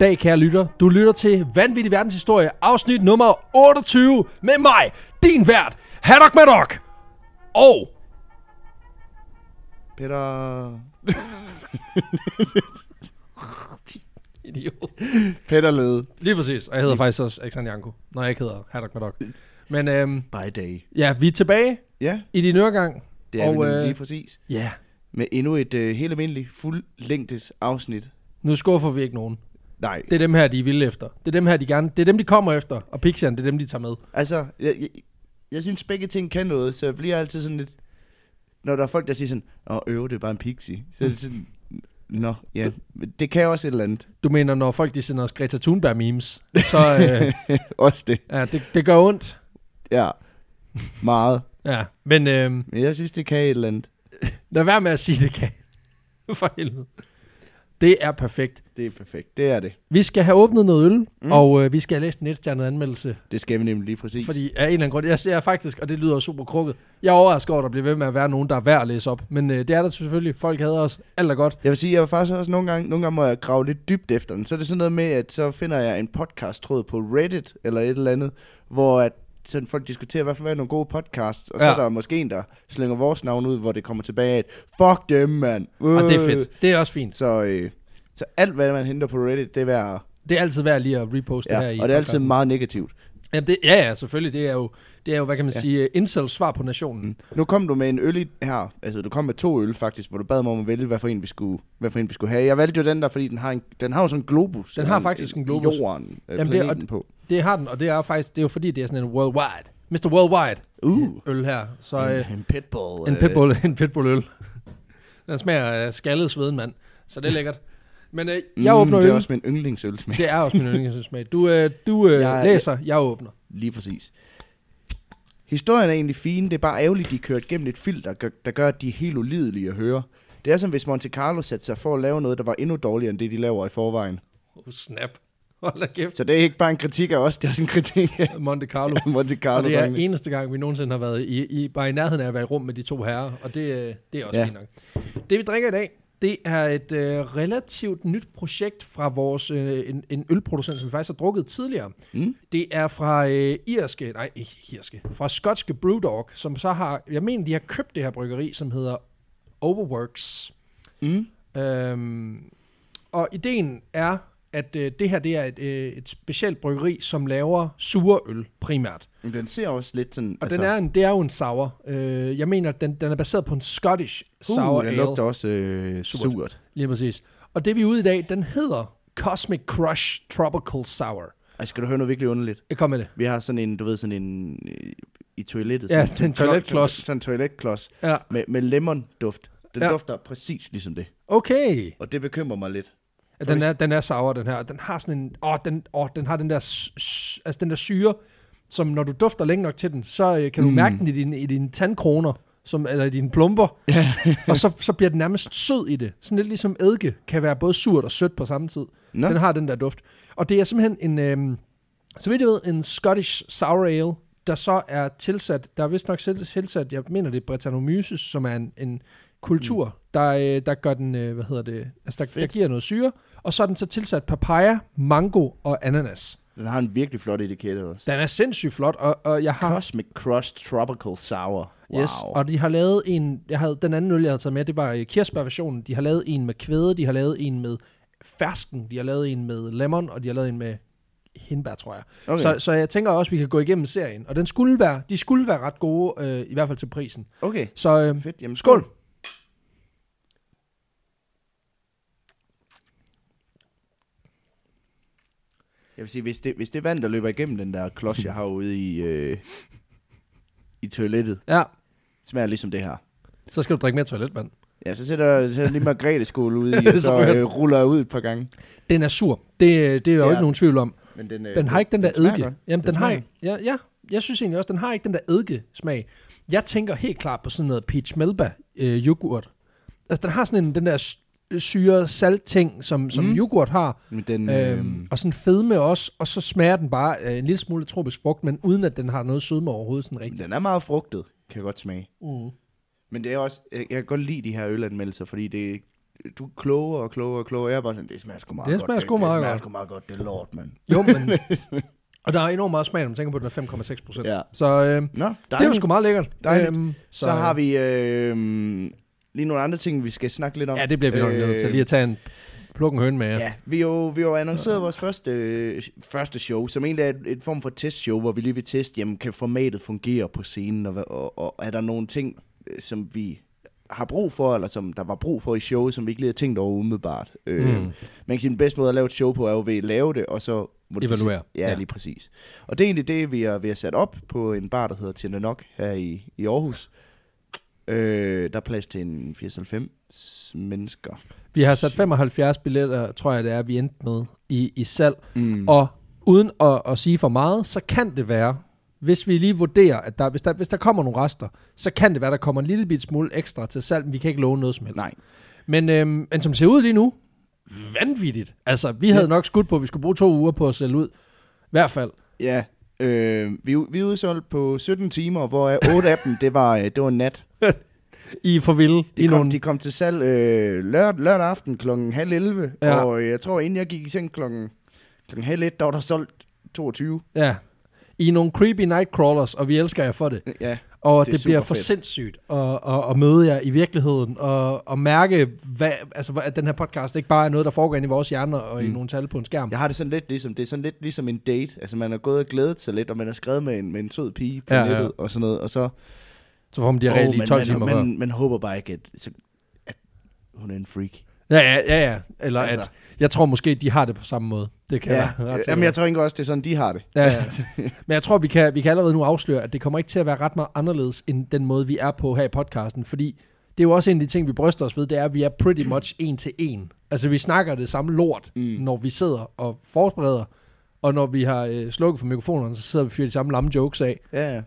dag, kære lytter. Du lytter til Vanvittig Verdenshistorie, afsnit nummer 28 med mig, din vært, Haddock Maddock. Og Peter... Idiot. Peter Løde. Lige præcis. Og jeg hedder faktisk også Alexander Janko, når jeg ikke hedder Haddock Maddock. Men øhm, By day. ja, vi er tilbage Ja, i din øregang. det er Og, og, vi øh... øh, lige præcis. Ja, yeah. Med endnu et øh, helt almindeligt fuldlængdes afsnit. nu skuffer vi ikke nogen. Nej, Det er dem her, de er vilde efter. Det er dem her, de gerne... Det er dem, de kommer efter. Og Pixian, det er dem, de tager med. altså, jeg, jeg, jeg synes begge ting kan noget, så jeg bliver altid sådan lidt... Når der er folk, der siger sådan, åh, øve, det er bare en pixie. Så er det sådan, nå, ja, men det kan også et eller andet. Du mener, når folk de sender os Greta Thunberg-memes, så øh, også det, ja, det, det gør ondt. ja. Meget. Ja, men øh, Men jeg synes, det kan et eller andet. lad være med at sige det, kan. For helvede. Det er perfekt. Det er perfekt, det er det. Vi skal have åbnet noget øl, mm. Mm. og øh, vi skal have læst en etstjernet anmeldelse. Det skal vi nemlig lige præcis. Fordi af en eller anden grund, jeg, jeg er faktisk, og det lyder jo super krukket, jeg er overrasket over, at der bliver ved med at være nogen, der er værd at læse op. Men øh, det er der selvfølgelig. Folk hader os. Alt er godt. Jeg vil sige, jeg var faktisk også nogle gange, nogle gange må jeg grave lidt dybt efter den. Så er det sådan noget med, at så finder jeg en podcast tråd på Reddit eller et eller andet, hvor at sådan folk diskuterer, hvad for hvad er nogle gode podcasts, og ja. så Ja. er der måske en, der slænger vores navn ud, hvor det kommer tilbage af, at fuck dem, mand. Øh. Og Ah, det er fedt. Det er også fint. Så, øh, så alt, hvad man henter på Reddit, det er værd. Det er altid værd lige at reposte Ja, det her i og det er altid podcasten. meget negativt. Jamen det, ja, ja, selvfølgelig. Det er jo, det er jo hvad kan man ja. Ja. Mm. sige, øh, incels svar på nationen. Nu kom du med en øl i- her, altså du kom med to øl faktisk, hvor du bad mig om at vælge, hvad for en vi skulle, hvad for en vi skulle have. Jeg valgte jo den der, fordi den har, en, den har jo sådan en globus. Den eller har faktisk en globus. Jorden, Jamen, øh, Jamen, det er- og planeten det, på. Det har den, og det er faktisk, det er jo fordi, det er sådan en worldwide. Mr. Worldwide Uh. øl her. Så øh, en pitbull. en pitbull, en pitbull øl. Den smager af skaldet sveden, mand. Så det er lækkert. Men øh, jeg åbner Mm. det øl. er også min yndlingsølsmag. Det er også min yndlingssmag. Du, øh, du øh, Jeg- læser, jeg åbner. Lige præcis. Historien er egentlig fin, det er bare ærgerligt, de er kørt gennem et filter, gør- der gør, at de er helt ulidelige at høre. Det er som hvis Monte Carlo satte sig for at lave noget, der var endnu dårligere end det, de laver i forvejen. Oh, snap. Hold da kæft. Så det er ikke bare en kritik af os, det er også en kritik af Monte Carlo. Monte Carlo. Og det er drengene. eneste gang, vi nogensinde har været i, i, bare i nærheden af at være i rum med de to herrer, og det, øh, det er også ja. Ja. fint nok. Det vi drikker i dag, det er et øh, relativt nyt projekt fra vores øh, en, en ølproducent, som vi faktisk har drukket tidligere. Mm. Det er fra øh, irske, nej ikke irske, fra skotske Brewdog, som så har, jeg mener de har købt det her bryggeri, som hedder Overworks. Mm. Øhm, og ideen er, at øh, det her det er et, øh, et specielt bryggeri, som laver sure øl primært. Men den ser også lidt sådan... Og altså, den er en, det er jo en sour. Øh, jeg mener, den, den er baseret på en Scottish sour uh, den ale. lugter også øh, Surt. surt. Lige præcis. Og det vi er ude i dag, den hedder Cosmic Crush Tropical Sour. Ej, skal du høre noget virkelig underligt? Jeg kom med det. Vi har sådan en, du ved, sådan en... øh, I toilettet. Ja, sådan en toiletklods. Sådan en toiletklods. Ja. med, med lemon-duft. Den Ja. ja. dufter præcis ligesom det. Okay. Og det bekymrer mig lidt. At Den er, den er sour, den her. Den har sådan en... Åh, den, åh, den har den der, s- s- altså den der syre, som når du dufter længe nok til den, så øh, kan Mm. du mærke den i dine, i dine tandkroner, som, eller i dine plumper. og så, så bliver den nærmest sød i det. Sådan lidt ligesom eddike kan være både surt og sødt på samme tid. Nå. Den har den der duft. Og det er simpelthen en, øh, så vidt jeg ved, en Scottish Sour Ale, der så er tilsat, der er vist nok selv- tilsat, jeg mener det er Brettanomyces, som er en, en kultur, mm. der, øh, der gør den, øh, hvad hedder det, altså der, der Fedt. giver noget syre, og så er den så tilsat papaya, mango og ananas. Den har en virkelig flot etikette også. Den er sindssygt flot, og, og jeg har... Cosmic Crush Tropical Sour. Wow. Yes, og de har lavet en, jeg havde, den anden øl, jeg havde taget med, det var øh, kirsebærversionen. De har lavet en med kvæde, de har lavet en med fersken, de har lavet en med lemon, og de har lavet en med hindbær, tror jeg. Okay. Okay. Så, så jeg tænker også, at vi kan gå igennem serien, og den skulle være, de skulle være ret gode, øh, i hvert fald til prisen. Okay, Så øh, fedt. Jamen, skål! Jeg vil sige, hvis det, hvis det er vand, der løber igennem den der klods, jeg har ude i, øh, i toilettet, Ja, smager ligesom det her. så skal du drikke mere toiletvand. Ja, så sætter så sætter jeg lige Margrethe skål ud i, og Så så hører øh, ruller jeg ud et par gange. Den er sur, det, det er der jo Ja. ikke nogen tvivl om. Men den, øh, Den har ikke den der smager eddike. godt. Jamen, den, den har smager ikke, ja, ja, jeg synes egentlig også, den har ikke den der eddike-smag. Jeg tænker helt klart på sådan noget peach melba øh, yoghurt. Altså, den har sådan en, den der s- syre salt ting, som, som mm. Mm. yoghurt har. Men den, øh, Øhm, og sådan fedme også, og så smager den bare øh, en lille smule af tropisk frugt, men uden at den har noget sødme overhovedet sådan rigtigt. den er meget frugtet, kan jeg godt smage. Mm. Men det er også, jeg, jeg kan godt lide de her ølanmeldelser, fordi det, du er klogere og klogere og klogere. Jeg er bare sådan, det smager sgu meget Det godt. smager sgu meget Det smager godt. sgu meget godt, det er lort, mand. Jo, men... og der er enormt meget smag, når man tænker på, at den er 5,6 procent. Ja. Så øh, Nå, det er jo sgu meget lækkert. Dejligt. Øhm, Så, så har vi øh, lige nogle andre ting, vi skal snakke lidt om. Ja, det bliver vi nok nødt til lige at tage en... Plukke en høn med jer. Øh, Ja, vi jo, vi jo annonceret vores første, øh, første show, som egentlig er et, et form for testshow, hvor vi lige vil teste, jamen, kan formatet fungere på scenen, og, hvad- og, og er der nogle ting, øh, som vi har brug for, eller som der var brug for i showet, som vi ikke lige havde tænkt over umiddelbart. Mm. Øh, man kan sige, den bedste måde at lave et show på, er jo ved at lave det, og så... modificere- Evaluere. Ja, Ja. lige præcis. Og det er egentlig det, vi har, vi har sat op på en bar, der hedder Tindanok her i, i Aarhus. Øh, der er plads til en 80-90 mennesker. Vi har sat 75 billetter, tror jeg det er, vi endte med i, i salg. Mm. Og uden at, at sige for meget, så kan det være, hvis vi lige vurderer, at der, hvis, der, hvis der kommer nogle rester, så kan det være, der kommer en lille bit smule ekstra til salg, men vi kan ikke låne noget som helst. Nej. Men, øhm, men som det ser ud lige nu, vanvittigt. Altså, vi havde nok skudt på, at vi skulle bruge to uger på at sælge ud. I hvert fald. Ja, øh, vi, er ud- vi er udsolgt på 17 timer, hvor 8 af dem, det var, øh, det var nat. I er for vilde. I De kom, nogle, de kom til salg øh, lør, lørdag aften kl. halv 11, Ja. ja. og øh, jeg tror, inden jeg gik i seng kl. kl. halv 1, der var der solgt 22. ja. I er nogle creepy nightcrawlers, og vi elsker jer for det. Ja, Og Det det, er det bliver super for fedt. sindssygt at, at, at møde jer i virkeligheden, og, og mærke, hvad, altså, hvad- at den her podcast ikke bare er noget, der foregår inde i vores hjerner og mm. i nogle tal på en skærm. jeg har det sådan lidt ligesom, det er sådan lidt ligesom en date. Altså, man er gået og glædet sig lidt, og man har skrevet med en, med en sød pige på Ja, ja, ja. nettet ja. og sådan noget, og så... Så får man diarré lige man, 12 man, timer man, før. man, man håber bare ikke, at, så- at hun er en freak. Ja, ja, ja, ja. Eller Altså. altså. at, jeg tror måske, de har det på samme måde. Det kan Ja, jeg være ret sikker jamen, jeg på. tror ikke også, det er sådan, de har det. Ja, ja. Men jeg tror, vi kan, vi kan allerede nu afsløre, at det kommer ikke til at være ret meget anderledes, end den måde, vi er på her i podcasten, fordi det er jo også en af de ting, vi bryster os ved, det er, at vi er pretty much en til en. Altså, vi snakker det samme lort, mm. når vi sidder og forbereder, og når vi har øh, slukket for mikrofonerne, så sidder vi og fyrer de samme lamme jokes af. Ja, ja.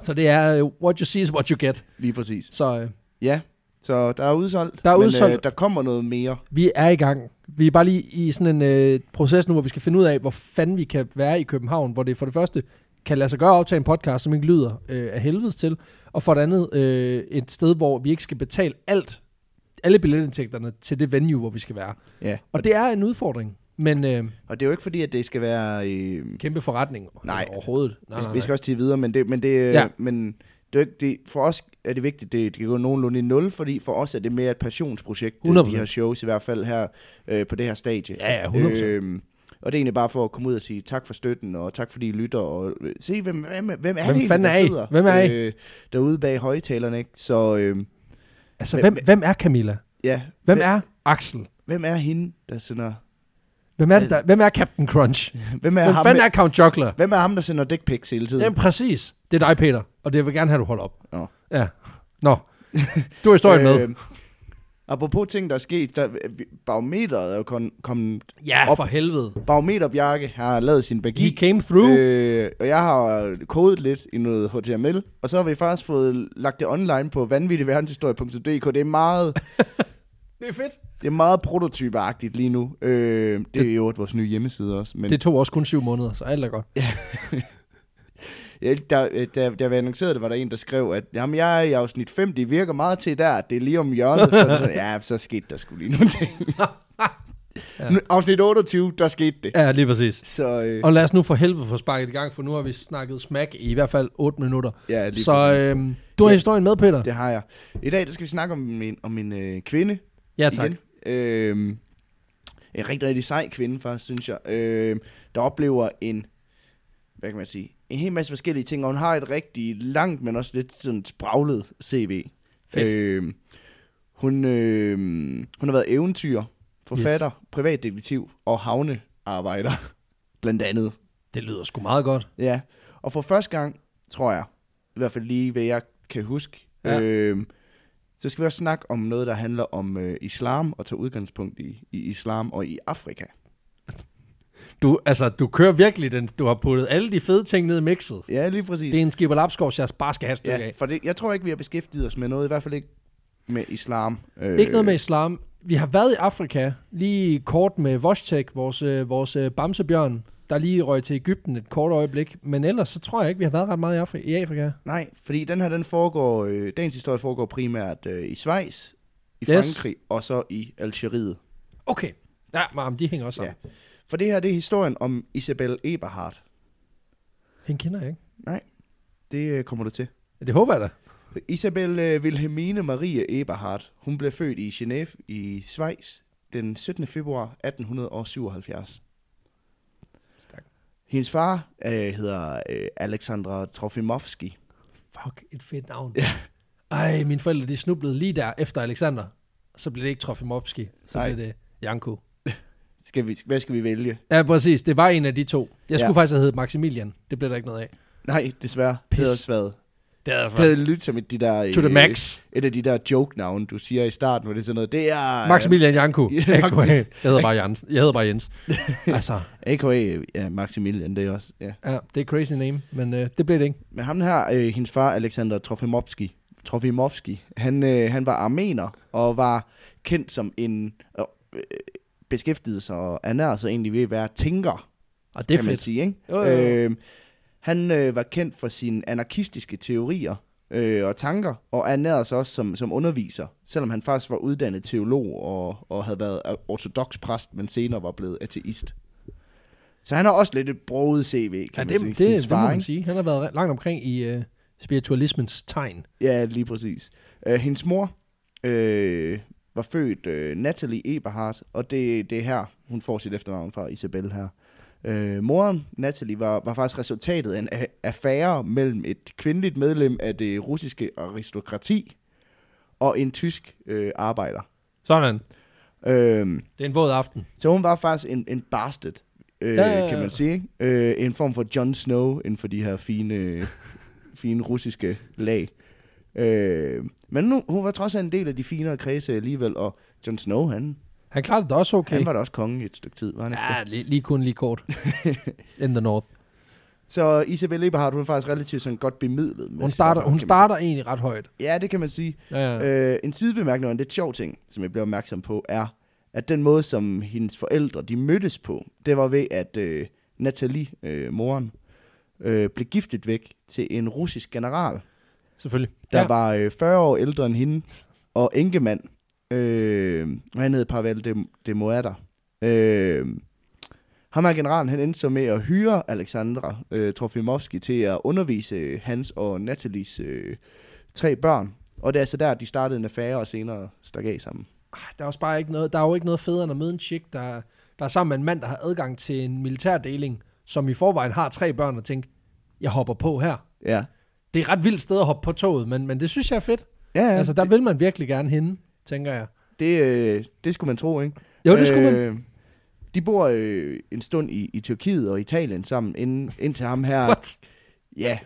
Så det er, øh, what you see is what you get. Lige præcis. Så øh, Ja, så der er udsolgt. Der er men, udsolgt. Øh, der kommer noget mere. vi er i gang. Vi er bare lige i sådan en øh, proces nu, hvor vi skal finde ud af, hvor fanden vi kan være i København, hvor det for det første kan lade sig gøre at optage en podcast, som ikke lyder øh, af helvedes til, og for det andet øh, et sted, hvor vi ikke skal betale alt, alle billetindtægterne til det venue, hvor vi skal være. Ja. Og det er en udfordring, men øh, Og det er jo ikke fordi, at det skal være... Øh, kæmpe forretning Nej. overhovedet. Nej, nej, nej, vi nej. skal også til videre, men det, men det, øh, Ja. men det er jo ikke, det, for os er det vigtigt, det, det kan gå nogenlunde i nul, fordi for os er det mere et passionsprojekt, øh, 100%. de her shows, i hvert fald her øh, på det her stadie. Ja, ja, 100%. Øhm, og det er egentlig bare for at komme ud og sige tak for støtten, og tak fordi I lytter, og øh, se, hvem, hvem, hvem er Hvem det egentlig, fanden der er I? sidder Hvem er I? Øh, derude bag højtalerne, ikke? Så øh, Altså, hvem, hvem er Camilla? ja, Hvem er Axel? hvem er hende, der sender... Hvem er, det, der, hvem er Captain Crunch? Hvem er, Hvem ham, fanden er Count Chocula? hvem er ham, der sender dick pics hele tiden? Jamen præcis. Det er dig, Peter. Og det vil jeg gerne have, du holder op. Nå. Ja. Nå. Du er historien med. Øh, apropos ting, der er sket, der, barometeret er jo kom, kom, Ja, op. for helvede. barometerbjarke har lavet sin He bagi, came through. Øh, øh, og jeg har kodet lidt i noget HTML, og så har vi faktisk fået lagt det online på vanvittigverdenshistorie.dk. Det er meget, det er fedt. det er meget prototypeagtigt lige nu. Øh, det er jo vores nye hjemmeside også, men Det tog også kun syv måneder, så alt er godt. Ja, da, da, da vi annoncerede det, var der en, der skrev, at jamen, jeg er i afsnit 5, det virker meget til der, at det er lige om hjørnet. Så, så, ja, så skete der skulle lige nogle ting. Ja. ja. Afsnit 28, der skete det. Ja, lige præcis. Så øh, Og lad os nu for helvede få sparket i gang, for nu har vi snakket smack i i hvert fald 8 minutter. ja, lige Så præcis. øhm, du har Ja. historien med, Peter? det har jeg. I dag, der skal vi snakke om en, om en øh, kvinde. Ja, tak. Igen. Øh, en rigtig, rigtig sej kvinde, faktisk, synes jeg. Øh, der oplever en, hvad kan man sige, en hel masse forskellige ting, og hun har et rigtig langt, men også lidt sådan spraglet CV. Fedt. Øh, hun, øh, hun har været eventyr, forfatter, yes. privatdetektiv og havnearbejder, blandt andet. Det lyder sgu meget godt. Ja, og for første gang, tror jeg, i hvert fald lige hvad jeg kan huske, Ja. ja. øh, så skal vi også snakke om noget, der handler om øh, islam, og tage udgangspunkt i, i islam og i Afrika. Du, altså, du kører virkelig den. Du har puttet alle de fede ting ned i mixet. Ja, lige præcis. Det er en skipper lapskov, jeg bare skal have et stykke ja, af. for det, jeg tror ikke, vi har beskæftiget os med noget, i hvert fald ikke med islam. Øh, Ikke noget med islam. Vi har været i Afrika, lige kort med Vostek, vores, øh, vores øh, bamsebjørn, der lige røg til Ægypten et kort øjeblik. Men ellers så tror jeg ikke, vi har været ret meget i Afrika. I Afrika. Nej, fordi den her, den foregår, øh, dagens historie foregår primært øh, i Schweiz, i Yes. Frankrig og så i Algeriet. Okay. Ja, men de hænger også Ja. sammen. Ja. For det her, det er historien om Isabel Eberhardt. Hende kender jeg ikke. Nej, det øh, kommer du til. Ja, Det håber jeg da. Isabel øh, Wilhelmine Marie Eberhardt, hun blev født i Genève i Schweiz den 17. februar 1877. Stak. Hendes far øh, hedder øh, Alexandra Trofimovski. Fuck, et fedt navn. Ja. Ej, mine forældre, de snublede lige der efter Alexander. Så blev det ikke Trofimovski. Så Nej. blev det Janko. Skal vi, hvad skal vi vælge? Ja, præcis. Det var en af de to. Jeg Ja. skulle faktisk have heddet Maximilian. Det blev der ikke noget af. Nej, desværre. Pis. Pedersvad. Det er Det havde lyttet som et, de der, To the øh, max. et af de der joke-navne, du siger i starten, hvor det er sådan noget, det er... Maximilian Janko. Ja. Jeg hedder bare Jens. Jeg hedder bare Jens. Altså, øh, A.K.A. ja, Maximilian, det er også, ja. ja, det er crazy name, men øh, det blev det ikke. Men ham her, øh, hendes far, Alexander Trofimovski, Trofimovski han, øh, han var armener og var kendt som en... Øh, øh, beskæftigede sig og ernærede sig egentlig ved at være tænker, Og det er kan man fedt. sige. Ikke? Jo, jo, jo. Øh, han øh, var kendt for sine anarkistiske teorier øh, og tanker, og ernærede sig også som, som underviser, selvom han faktisk var uddannet teolog og, og havde været øh, ortodox præst, men senere var blevet ateist. Så han har også lidt et broget CV, Ja, kan det, man det, sige. Hendes det, det må far, man ikke? sige. Han har været langt omkring i øh, spiritualismens tegn. Ja, lige præcis. Øh, hendes mor øh, var født øh, Natalie Eberhardt, og det, det er her, hun får sit efternavn fra Isabel her. Øh, moren, Natalie, var, var faktisk resultatet af en a- affære mellem et kvindeligt medlem af det russiske aristokrati og en tysk øh, arbejder. Sådan. Øh, Det er en våd aften. så hun var faktisk en, en bastard, øh, Ja, ja, ja. kan man sige. ikke? Øh, en form for Jon Snow inden for de her fine, fine russiske lag. Øh, men nu, hun var trods alt en del af de finere kredse alligevel, og Jon Snow, han, Han klarede det også okay. okay. han var da også konge i et stykke tid, var han ikke? Ja, lige, lige kun lige kort. In the north. Så Isabel Eberhardt, hun er faktisk relativt sådan godt bemidlet. med Hun sit starter, arbejde, hun kan man starter egentlig ret højt. sige. Ja, det kan man sige. Ja, ja. Øh, en sidebemærkning og en lidt sjov ting, som jeg blev opmærksom på, er, at den måde, som hendes forældre de mødtes på, det var ved, at øh, Nathalie, øh, moren, øh, blev giftet væk til en russisk general, Selvfølgelig. der ja. ja. var øh, 40 år ældre end hende, og enkemand. Øh, og han hed Pavel de, de Moada. Øh, ham her generalen, han endte så med at hyre Alexandra øh, Trofimovski til at undervise øh, hans og Natalies øh, tre børn. Og det er altså der, de startede en affære og senere stak af sammen. Ah, Der er, også bare ikke noget, der er jo ikke noget federe end at møde en chick, der, der er sammen med en mand, der har adgang til en militærdeling, som i forvejen har tre børn, og tænke, jeg hopper på her. Ja. Det er et ret vildt sted at hoppe på toget, men, men det synes jeg er fedt. Ja, Ja, ja. altså, Altså, der vil man virkelig gerne hende, tænker jeg. Øh, det, øh, det skulle man tro, ikke? Jo, det skulle man. man. De bor øh, en stund i, i Tyrkiet og Italien sammen, inden, indtil ham her... What? Ja,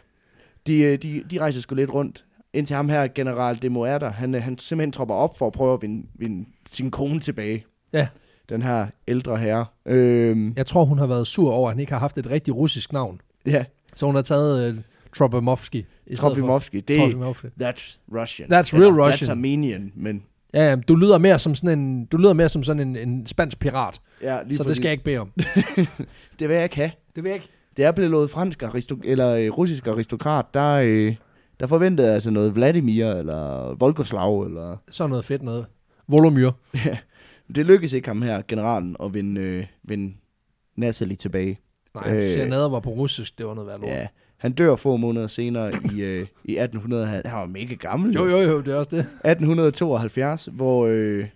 de, øh, de, de rejser sgu lidt rundt. Indtil ham her, general de Moerter, han, øh, han simpelthen tropper op for at prøve at vinde, vinde sin kone tilbage. Ja. Den her ældre herre. Øhm, ja. Jeg tror, hun har været sur over, at han ikke har haft et rigtig russisk navn. ja. Så hun har taget uh, Tropimovski. i stedet for- Trofimovski, det er... Tropimovski. That's Russian. That's Eller, real That's Russian. Armenian, men... Ja, ja, du lyder mere som sådan en, du lyder mere som sådan en, en spansk pirat, Ja, lige Lige så det præcis. skal jeg ikke bede om. Det vil jeg ikke have. Det vil jeg ikke. Da jeg blev lovet fransk aristo- eller øh, russisk aristokrat, der, øh, der forventede jeg altså noget Vladimir eller Volkoslav eller... Sådan noget fedt noget. Volumyr. Det lykkedes ikke ham her, generalen, at vinde, øh, vinde Natalie tilbage. Nej, øh. Øh. serenader var på russisk, det var noget værd lort. Ja, han dør få måneder senere i, øh, i 1800. Han han var mega gammel. Jo, jo, jo, det er også det. 1872, hvor, øh,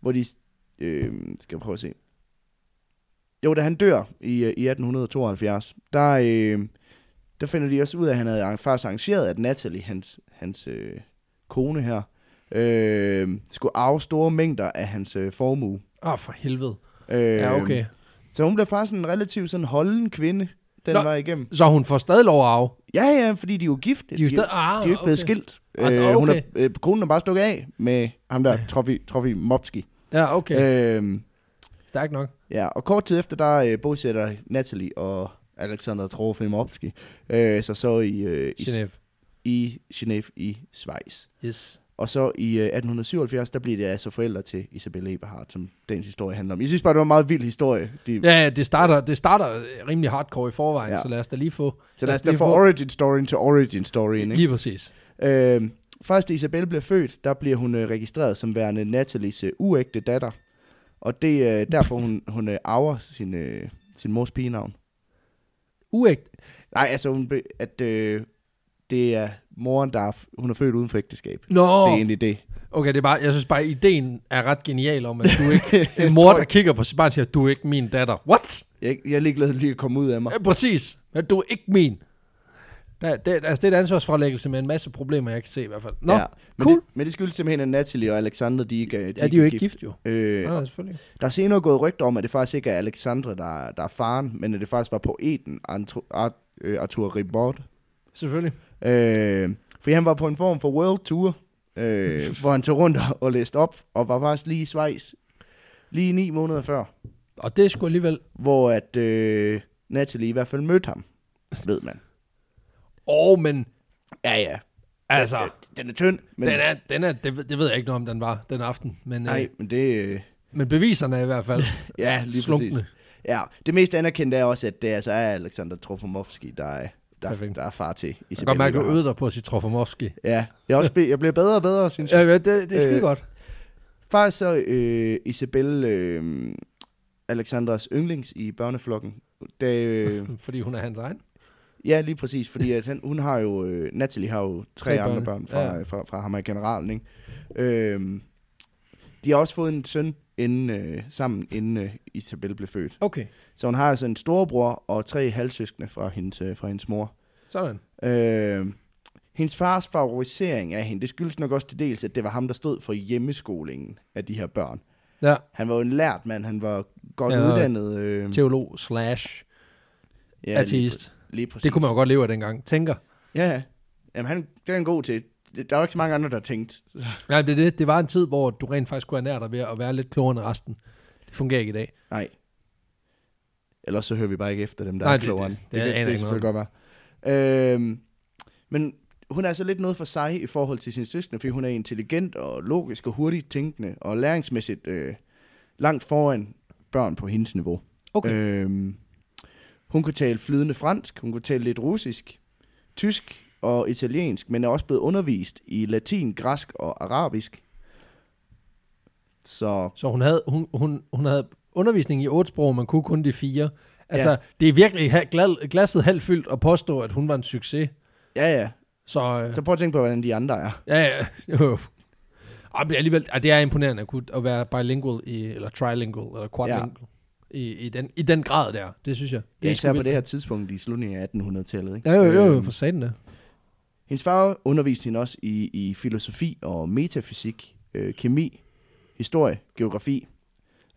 hvor de... Øh, skal jeg prøve at se. Jo, da han dør i, øh, i 1872, der, øh, der finder de også ud af, at han havde arra- faktisk arrangeret, at Natalie, hans, hans øh, kone her, øh, skulle arve store mængder af hans øh, formue. Åh, oh, for helvede. Øh, Ja, okay. Så hun blev faktisk en relativt sådan holden kvinde, den Nå. var igennem. Så hun får stadig lov at arve. Ja, ja, fordi de er jo gift. De er jo stadig... Ah, De er jo ikke blevet okay. skilt. Ah, nå, Øh, hun er, okay. øh, konen er bare stukket af med ham der, Trofi, Trofi Mopski. Ja, okay. Øh. Okay. Øhm, Stærkt nok. ja, og kort tid efter, der øh, bosætter Natalie og Alexander Trofimovski øh, sig så i, øh, i, Genève. i Genève i Schweiz. Yes. Og så i øh, 1877, der bliver det altså forældre til Isabelle Eberhardt, som dagens historie handler om. Jeg synes bare, det var en meget vild historie. De, ja, Ja, ja, det starter, det starter rimelig hardcore i forvejen, ja. Ja. så lad os da lige få... så lad os da lige få origin storyen til origin storyen. Ikke? Lige præcis. Øh, Faktisk, da Isabel bliver født, der bliver hun øh, registreret som værende Nathalies øh, uægte datter. Og det er øh, derfor, hun, hun øh, arver sin, øh, sin mors pigenavn. Uægt. Nej, altså, hun, be- at øh, det er moren, der er, f- hun er født uden for ægteskab. Nå, Oh. Det er egentlig det. okay, det er bare, jeg synes bare, ideen er ret genial om, at du ikke, en mor, der kigger på sit barn, siger, du er ikke min datter. What? Jeg, jeg er ligeglad lige at komme ud af mig. Ja, præcis. Ja, du er ikke min. Der, det, altså, det er et ansvarsforlæggelse med en masse problemer, jeg kan se i hvert fald. Nå, ja, men cool. Det, men det skyldes simpelthen, at Natalie og Alexander, de ikke ja, de er jo ikke gift, jo. Øh, Ja, selvfølgelig. Der er senere gået rygter om, at det faktisk ikke er Alexandre, der, der er faren, men at det faktisk var poeten Antro, Ar, øh, Arthur Rimbaud. Selvfølgelig. Øh, for han var på en form for world tour, øh, hvor han tog rundt og- og læste op, og var faktisk lige i Schweiz, lige ni måneder før, Og det er sgu alligevel... hvor at øh, Natalie i hvert fald mødte ham, ved man. Åh, oh, men Ja, ja. altså, Den er tynd, men, den er, den er, det, ved- det ved jeg ikke noget om, den var den aften. Men, øh, nej, men det... Øh, men beviserne er i hvert fald Ja, lige slunkne. præcis. Ja, det mest anerkendte er også, at det altså er Alexander Trofomovski, der er, der, Perfekt. der er far til Jeg kan Isabel. godt mærke, at du Eberhard. øvede dig på at sige Trofomovski. Ja, jeg, er også ble, jeg bliver bedre og bedre, synes jeg. Ja, ja, det, det er skide Øh, godt. Faktisk så øh, Isabel, øh, Alexandras yndlings i børneflokken, da, øh, Fordi hun er hans egen. ja, lige præcis, fordi at han, hun har jo, øh, Natalie har jo tre, Tre tre andre børn, børn fra, ja. ja. fra, fra ham og generalen, ikke? Øh, de har også fået en søn inden, øh, sammen, inden øh, Isabel blev født. Okay, Så hun har altså en storebror og tre halvsøskende fra hendes, øh, fra hendes mor. sådan. Øh, hendes fars favorisering af hende, det skyldes nok også til dels, at det var ham, der stod for hjemmeskolingen af de her børn. Ja, Han var jo en lært mand, han var godt Ja, ja, og uddannet. Øh, Mm. teolog slash ja, ateist. Lige, lige præcis. Det kunne man jo godt leve af dengang, tænker. Ja, ja. Jamen, han, det er han god til. Det- Der var ikke så mange andre, der tænkte. Nej, det, er det, det var en tid, hvor du rent faktisk kunne ernære dig ved at være lidt klogere end resten. Det fungerer ikke i dag. Nej. Ellers så hører vi bare ikke efter dem, der Nej, er det- klogere. det- end- det aner jeg det, ikke det, det, det godt være. Øhm, men hun er så lidt noget for sig i forhold til sin søster, fordi hun er intelligent og logisk og hurtigt tænkende og læringsmæssigt øh, langt foran børn på hendes niveau. Okay. Øhm, hun kunne tale flydende fransk, hun kunne tale lidt russisk, tysk og italiensk, men er også blevet undervist i latin, græsk og arabisk. Så Så hun havde, hun, hun, hun havde undervisning i otte sprog, man kunne kun de fire. Altså, ja. det er virkelig ha- glad, glasset halvt fyldt at påstå, at hun var en succes. ja, ja. Så, øh, Så prøv at tænke på, hvordan de andre er. ja, ja, jo. Og det er alligevel, ah, det er imponerende at, kunne, at være bilingual, i, eller trilingual, eller quadlingual. Ja. I, i, den, I den grad der, det synes jeg. Det er sgu især på vildt. det her tidspunkt i slutningen af 1800-tallet. Ikke? Ja, jo, jo, jo, Øhm, for satan det. hendes far underviste hende også i, i filosofi og metafysik, øh, kemi, historie, geografi.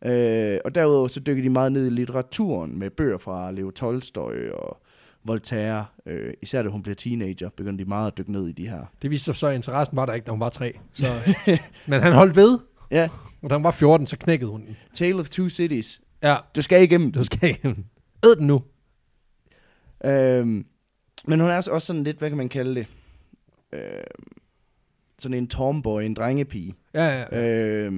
Øh, og derudover så dykkede de meget ned i litteraturen med bøger fra Leo Tolstoy og Voltaire. Øh, især da hun blev teenager, begyndte de meget at dykke ned i de her. Det viste sig så, at interessen var der ikke, da hun var tre. Så, men han holdt ved, Ja, og da hun var 14, så knækkede hun den. Tale of Two Cities. Ja, Du skal igennem det. du skal ikke. Æd den nu. Øhm, men hun er også- også sådan lidt, hvad kan man kalde det? Øhm, sådan en tomboy, en drengepige. Ja, ja, ja. Øh,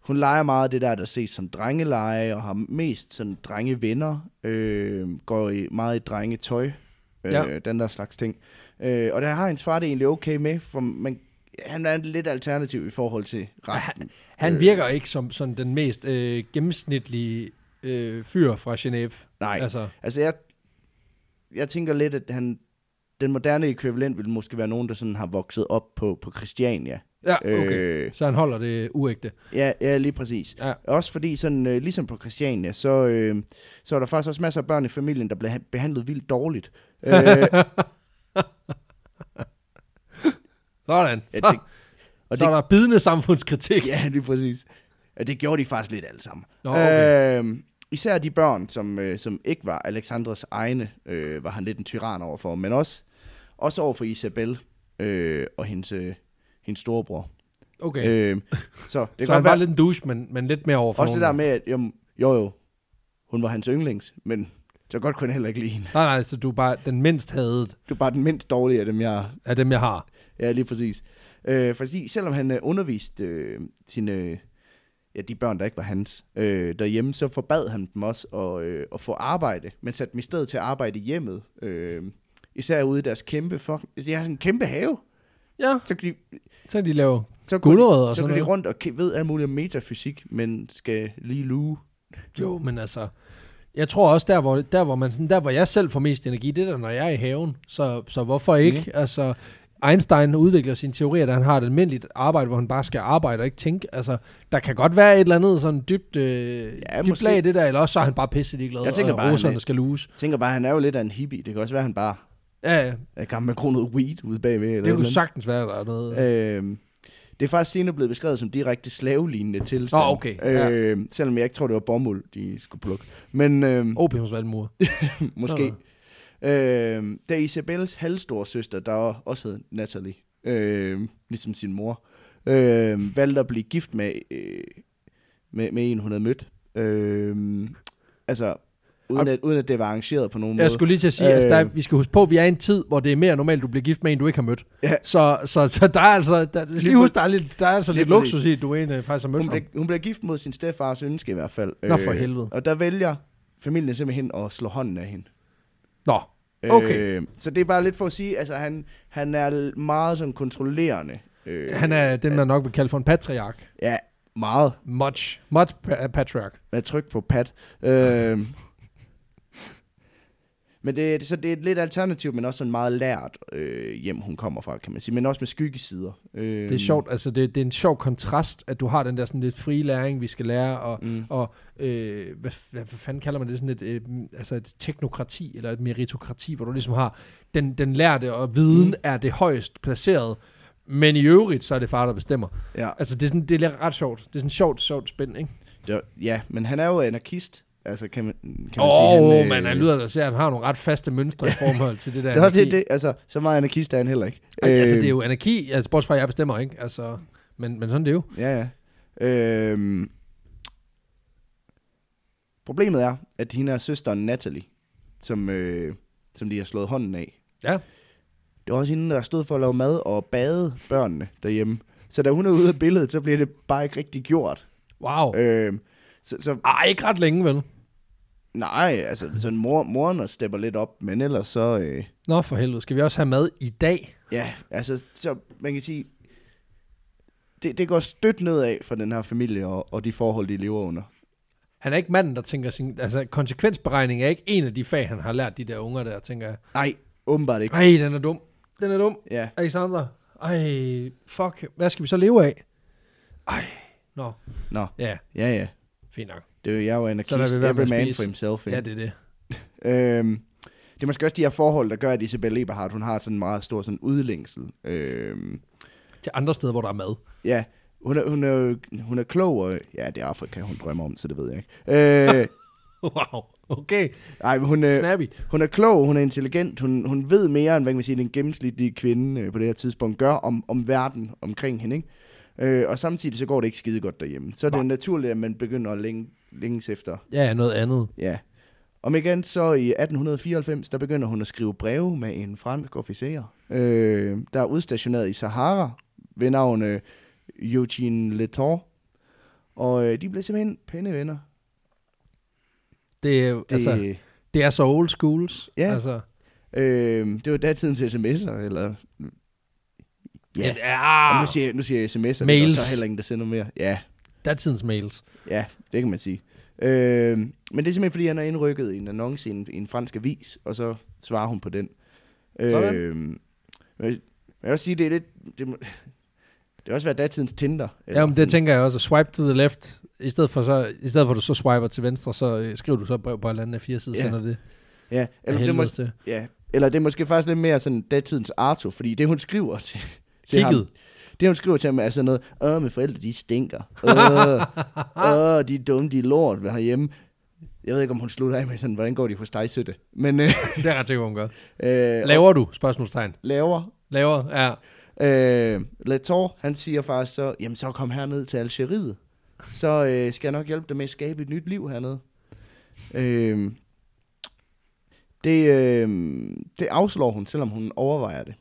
hun leger meget det der, der ses som drengeleje, og har mest sådan drengevenner, øh, går i, meget i drengetøj, øh, Ja. ja. den der slags ting. Øh, og der har hendes far det egentlig okay med, for man, han er lidt alternativ i forhold til resten. Han Øh. virker ikke som sådan den mest øh, gennemsnitlige øh, fyr fra Genève. Nej, altså, Altså, altså jeg, jeg tænker lidt, at han, den moderne ekvivalent vil måske være nogen, der sådan har vokset op på, på Christiania. ja, okay. Øh. Øh, Så han holder det uægte. Ja, ja lige præcis. Ja. Ja. Også fordi, sådan, øh, ligesom på Christiania, så, øh, så er der faktisk også masser af børn i familien, der bliver han- behandlet vildt dårligt. Øh, ja, Sådan. Så, det, og så er det, der bidende samfundskritik. Ja. ja, lige præcis. Og det gjorde de faktisk lidt alle sammen. Nå, okay. øh, især de børn, som, øh, som ikke var Alexandres egne, øh, var han lidt en tyran overfor, men også, også overfor Isabel øh, og hendes, øh, hendes storebror. Okay. Øh, Okay. Øh, så det kan så han godt var være, lidt en douche, men, men lidt mere overfor også det der nogen. med, at jo, jo, jo, hun var hans yndlings, men så godt kunne han heller ikke lide hende. Nej, nej, så du er bare den mindst hadet Du er bare den mindst dårlige af dem, jeg af dem, jeg har. Ja, lige præcis. Øh, fordi selvom han øh, underviste øh, sine, øh, ja, de børn, der ikke var hans, øh, derhjemme, så forbad han dem også at, øh, at få arbejde, men satte dem i stedet til at arbejde i hjemmet. Øh, især ude i deres altså, kæmpe, fuck, de har sådan en kæmpe have. Ja, Så kan de, så kan de lave så går de, guldrødder og så sådan går de noget. rundt og ke- ved alt muligt om metafysik, men skal lige luge. Jo, men altså, jeg tror også, der hvor, der, hvor man sådan, der hvor jeg selv får mest energi, det er der, når jeg er i haven. Så, så hvorfor ikke? Mm. Altså, Einstein udvikler sine teorier, da han har et almindeligt arbejde, hvor han bare skal arbejde og ikke tænke. Altså, der kan godt være et eller andet sådan dybt, øh, ja, Ja, dybt måske. lag i det der, eller også så er han bare pisse ligeglad, Jeg tænker og bare, han russerne er- skal luse. Jeg tænker bare, han er jo lidt af en hippie. Det kan også være, han bare Ja, ja, er i gang med at gro noget weed ude bagved. Eller det kunne et eller sagtens være, der er noget. andet. Øhm, det er faktisk senere blevet beskrevet som direkte slavelignende tilstand. Nå, okay, ja. Øhm, Selvom jeg ikke tror, det var bomuld, de skulle plukke. Men øhm, Oh, Opiumsvalmur. Måske. Øh, da Isabelles halvstore søster, der også hed Natalie, øh, ligesom sin mor, øh, valgte at blive gift med, øh, med, med en, hun havde mødt. Øh, altså, uden at, uden at det var arrangeret på nogen måde. Jeg skulle lige til at sige, at altså, Øh. der, er- vi skal huske på, at vi er i en tid, hvor det er mere normalt, du bliver gift med en, du ikke har mødt. Ja. Så, så, så der er altså, der, vi skal lige præ- huske, der er, lidt, der er altså Lige lidt luksus præcis. i, at du en, øh, faktisk har mødt hun, ham. blev, hun blev gift mod sin stedfars ønske i hvert fald. Øh, Nå, for helvede. Og der vælger familien simpelthen at slå hånden af hende. Nå, Okay. Øh, så det er bare lidt for at sige, altså han, han er meget sådan kontrollerende. Øh, han er den, man nok vil kalde for en patriark. Ja, meget. Much. Much pa- patriark. med tryk på pat. Øh, men det, så det er et lidt alternativt, men også sådan meget lært øh, hjem, hun kommer fra, kan man sige. Men også med skyggesider. Øh, Det er sjovt, altså det, det er en sjov kontrast, at du har den der sådan lidt frie læring, vi skal lære, og, Mm. og øh, hvad, hvad, hvad fanden kalder man det, sådan et, øh, altså et teknokrati, eller et meritokrati, hvor du ligesom har, den, den lærte og viden mm. Mm. er det højst placeret, men i øvrigt, så er det far, der bestemmer. Ja, Altså, det er, sådan, det er ret sjovt. Det er sådan sjovt, sjovt spænd, ikke? det, var- ja, men han er jo anarkist. Altså, kan man, kan man Åh, sige, oh, øh, man, han lyder da til, at han har nogle ret faste mønstre i forhold til det der Det er også det, anarki. det, altså, så meget anarkist er han heller ikke. Ej, altså, det er jo anarki, altså, bortset fra, at jeg bestemmer, ikke? Altså, men, men sådan er det jo. Ja, ja. Øhm, problemet er, at hende og søsteren Natalie, som, øh, som de har slået hånden af, Ja. det var også hende, der stod for at lave mad og bade børnene derhjemme. Så da hun er ude af billedet, så bliver det bare ikke rigtig gjort. Wow. Øh. Øhm, så, så Ej, ikke ret længe, vel? nej, altså sådan mor, moren og stepper lidt op, men ellers så... Øh, Nå, for helvede. Skal vi også have mad i dag? ja, altså så man kan sige... Det, det går stødt nedad for den her familie og, og de forhold, de lever under. Han er ikke manden, der tænker sin... Altså, konsekvensberegning er ikke en af de fag, han har lært de der unger der, tænker jeg. Nej, åbenbart ikke. Ej, den er dum. Den er dum. Ja. Alexander. Ej, fuck. Hvad skal vi så leve af? Ej. Nå. Nå, Ja, ja ja. fint nok. Det er jo, jeg er jo anarkist. Så lader vi være med Every at man spise. for himself. Ja, Ikke? det er det. Ja. Øhm, det er måske også de her forhold, der gør, at Isabel Eberhardt, hun har sådan en meget stor sådan udlængsel. Øhm, Til andre steder, hvor der er mad. ja, hun er, hun, er, jo- hun er klog, og ja, det er Afrika, hun drømmer om, så det ved jeg ikke. Øh, Wow. Okay. ej, men hun, er, Snappy. hun er klog, hun er intelligent, hun, hun ved mere, end hvad kan man sige, den gennemsnitlige kvinde øh, på det her tidspunkt gør om, om verden omkring hende. Ikke? Øh, og samtidig så går det ikke skide godt derhjemme. Så er det Nej. jo naturligt, at man begynder at længe, længes efter Ja, noget andet. Ja. Om igen så i 1894, der begynder hun at skrive breve med en fransk officer, øh, der er udstationeret i Sahara ved navn øh, Eugene Leton. Og øh, de blev simpelthen pennevenner. Det, er jo- Det, altså, altså. det er så old schools. Ja. Altså, øh, det var datidens sms'er, eller... Ja, ja. ja. ja. nu, siger, jeg- nu siger jeg sms'er, Mails. det er der Mails. så heller ingen, der sender mere. Ja, Datidens mails. ja, det kan man sige. Øh, men det er simpelthen, fordi han er indrykket i en annonce i en, i en fransk avis, og så svarer hun på den. Sådan. Øh, men jeg vil også sige, det er lidt... Det, må, det har også været datidens Tinder. Ja, men det tænker jeg også. Swipe to the left. I stedet for, så, i stedet for at du så swiper til venstre, så øh, skriver du så et brev på en eller anden af fire sider, Ja. sender det ja, eller eller, det må, helvedes til. ja, eller det er måske faktisk lidt mere sådan datidens Arto, fordi det, hun skriver til, til ham, Kigget. det, hun skriver til ham, er sådan noget, Åh, mine forældre, de stinker. Åh, åh, de er dumme, de er lort hvad herhjemme. Jeg ved ikke, om hun slutter af med sådan, hvordan går de hos dig, Søtte? Men, øh, det er jeg ret sikker, på, hun gør. øh, og Laver du? Spørgsmålstegn. laver Laver? Ja. Øh, Lator, han siger faktisk så, jamen så kom herned til Algeriet. Så øh, skal jeg nok hjælpe dig med at skabe et nyt liv hernede. Øh, det, øh, det afslår hun, selvom hun overvejer det.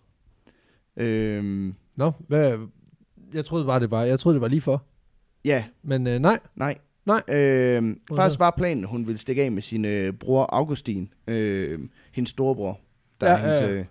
Øh, Nå, hvad, jeg troede bare, det var, jeg troede, det var lige for. ja, Men øh, nej. nej. Nej. Øh, faktisk var planen, hun ville stikke af med sin øh, bror Augustin, øh, hendes storebror, der Ja, er hendes, ja, ja. øh,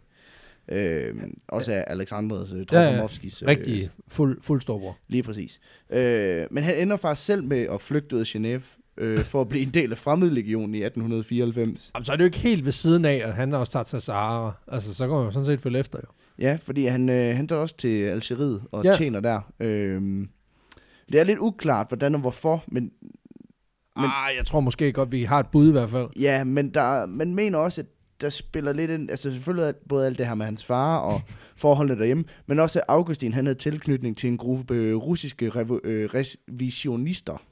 Øh, også af Alexandres øh, Trofanovskis. øh, Rigtig fuld, fuld storbror. Lige præcis. Øh, men han ender faktisk selv med at flygte ud af Genève øh, for at blive en del af fremmedlegionen i 1894. Jamen, så er det jo ikke helt ved siden af, at han også tager til Sahara. Altså, så går han jo sådan set følge efter, jo. Ja, fordi han, øh, han tager også til Algeriet og Ja. ja. tjener der. Øh, det er lidt uklart, hvordan og hvorfor, men, Men, Men- ah, jeg tror måske godt, vi har et bud i hvert fald. ja, men der, man mener også, at der spiller lidt ind, altså selvfølgelig at både alt det her med hans far og forholdene derhjemme, men også at Augustin, han havde tilknytning til en gruppe øh, russiske revo, øh, revisionister.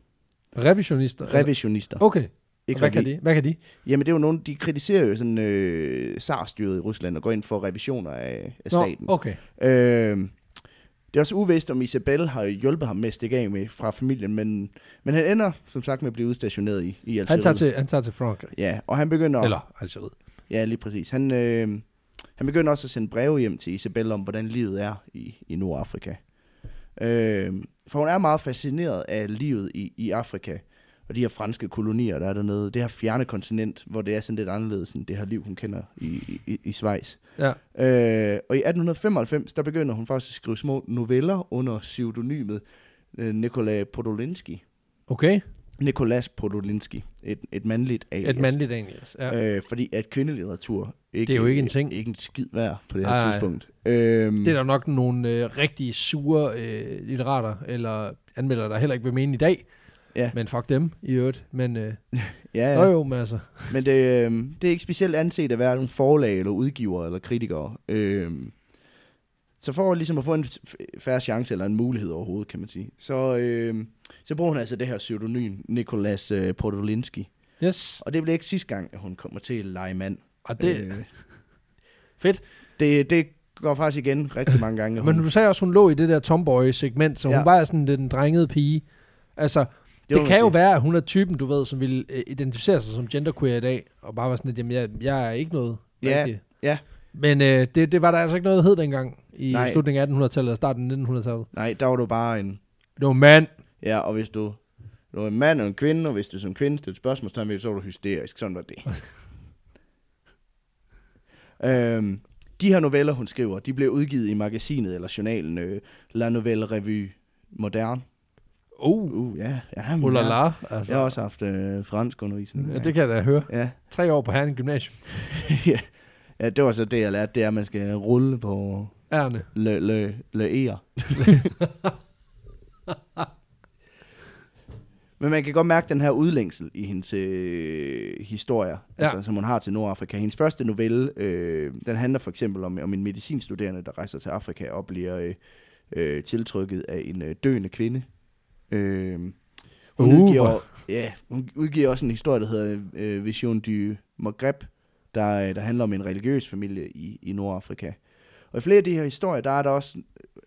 Revisionister? eller- Revisionister. Okay, Ikke hvad kan, revi- de? hvad kan de? Jamen det er jo nogen, de kritiserer jo sådan øh, SAR-styret i Rusland og går ind for revisioner af, af staten. Nå, okay. Øh, det er også uvist, om Isabel har hjulpet ham med at stikke af med fra familien, men, men han ender som sagt med at blive udstationeret i, i Algeriet. Han tager til, han tager til Frankrig. Ja, og han begynder... Eller Algeriet. Ja, lige præcis. Han, øh, han begynder også at sende breve hjem til Isabel om, hvordan livet er i, i Nordafrika. Øh, for hun er meget fascineret af livet i, i Afrika, og de her franske kolonier, der er dernede. Det her fjerne kontinent, hvor det er sådan lidt anderledes end det her liv, hun kender i, i- i, i Schweiz. Ja. Øh, og i 1895, der begynder hun faktisk at skrive små noveller under pseudonymet øh, Nikolaj Podolinski. Okay, Nikolas Podolinski, et, et mandligt alias. et mandligt alias. Ja. Øh, fordi at kvindelitteratur ikke, Det er jo ikke en ting. Ikke en skid værd på det her Nej, nej. tidspunkt. Øhm, Det er der nok nogle øh, rigtig sure øh, litterater, eller anmeldere, der heller ikke vil mene i dag. Ja. Men fuck dem, i øvrigt. Men, øh, ja, Nå ja. jo, men altså. men det, øhm, det er ikke specielt anset af hverken forlag eller udgiver eller kritikere. Øhm, så for ligesom at få en f- færre chance eller en mulighed overhovedet, kan man sige, så, øhm, så bruger hun altså det her pseudonym, Nikolas øh, Podolinski. Yes. Og det bliver ikke sidste gang, at hun kommer til at lege mand. Og det, øh, Øh, fedt. det, det går faktisk igen rigtig mange gange. at Men hun- du sagde også, hun lå i det der tomboy-segment, så hun Ja. var sådan den drengede pige. Altså, må det, det man kan jo sige. være, at hun er typen, du ved, som vil øh, identificere sig som genderqueer i dag, og bare være sådan lidt, jamen jeg, jeg er ikke noget Ja, rigtigt. ja. Men øh, det, det var der altså ikke noget, der hed dengang i Nej. Nej. slutningen af 1800-tallet og starten af 1900-tallet. Nej, der var du bare en Det var mand. Ja, og hvis du, du er en mand og en kvinde, og hvis du som kvinde stiller spørgsmålstegn ved, det, så er du hysterisk. Sådan var det. øhm, de her noveller, hun skriver, de blev udgivet i magasinet eller journalen øh, La Nouvelle Revue Moderne. Oh, Uh, ja. ja men jeg, ulala. Altså, jeg har også haft øh, fransk undervisning. ja, det kan jeg da høre. Ja. Tre år på Herning Gymnasium. ja. ja, det var så det, jeg lærte, det er, at man skal rulle på Ærne. le, le, le er. Men man kan godt mærke den her udlængsel i hendes øh, historier, Ja. ja. altså, som hun har til Nordafrika. Hendes første novelle, øh, den handler for eksempel om, om en medicinstuderende, der rejser til Afrika og bliver øh, øh, tiltrykket af en øh, døende kvinde. Øh, hun, Uh, udgiver, hvor- ja, hun udgiver også en historie, der hedder øh, Vision du Maghreb, der, øh, der handler om en religiøs familie i, i Nordafrika. Og i flere af de her historier, der er der også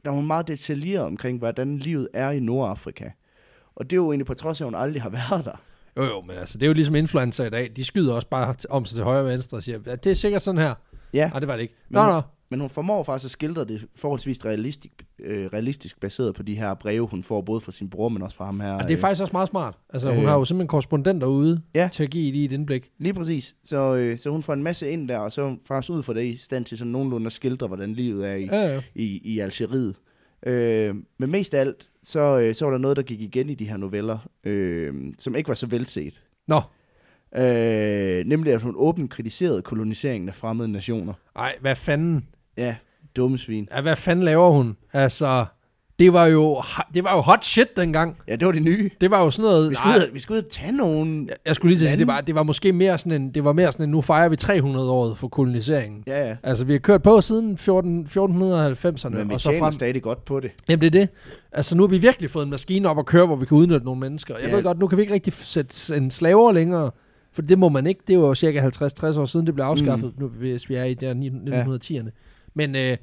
der er hun meget detaljeret omkring, hvordan livet er i Nordafrika. Og det er jo egentlig på trods af, at hun aldrig har været der. Jo jo, men altså, det er jo ligesom influencer i dag. De skyder også bare t- om sig til højre og venstre og siger, "Ja, det er sikkert sådan her. Ja, Nej, det var det ikke. Men Nå, hun- nå. men hun formår faktisk at skildre det forholdsvis realistisk, øh, realistisk baseret på de her breve, hun får både fra sin bror, men også fra ham her. Og det er øh, faktisk også meget smart. Altså, hun Øh. har jo simpelthen korrespondenter ude Ja. til at give lige et indblik. Lige præcis. Så, øh, så hun får en masse ind der, og så er hun faktisk ud fra det i stand til sådan nogenlunde at skildre, hvordan livet er i, Ja, ja. i, i Algeriet. Øh, men mest af alt, så, øh, så var der noget, der gik igen i de her noveller, øh, som ikke var så velset. Nå, Øh, nemlig, at hun åbent kritiserede koloniseringen af fremmede nationer. ej, hvad fanden? Ja, dumme svin. Ja, hvad fanden laver hun? Altså, det var jo, det var jo hot shit dengang. Ja, det var det nye. Det var jo sådan noget... Vi nej, skulle, ud, vi skulle ud og tage nogen. jeg skulle lige til at sige, det Lande. var, det var måske mere sådan en, det var mere sådan en, nu fejrer vi 300 året for koloniseringen. Ja, ja. Altså, vi har kørt på siden 14, 1490'erne, Men vi og så tjener frem. stadig godt på det. Jamen, det er det. Altså, nu har vi virkelig fået en maskine op at køre, hvor vi kan udnytte nogle mennesker. Jeg Ja. ved godt, nu kan vi ikke rigtig f- sætte s- en slaver længere, for det må man ikke. Det var jo cirka 50-60 år siden, det blev afskaffet, mm. nu, hvis vi er i der ni- 1910'erne. Men øh,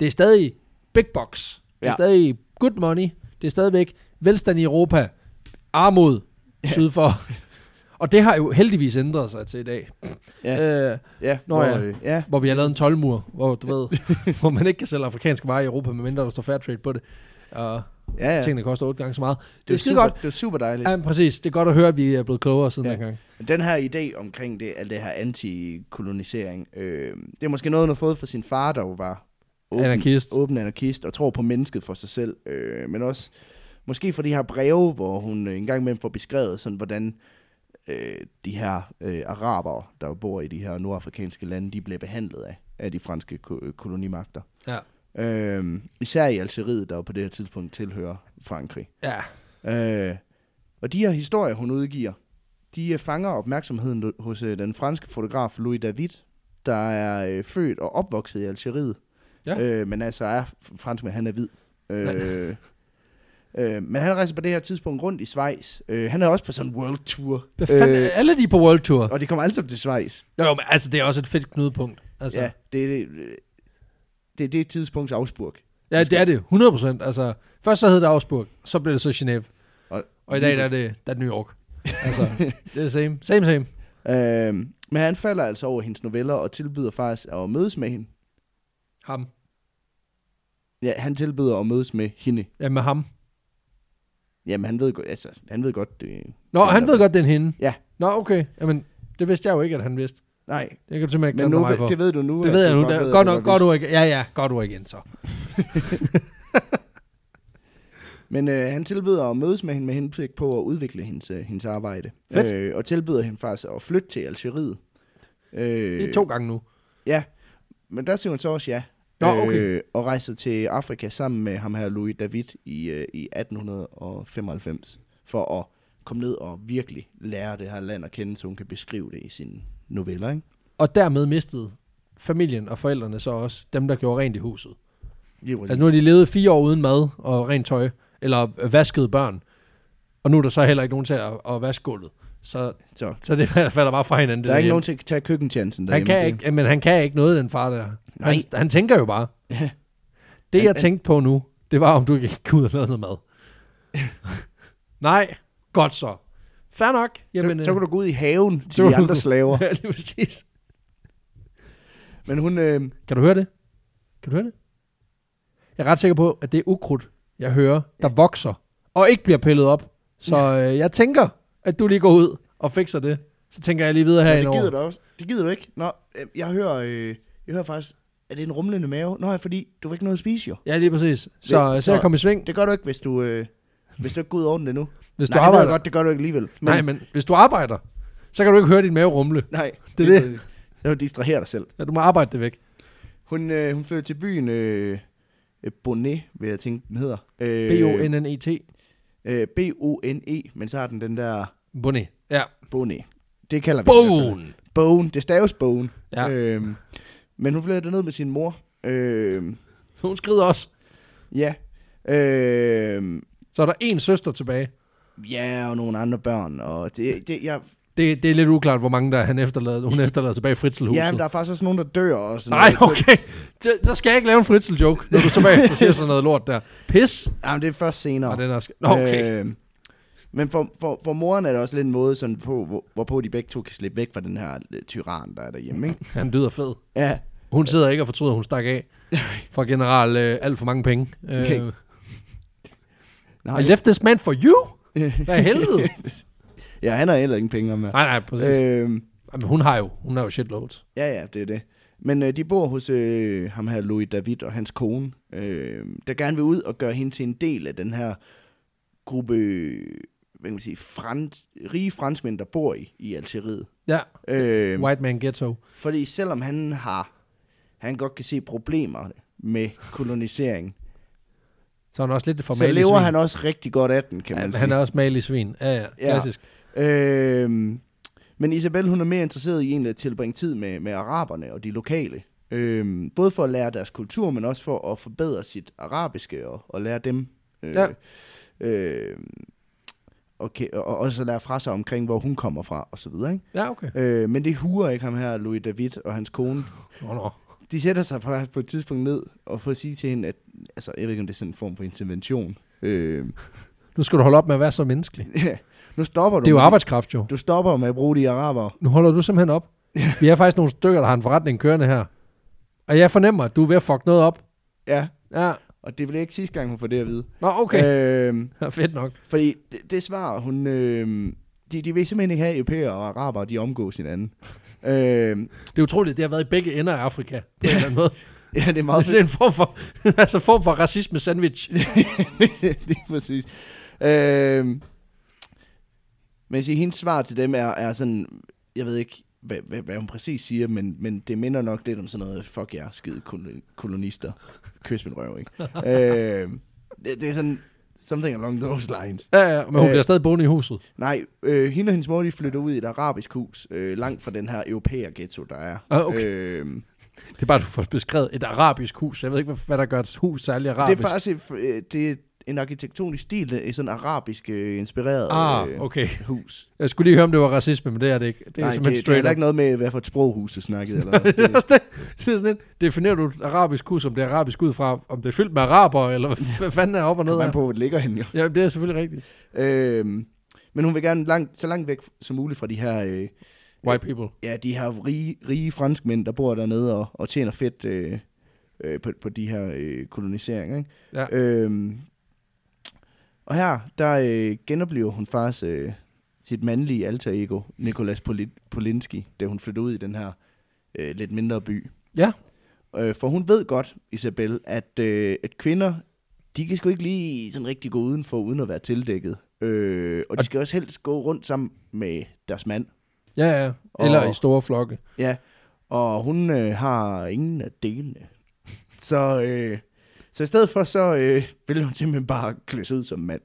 det er stadig big box. Det er Ja. stadig good money. Det er stadigvæk velstand i Europa. Armod sydfor. Og det har jo heldigvis ændret sig til i dag. Ja. Øh, Ja, Nå hvor, ja. øh, ja. hvor vi har lavet en 12-mur, hvor, du ved, hvor man ikke kan sælge afrikanske varer i Europa, medmindre der står fair trade på det. Og Ja, ja. Tingene koster otte gange så meget. Det, det Det var er skide super- godt. Det var super dejligt. Ja, men præcis. Det er godt at høre, at vi er blevet klogere siden Ja. ja. dengang. Men Den her idé omkring det, alt det her antikolonisering, øh, det er måske noget, hun har fået fra sin far, der jo var åben Anarkist. åben anarkist og tror på mennesket for sig selv. Øh, men også måske fra de her breve, hvor hun øh, en gang imellem får beskrevet, sådan, hvordan øh, de her øh, araber, der bor i de her nordafrikanske lande, de blev behandlet af, af de franske ko- øh, kolonimagter. Ja. Øh, især i Algeriet, der jo på det her tidspunkt tilhører Frankrig. Ja. Øh, og de her historier, hun udgiver, de øh, fanger opmærksomheden lo- hos øh, den franske fotograf Louis David, der er øh, født og opvokset i Algeriet. Ja. Øh, men altså er f- franskmand, han er hvid. Øh, Nej. øh, men han rejser på det her tidspunkt rundt i Schweiz. Øh, han er også på sådan en world tour. Hvad fanden, øh, alle de er på World Tour. og de kommer alle sammen til Schweiz. Jo, jo, men altså, det er også et fedt knudepunkt. Altså, Altså. Ja, det er det, det, er det tidspunkts afspurg. ja, det er det. 100 procent. Altså, først så hed det Augsburg, så blev det så Genève. Og- Og, og i dag der er, det, der er det New York. Altså, det er same. Same, same. Øh, men han falder altså over hendes noveller og tilbyder faktisk at mødes med hende. Ham. Ja, han tilbyder at mødes med hende. Ja, med ham. Jamen, han ved, go- altså, han ved godt, det... Nå, han ved godt, det er en hende. Ja. Nå, okay. Jamen, det vidste jeg jo ikke, at han vidste. Nej, Det kan du simpelthen ikke men klandre nu, mig for. det ved du nu. Det at ved jeg du nu. Godt, ved, der, at godt du nok, godt vidste. du ikke. Ja, ja, godt du ikke igen så. Øh. Men øh, han tilbyder at mødes med hende med henblik på at udvikle hendes, øh, hendes arbejde. Fedt. Øh, og tilbyder hende faktisk at flytte til Algeriet. Øh, Det er to gange nu. Ja, men der siger hun så også ja. Nå, okay. Øh, og rejser til Afrika sammen med ham her Louis David i, øh, i 1895 for at komme ned og virkelig lære det her land at kende, så hun kan beskrive det i sine noveller, ikke? Og dermed mistede familien og forældrene så også dem, der gjorde rent i huset. Lige præcis. Altså nu har de levet fire år uden mad og rent tøj, eller vasket børn. Og nu er der så heller ikke nogen til at, at vaske gulvet. Så, så, så det falder bare fra hinanden. Det der er ikke derhjemme. nogen til at tage køkkenchancen han derhjemme. kan Det- ikke, men han kan ikke noget, den far der. Nej. Han, han tænker jo bare. Det Han- jeg tænkte på nu, det var, om du ikke kunne ud og lave noget mad. Nej, godt så. Fair nok. Jamen, så, så øh, kan du gå ud i haven til du- de andre slaver. Ja, lige præcis. Men hun, øh, Kan du høre det? Kan du høre det? Jeg er ret sikker på, at det er ukrudt, jeg hører, der vokser og ikke bliver pillet op. Så øh, jeg tænker, at du lige går ud og fikser det. Så tænker jeg lige videre ja, det herinde over. gider du også. Det gider du ikke. Nå, øh, jeg hører, øh, jeg hører faktisk, at det er en rumlende mave. Nå, ja, fordi du har ikke noget at spise jo. Ja, lige præcis. Så, Det- så jeg så- kommer i sving. Det gør du ikke, hvis du, øh, hvis du ikke går ud og ordner det nu. Hvis Nej, du det ved arbejder. jeg godt, det gør du ikke alligevel. Men, Nej, men hvis du arbejder, så kan du ikke høre din mave rumle. nej, Det er det. Jeg vil distrahere dig selv. Ja, du må arbejde det væk. Hun, øh, hun flytter til byen øh, øh, Bonnet, vil jeg tænke, den hedder. Øh, B-O-N-N-E-T. øh, B-O-N-E, men så har den den der Bonnet. Ja. Bonnet. Det kalder vi den i hvert fald. Bone! Bone. Det staves Bone. Ja. Øhm, men hun flytter ned med sin mor. Øhm, Så hun skrider også. ja. Øhm, Så er der en søster tilbage. ja, og nogle andre børn. Og det, det, jeg, Det, det er lidt uklart, hvor mange der han efterlader, hun efterlader tilbage i fritzelhuset. ja, men der er faktisk også nogen, der dør. Og sådan Nej, noget. okay. Så- Så skal jeg ikke lave en fritzel joke, når du så bagefter siger sådan noget lort der. Pis. Jamen, det er først senere. Og den er sk- Nå, okay. Øh, Øhm, men for, for, for moren er det også lidt en måde, sådan på, hvor, hvorpå de begge to kan slippe væk fra den her øh, tyran, der er derhjemme. Ikke? han lyder fed. Ja. Hun sidder ikke og fortryder, at hun stak af fra general øh, alt for mange penge. Øh, Okay. I Nej, left this man for you? Hvad i helvede? ja, han har heller ingen penge med. nej, nej, præcis. Øh. Øhm, Jamen, hun har jo, hun har jo shitloads. Ja, ja, det er det. Men øh, de bor hos øh, ham her Louis David og hans kone, øh, der gerne vil ud og gøre hende til en del af den her gruppe, øh, hvad kan man sige, frans, rige franskmænd, der bor i, i Algeriet. Ja, Øh, Øhm. White Man Ghetto. fordi selvom han har, han godt kan se problemer med kolonisering, Så er han også lidt for så malig lever svin. han også rigtig godt af den, kan man ja, sige. han er også malig svin. Ja, ja, klassisk. Øhm, men Isabel, hun er mere interesseret i egentlig at tilbringe tid med, med araberne og de lokale. Øhm, både for at lære deres kultur, men også for at forbedre sit arabiske og, og lære dem. Øh, Ja. øh, okay, og, og også lære fra sig omkring, hvor hun kommer fra og så videre. Ikke? Ja, okay. Øh, men det huer ikke ham her, Louis David og hans kone. Nå, nå. De sætter sig faktisk på et tidspunkt ned og får at sige til hende, at altså, jeg ved ikke, om det er sådan en form for intervention. Øh, Nu skal du holde op med at være så menneskelig. nu stopper du. Det er jo med- arbejdskraft, jo. Du stopper med at bruge de araber. Nu holder du simpelthen op. Vi er faktisk nogle stykker, der har en forretning kørende her. Og jeg fornemmer, at du er ved at fuck noget op. Ja, Ja, Og det bliver ikke sidste gang, hun får det at vide. Nå, okay. Øh. Øhm, Fedt nok. fordi det, det svar, hun... Øhm, de, de vil simpelthen ikke have at europæere og araber, de omgås hinanden. øhm, Det er utroligt, det har været i begge ender af Afrika, på en eller anden måde. ja, det er meget Det er en form for, altså form for racisme sandwich. Lige præcis. Øhm, men jeg siger, hendes svar til dem er, er sådan, jeg ved ikke, hvad, hvad, hvad hun præcis siger, men, men det minder nok lidt om sådan noget, fuck jer, skide kol- kolonister. Kys min røv, ikke? øhm, det, det er sådan, something along those lines. Ja, ja, men hun Øh. bliver stadig boende i huset. Nej, øh, hende og hendes mor, de flytter ud i et arabisk hus, øh, langt fra den her europæer ghetto, der er. Ah, okay. Øhm, Det er bare, du får beskrevet et arabisk hus. Jeg ved ikke, hvad- hvad der gør et hus særlig det arabisk. er faktisk et, øh, det er en arkitektonisk stil, det er sådan arabisk øh, inspireret Ah, øh, okay. hus. Jeg skulle lige høre, om det var racisme, men det er det ikke. Det er Nej, simpelthen det, det er straight heller up. ikke noget med, hvad for et sproghus du snakkede. Eller noget. Det er det, også det. Så det er sådan lidt, definerer du et arabisk hus, som det er arabisk ud fra, om det er fyldt med araber, eller hvad- hvad fanden er op og ned det man af? på, hvor det ligger henne, jo. Ja, det er selvfølgelig rigtigt. Øhm, men hun vil gerne langt, så langt væk som muligt fra de her, øh, White people. ja, de her rige, rige franskmænd, der bor dernede og, og tjener fedt øh, øh, på, på de her øh, koloniseringer. Ikke? Ja. Øhm, og her, der øh, genoplever hun faktisk øh, sit mandlige alter ego, Nikolas Poli- Polinski, da hun flytter ud i den her øh, lidt mindre by. Ja. Øh, for hun ved godt, Isabel, at, øh, at kvinder, de kan sgu ikke lige sådan rigtig gå udenfor, uden at være tildækket. Øh, og de Og- skal også helst gå rundt sammen med deres mand. Ja, ja. Eller Og- i store flokke. Ja, og hun øh, har ingen af delene. Så, øh, så i stedet for, så øh, vil hun simpelthen bare klæde sig ud som mand.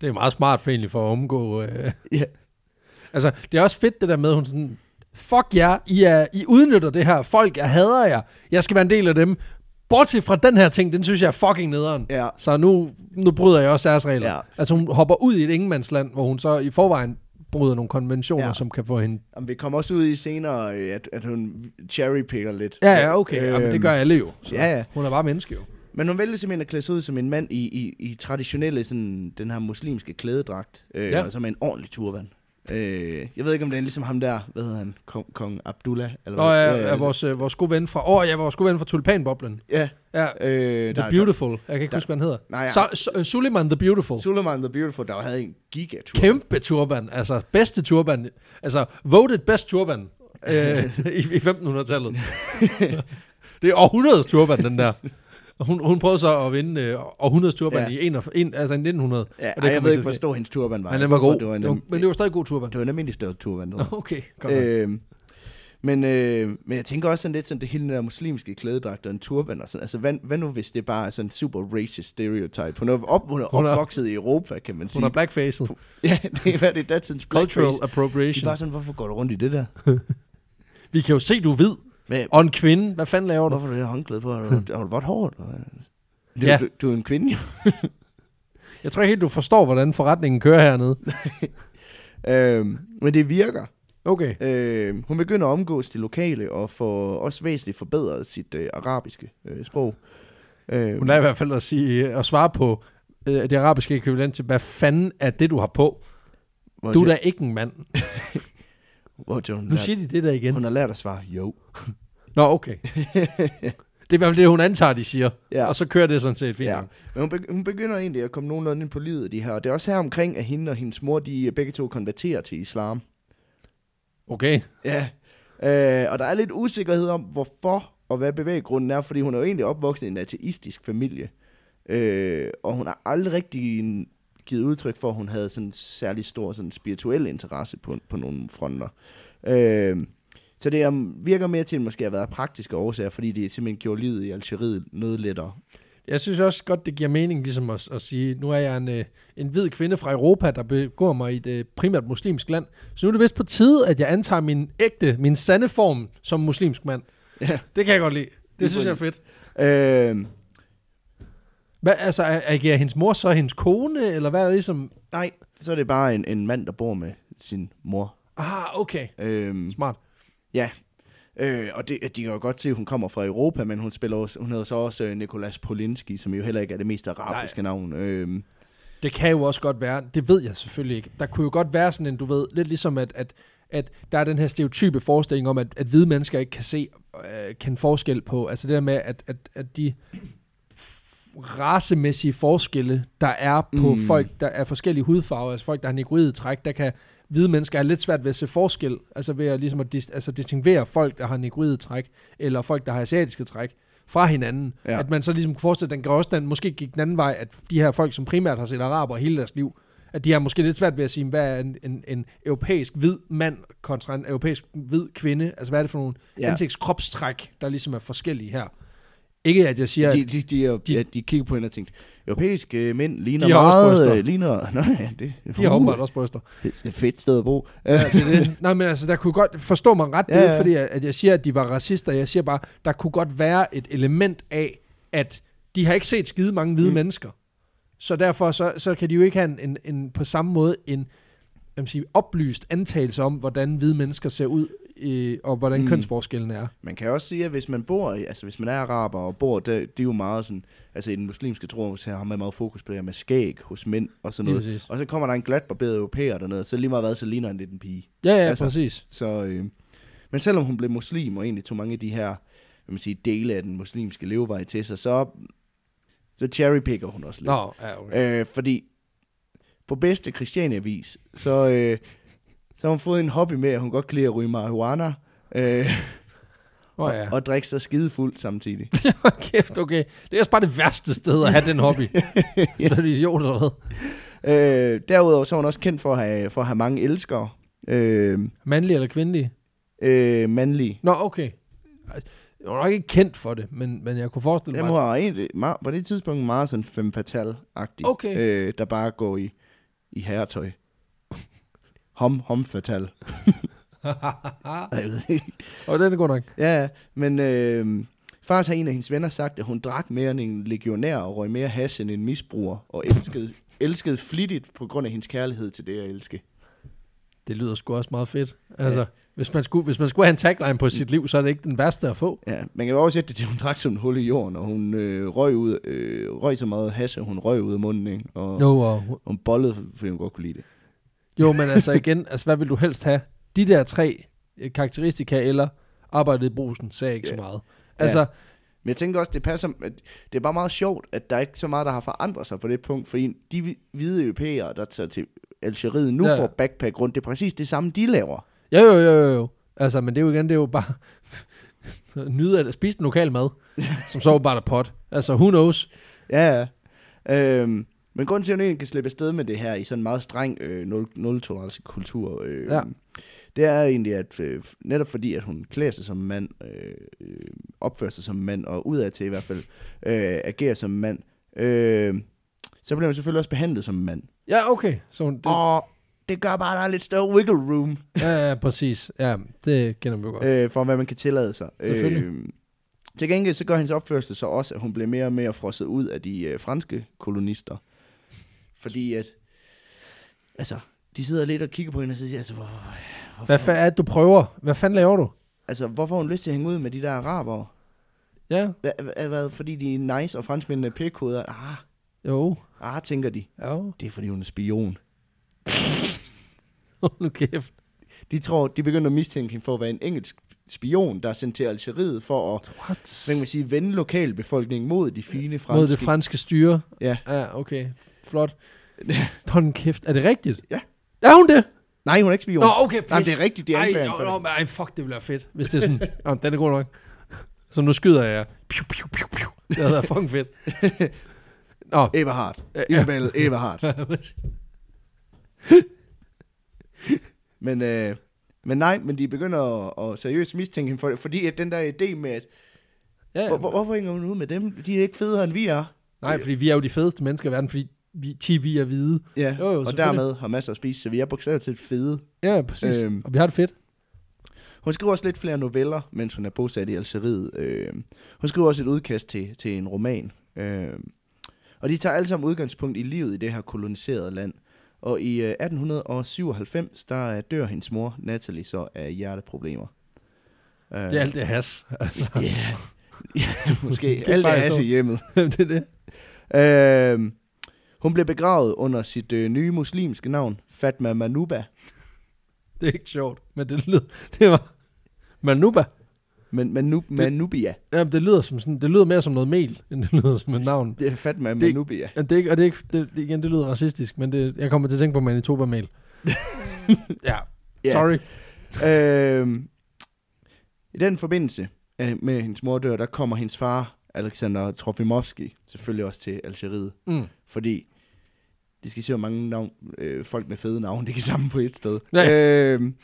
Det er meget smart for egentlig for at omgå... Øh. ja. Altså, det er også fedt det der med, at hun sådan... Fuck jer, I, er, I udnytter det her. Folk, jeg hader jer. Jeg skal være en del af dem. Bortset fra den her ting, den synes jeg er fucking nederen. ja. Så nu, nu bryder jeg også deres regler. Ja. Altså hun hopper ud i et ingenmandsland, hvor hun så i forvejen bryder nogle konventioner, Ja. ja. som kan få hende... Jamen, vi kommer også ud i senere, øh, at, at hun cherrypicker lidt. Ja, ja, okay. Øhm, Jamen, det gør alle jo. Så. Ja, ja. Hun er bare menneske jo. Men hun vælger simpelthen at klæde sig ud som en mand i, i, i traditionelle, sådan, den her muslimske klædedragt. Øh, Ja. ja. Og så med en ordentlig turban. Øh, jeg ved ikke, om det er ligesom ham der, hvad hedder han, kong, kong Abdullah? Eller Nå, hvad? ja, ja, vores, øh, vores gode ven fra... Åh, oh, ja, vores gode ven fra Tulipanboblen. ja. Ja, Øh, The Beautiful. Jeg kan ikke der- huske, hvad han hedder. Nej, ja. Så, så, øh, Suleiman The Beautiful. Suleiman the Beautiful, der havde en gigatur. Kæmpe turban. Altså, bedste turban. Altså, voted best turban øh, i, i 1500-tallet. det er århundredes turban, den der. Og Hun, hun prøvede så at vinde øh, århundredes turban Ja. ja. i en, og- en, altså i 1900. Ja, og ej, jeg kom ikke ved ikke, hvor til at stor hendes turban var. ske. Men den var god. Det var en, Det var, men det var stadig god turban. det var en almindelig større turban. Nå, okay. Godt nok. Øh, men, øh, men jeg tænker også sådan lidt sådan, det hele den der muslimske klædedragt og en turban og sådan. Altså, hvad, hvad nu, hvis det bare er sådan en super racist stereotype? Hun er, op, hun er Hun er- opvokset i Europa, kan man sige. Hun er blackfaced. ja, det er, hvad er det er datidens Cultural blackface. De er appropriation. bare sådan, hvorfor går du rundt i det der? Vi kan jo se, du er hvid. Hvad, Og en kvinde. Hvad fanden laver du? hvorfor er du det her håndklæde på? Har du, har du vådt hår? eller hvad? Du, Ja. ja. du, du, er en kvinde, jo. Jeg tror ikke helt, du forstår, hvordan forretningen kører hernede. Øhm, men det virker. Okay. Øh, hun begynder at omgås det lokale og får også væsentligt forbedret sit øh, arabiske øh, sprog. Øh, Hun er i hvert fald at, sige, at svare på øh, det arabiske ekvivalent til, hvad fanden er det, du har på? hvor Du er siger- da ikke en mand. Hvor siger hun, Nu lært- siger de det der igen. hun har lært at svare, jo. Nå, okay. Det er i hvert fald det, hun antager, de siger. Ja. Ja. Og så kører det sådan set fint. ja. Ja. Men hun, be- hun begynder egentlig at komme nogenlunde ind på livet af de her. Og det er også her omkring, at hende og hendes mor, de øh, begge to konverterer til islam. Okay. Ja. Øh, og der er lidt usikkerhed om, hvorfor og hvad bevæggrunden er, fordi hun er jo egentlig opvokset i en ateistisk familie. Øh, og hun har aldrig rigtig givet udtryk for, at hun havde sådan en særlig stor sådan spirituel interesse på, på nogle fronter. Øh, så det um, virker mere til, at det måske har været praktiske årsager, fordi det simpelthen gjorde livet i Algeriet noget lettere. Jeg synes også godt, det giver mening ligesom at, at sige, nu er jeg en, øh, en hvid kvinde fra Europa, der begår mig i et øh, primært muslimsk land. Så nu er det vist på tide, at jeg antager min ægte, min sande form som muslimsk mand. Ja. Det kan jeg godt lide. Det, Lige synes jeg er fedt. Øh, Hvad, altså, er, er hendes mor så hendes kone, eller hvad er det ligesom? nej, så er det bare en, en mand, der bor med sin mor. Ah, okay. Øh, Smart. Ja, øh, og det, de kan jo godt se, at hun kommer fra Europa, men hun, spiller også, hun hedder så også øh, Nikolas Polinski, som jo heller ikke er det mest arabiske Nej. navn. Øh, Det kan jo også godt være, det ved jeg selvfølgelig ikke. Der kunne jo godt være sådan en, du ved, lidt ligesom at, at, at der er den her stereotype forestilling om, at, at hvide mennesker ikke kan se øh, kende forskel på. Altså det der med, at, at, at de f- racemæssige forskelle, der er på Mm. mm. folk, der er forskellige hudfarver, altså folk, der har negroide træk, der kan hvide mennesker have lidt svært ved at se forskel, altså ved at, ligesom at dis, altså distinguere folk, der har negroide træk, eller folk, der har asiatiske træk, fra hinanden. Ja. Ja. At man så ligesom kunne forestille, at den, går også, den måske gik den anden vej, at de her folk, som primært har set araber hele deres liv, at de har måske lidt svært ved at sige, hvad er en, en, en europæisk hvid mand kontra en europæisk hvid kvinde? Altså, hvad er det for nogle Ja. ja. ansigtskropstræk, der ligesom er forskellige her? Ikke at jeg siger, De, at de, de, er, de, de- ja, de kigger på hende og tænkte, europæiske mænd ligner De har også meget... bryster. øh, Ligner, nå, ja, det, Uh, de har åbenbart også bryster. Det er et fedt sted at bo. Ja, det er det. Nej, men altså, der kunne godt forstå mig ret. Det Ja, er ja. ikke fordi, at at jeg siger, at de var racister. Jeg siger bare, der kunne godt være et element af, at de har ikke set skide mange hvide Mm. mm. mennesker. Så derfor så, så kan de jo ikke have en, en, en på samme måde en jeg vil sige, oplyst antagelse om, hvordan hvide mennesker ser ud, øh, og hvordan Mm. mm. kønsforskellen er. Man kan også sige, at hvis man bor, i- altså hvis man er araber og bor, der, det er jo meget sådan, altså i den muslimske tro, så har man meget fokus på det her med skæg hos mænd og sådan Lige noget. præcis. Og så kommer der en glatbarberet europæer dernede, så lige meget hvad, så ligner han lidt en pige. Ja, ja, altså, Altså- præcis. Så, øh, men selvom hun blev muslim og egentlig tog mange af de her hvad man siger, dele af den muslimske levevej til sig, så, så cherrypicker hun også lidt. Nå, ja, okay. Øh, fordi på bedste Christiania-vis, så, øh, så har hun fået en hobby med, at hun godt kan lide at ryge marihuana. Øh, Oh, ja. og drikke sig skidefuld samtidig. Kæft, okay. Det er også bare det værste sted at have den hobby. ja. Er du idiot eller hvad? øh, derudover så er hun også kendt for at have, for at have mange elskere. Øh, Mandlige eller kvindelige? øh, mandlige. Nå, okay. Altså, Jeg var nok ikke kendt for det, men, men jeg kunne forestille Dem mig... var egentlig meget, på det tidspunkt meget sådan femme fatale-agtig. Okay. Øh, der bare går i, i herretøj. Hom, hom fatal. Ej, jeg ved ikke. Og den er god nok. ja, ja, men øh, faktisk har en af hendes venner sagt, at hun drak mere end en legionær og røg mere hash end en misbruger, og elskede, elskede flittigt på grund af hendes kærlighed til det at elske. Det lyder sgu også meget fedt. Altså, hvis man, skulle, hvis man skulle have en tagline på sit liv, så er det ikke den værste at få. Ja, man kan jo også sætte det til, at hun drak som en hul i jorden, og hun øh, røg, ud, øh, røg så meget hash, at hun røg ud af munden, ikke? Og Jo, og, hun bollede, fordi hun godt kunne lide det. jo men altså igen, altså, hvad vil du helst have? De der tre øh, karakteristika eller arbejdet i brusen, sagde ikke så Ja. meget. Altså, Men jeg tænker også, det passer, at det er bare meget sjovt, at der ikke er så meget, der har forandret sig på det punkt, fordi de hvi- hvide europæere, der tager til Algeriet nu Ja, ja. ja. får backpack rundt, det er præcis det samme, de laver. jo, jo, jo, jo, jo. Altså, men det er jo igen, det er jo bare... nyde at spise den lokale mad, som så bare er pot. Altså, who knows? Ja, ja. Øhm, men grunden til, at hun egentlig kan slippe afsted med det her i sådan en meget streng øh, nul- nul-tolerance kultur, øh, Ja. det er egentlig, at øh, netop fordi, at hun klæder sig som mand, øh, øh, opfører sig som mand, og udad til i hvert fald øh, agerer som mand, øh, så bliver hun selvfølgelig også behandlet som mand. Ja, okay. Så hun, det, Det... Og det gør bare, at der er lidt større wiggle room ja, ja, præcis. Ja, det kender vi jo godt. øh, for, hvad man kan tillade sig. Selvfølgelig. Øh, til gengæld så gør hendes opførsel så også, at hun bliver mere og mere frosset ud af de øh, franske kolonister. Fordi at, altså, de sidder lidt og kigger på hende og siger, altså, hvor, hvorfor, Hvad fanden er det, du prøver? Hvad fanden laver du? altså, hvorfor har hun lyst til at hænge ud med de der arabere? Ja, Hvad, hvad, hvad, fordi de er nice, og franskmændene er pikkoder? Ah, jo, ah, tænker de. jo. Det er, fordi hun er spion. Hold nu kæft. De tror, de begynder at mistænke hende for at være en engelsk spion, der er sendt til Algeriet for at What? hvad kan man sige, vende lokalbefolkningen mod de fine franske. Mod det franske styre. Ja. Ja, okay. Flot. Hold nu kæft. Er det rigtigt? Ja. Er hun det? Nej, hun er ikke spion. Nå, okay, pis. Nej, det er rigtigt, de ej, anklager hende nå, for nå, det. men ej, fuck, det ville være fedt, hvis det er sådan. Nå, den er god nok. Så nu skyder jeg. Piu, piu, piu, piu. Det havde været fucking fedt. Nå, Eberhard. Ja. Isabel Eberhard. Men, øh, men nej, men de begynder at, at seriøst mistænke hende for det, fordi at den der idé med, at ja, hvor, hvor, hvorfor hænger hun ud med dem? De er ikke federe, end vi er. nej, fordi vi er jo de fedeste mennesker i verden, fordi vi, 10 vi er hvide. Ja, Jo, jo, og selvfølgelig. dermed har masser at spise, så vi er bogstaveligt talt fede. Ja, præcis. Øhm. Øhm. Og vi har det fedt. Hun skriver også lidt flere noveller, mens hun er bosat i Algeriet. Øh, hun skriver også et udkast til, til en roman. Øh, og de tager alle sammen udgangspunkt i livet i det her koloniserede land. Og i øh, 1897, der øh, dør hendes mor, Natalie, så af hjerteproblemer. Øh, Det er alt det has. Altså, Ja, yeah. yeah, måske. Det er Alt er bare altså sjovt. i hjemmet. det er det. Øh, hun blev begravet under sit øh, nye muslimske navn, Fatma Manuba. Det er ikke sjovt, men det lyder... Det var... Manuba. Men, men, nu, Manubia. Jamen, det lyder, som sådan, det lyder mere som noget mel, end det lyder som et navn. Det er fandme Manubia. Og det, er ikke- og det, er ikke, det, det, igen, det lyder racistisk, men det, jeg kommer til at tænke på Manitoba-mel. ja, Ja. sorry. øhm, I den forbindelse øh, med hendes mor dør, der kommer hendes far, Alexander Trofimovski, selvfølgelig også til Algeriet. Mm. Fordi de skal se, hvor mange navn, øh, folk med fede navne, de kan samle på et sted. Ja. Øhm,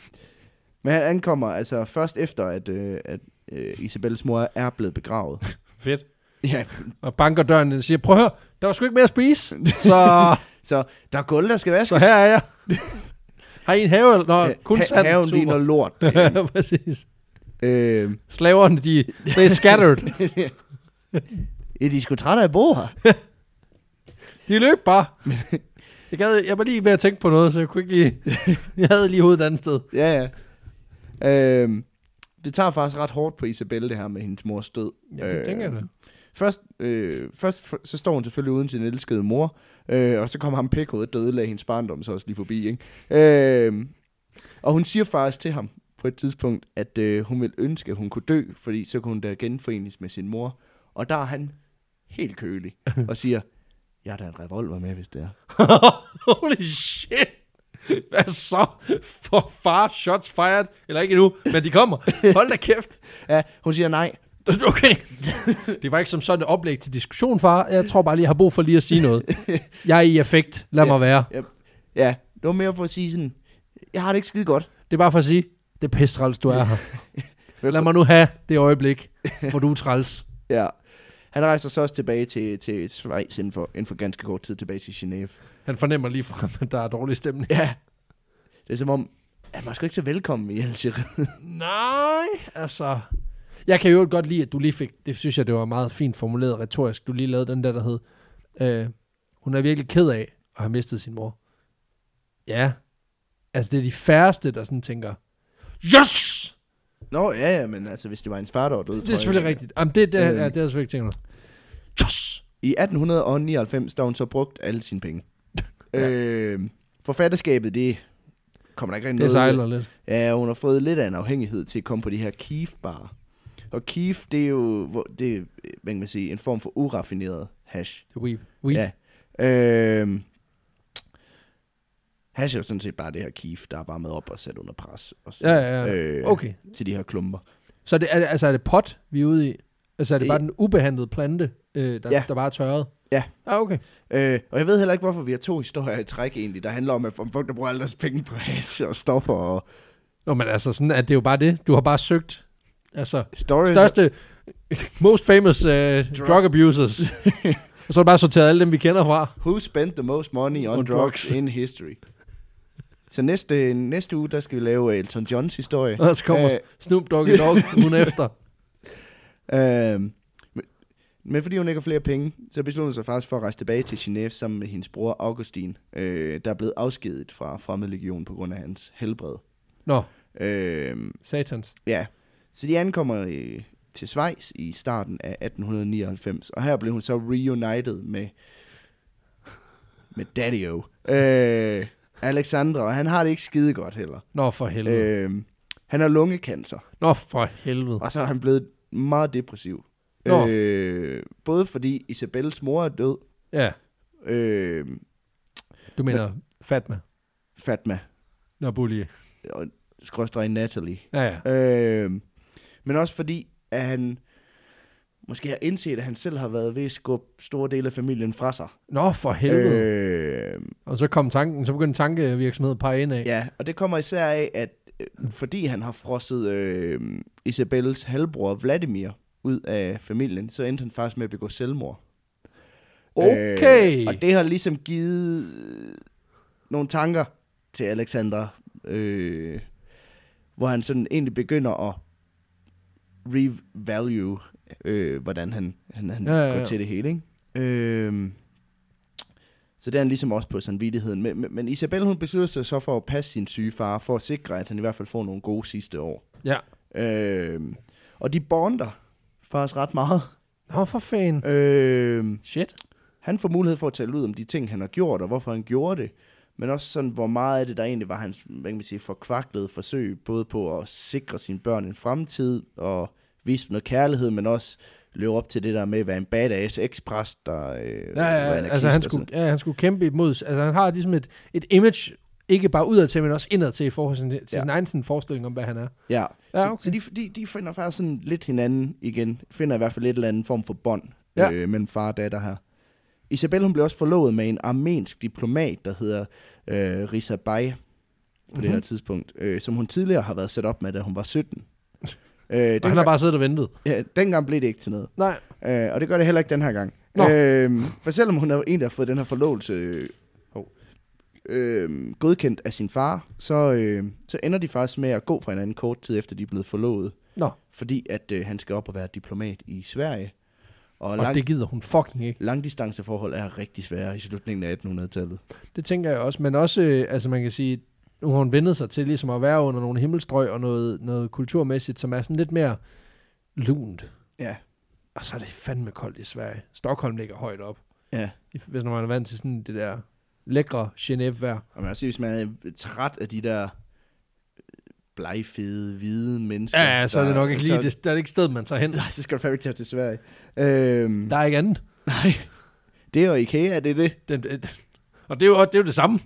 men han ankommer altså først efter, at, øh, at øh, Isabelles mor er blevet begravet. Fedt. ja, Og banker døren og siger, prøv at høre, der var sgu ikke mere at spise, så, så der er gulv, der skal vaskes. så her er jeg. Har I en have? eller- Nå, Øh, kun ha- sand. Haven Super. ligner lort. Præcis. øh, Slaverne, de, they scattered. I de er sgu trætte af at bo her. De løb bare. Jeg, gad, jeg var lige ved at tænke på noget, så jeg kunne ikke lige... Jeg havde lige hovedet et andet sted. ja, ja. Øhm, det tager faktisk ret hårdt på Isabelle, det her med hendes mors død. Øh, Først, øh, først f- så står hun selvfølgelig uden sin elskede mor, øh, og så kommer ham pikhovedet, der ødelagde hendes barndom så også lige forbi. Ikke? Øh, og hun siger faktisk til ham på et tidspunkt, at øh, hun ville ønske, at hun kunne dø, fordi så kunne hun da genforenes med sin mor. Og der er han helt kølig og siger, jeg har da en revolver med, hvis det er. Øh. Holy shit. Hvad så? For far, shots fired. Eller ikke endnu, men de kommer. Hold da kæft. Ja, hun siger nej. Okay. Det var ikke som sådan et oplæg til diskussion, far. Jeg tror bare lige, jeg har brug for lige at sige noget. Jeg er i effekt. Lad mig være. Ja, ja, det var mere for at sige sådan, jeg har det ikke skide godt. Det er bare for at sige, det er pisse træls, du er her. Lad mig nu have det øjeblik, hvor du er træls. Ja. Han rejser så også tilbage til, til Schweiz inden for, inden for ganske kort tid tilbage til Genève. Han fornemmer lige frem, at der er dårlig stemning. Ja. Det er som om, at man er sgu ikke så velkommen i Algeriet. Nej, altså... Jeg kan jo godt lide, at du lige fik... Det synes jeg, det var meget fint formuleret retorisk. Du lige lavede den der, der hed... Øh, hun er virkelig ked af at have mistet sin mor. Ja. Altså, det er de færreste, der sådan tænker... Yes! Nå, ja, ja, men altså, hvis det var en far, der var død, Det tror er jeg, selvfølgelig at- rigtigt. Jamen, det, det, ja, Øhm. det har jeg selvfølgelig ikke tænkt mig. Yes! I 1899, der har hun så brugt alle sine penge. Ja. ja. øh, forfatterskabet, det kommer der ikke rigtig Det noget sejler lidt. Ja, hun har fået lidt af en afhængighed til at komme på de her keef-barer. Og keef, det er jo, hvor- det er, øh, hvad kan man sige, en form for uraffineret hash. Det er weep. Weep. Ja. Ja. Øhm, hash er jo sådan set bare det her keef, der er bare med op og sat under pres. Og så, Ja, ja, Øh. ja. Okay. Til de her klumper. Så det, er, det- altså, er det pot, vi er ude i? Altså, er det Øh. bare den ubehandlede plante, øh, der, ja. Ja. der bare er tørret? Ja. Ah, okay. Øh, og jeg ved heller ikke, hvorfor vi har to historier i træk egentlig, der handler om, at om folk, der bruger alle deres penge på hash og stoffer og... Nå, men altså, sådan at det er jo bare det. Du har bare søgt, altså, Stories. største, most famous uh, drug. drug abusers. og så har du bare sorteret alle dem, vi kender fra. Who spent the most money on, On on drugs. drugs. in history? Så næste, næste uge, der skal vi lave øh, Elton Johns historie. Og så kommer Øh, Snoop Doggy Dogg ugen efter. Øh, men, men fordi hun ikke har flere penge, så beslutter hun sig faktisk for at rejse tilbage til Genève sammen med hendes bror Augustin, øh, der er blevet afskediget fra Fremmedlegionen på grund af hans helbred. Nå, Øh, satans. ja, så de ankommer øh, til Schweiz i starten af 1899, og her blev hun så reunited med, med Daddy-O. Øh, Alexandra, og han har det ikke skide godt heller. Nå, for helvede. Øh. Øh, han har lungekancer. Nå, for helvede. Og så er han blevet meget depressiv. Nå. Øh, både fordi Isabelles mor er død. Ja, Øh, du mener Fatma. Fatma. Nå, Bully. Og skråstrej Natalie. Ja, ja. Øh, men også fordi, at han måske har indset, at han selv har været ved at skubbe store dele af familien fra sig. Nå, for helvede. Øh. Øh, Og så kom tanken, så begyndte tankevirksomheden at pege ind af. Ja. ja, og det kommer især af, at øh, fordi han har frosset øh, Isabelles halvbror Vladimir ud af familien, så endte han faktisk med at begå selvmord. Okay. Øh, og det har ligesom givet øh, nogle tanker til Alexander, øh, hvor han sådan egentlig begynder at revalue, øh, hvordan han, han, han Ja, ja, ja, ja, ja. går til det hele. Ikke? Øh, så det er han ligesom også på samvittigheden. Men, men, men Isabel, hun beslutter sig så for at passe sin syge far, for at sikre, at han i hvert fald får nogle gode sidste år. ja. Øh, og de bonder faktisk ret meget. Nå, for fanden. Øh, Shit. han får mulighed for at tale ud om de ting, han har gjort, og hvorfor han gjorde det. Men også sådan, hvor meget af det, der egentlig var hans, hvad kan man sige, forkvaklede forsøg, både på at sikre sine børn en fremtid, og vise noget kærlighed, men også leve op til det der med at være en badass ekspræst, der øh, Ja, ja, var anarkist altså han og sådan skulle, ja, han skulle kæmpe imod, altså han har ligesom et, et image, ikke bare udad til, men også indad til i forhold til, til ja. Ja. sin egen sådan, forestilling om, hvad han er. Ja, Ja, ja okay. okay. så, så de, de, de finder faktisk sådan lidt hinanden igen. Finder i hvert fald et eller andet form for bånd Ja. ja. øh, mellem far og datter her. Isabel hun blev også forlovet med en armensk diplomat, der hedder øh, Risa Bay på mm-hmm. det Mhm. her tidspunkt, øh, som hun tidligere har været sat op med, da hun var 17. Øh, Og han har dengang, bare... bare siddet og ventet. ja, dengang blev det ikke til noget. Nej, Øh, og det gør det heller ikke den her gang. Nå. Øh, for selvom hun er en, der har fået den her forlovelse øh, hov, øh, godkendt af sin far, så, øh, så ender de faktisk med at gå fra hinanden kort tid efter, de er blevet forlovet. Nå. Fordi at øh, han skal op og være diplomat i Sverige. Og, og lang, det... det gider hun fucking ikke. langdistanceforhold er rigtig svære i slutningen af 1800-tallet. Det tænker jeg også, men også, øh, altså man kan sige, nu har hun vendet sig til ligesom at være under nogle himmelstrøg og noget, noget kulturmæssigt, som er sådan lidt mere lunt. Ja. Og så er det fandme koldt i Sverige. Stockholm ligger højt op, Ja. i- hvis når man er vant til sådan det der lækre Genève-vejr. Og man kan sige, hvis man er træt af de der øh, blegfede, hvide mennesker. Ja, ja, så er det der- nok ikke lige, så- det, der er det ikke sted, man tager hen. Nej, så skal du fandme ikke tage til Sverige. Øhm, Der er ikke andet. Nej. Det er jo IKEA, det er det. Den, øh, og det er, jo, det er jo det samme.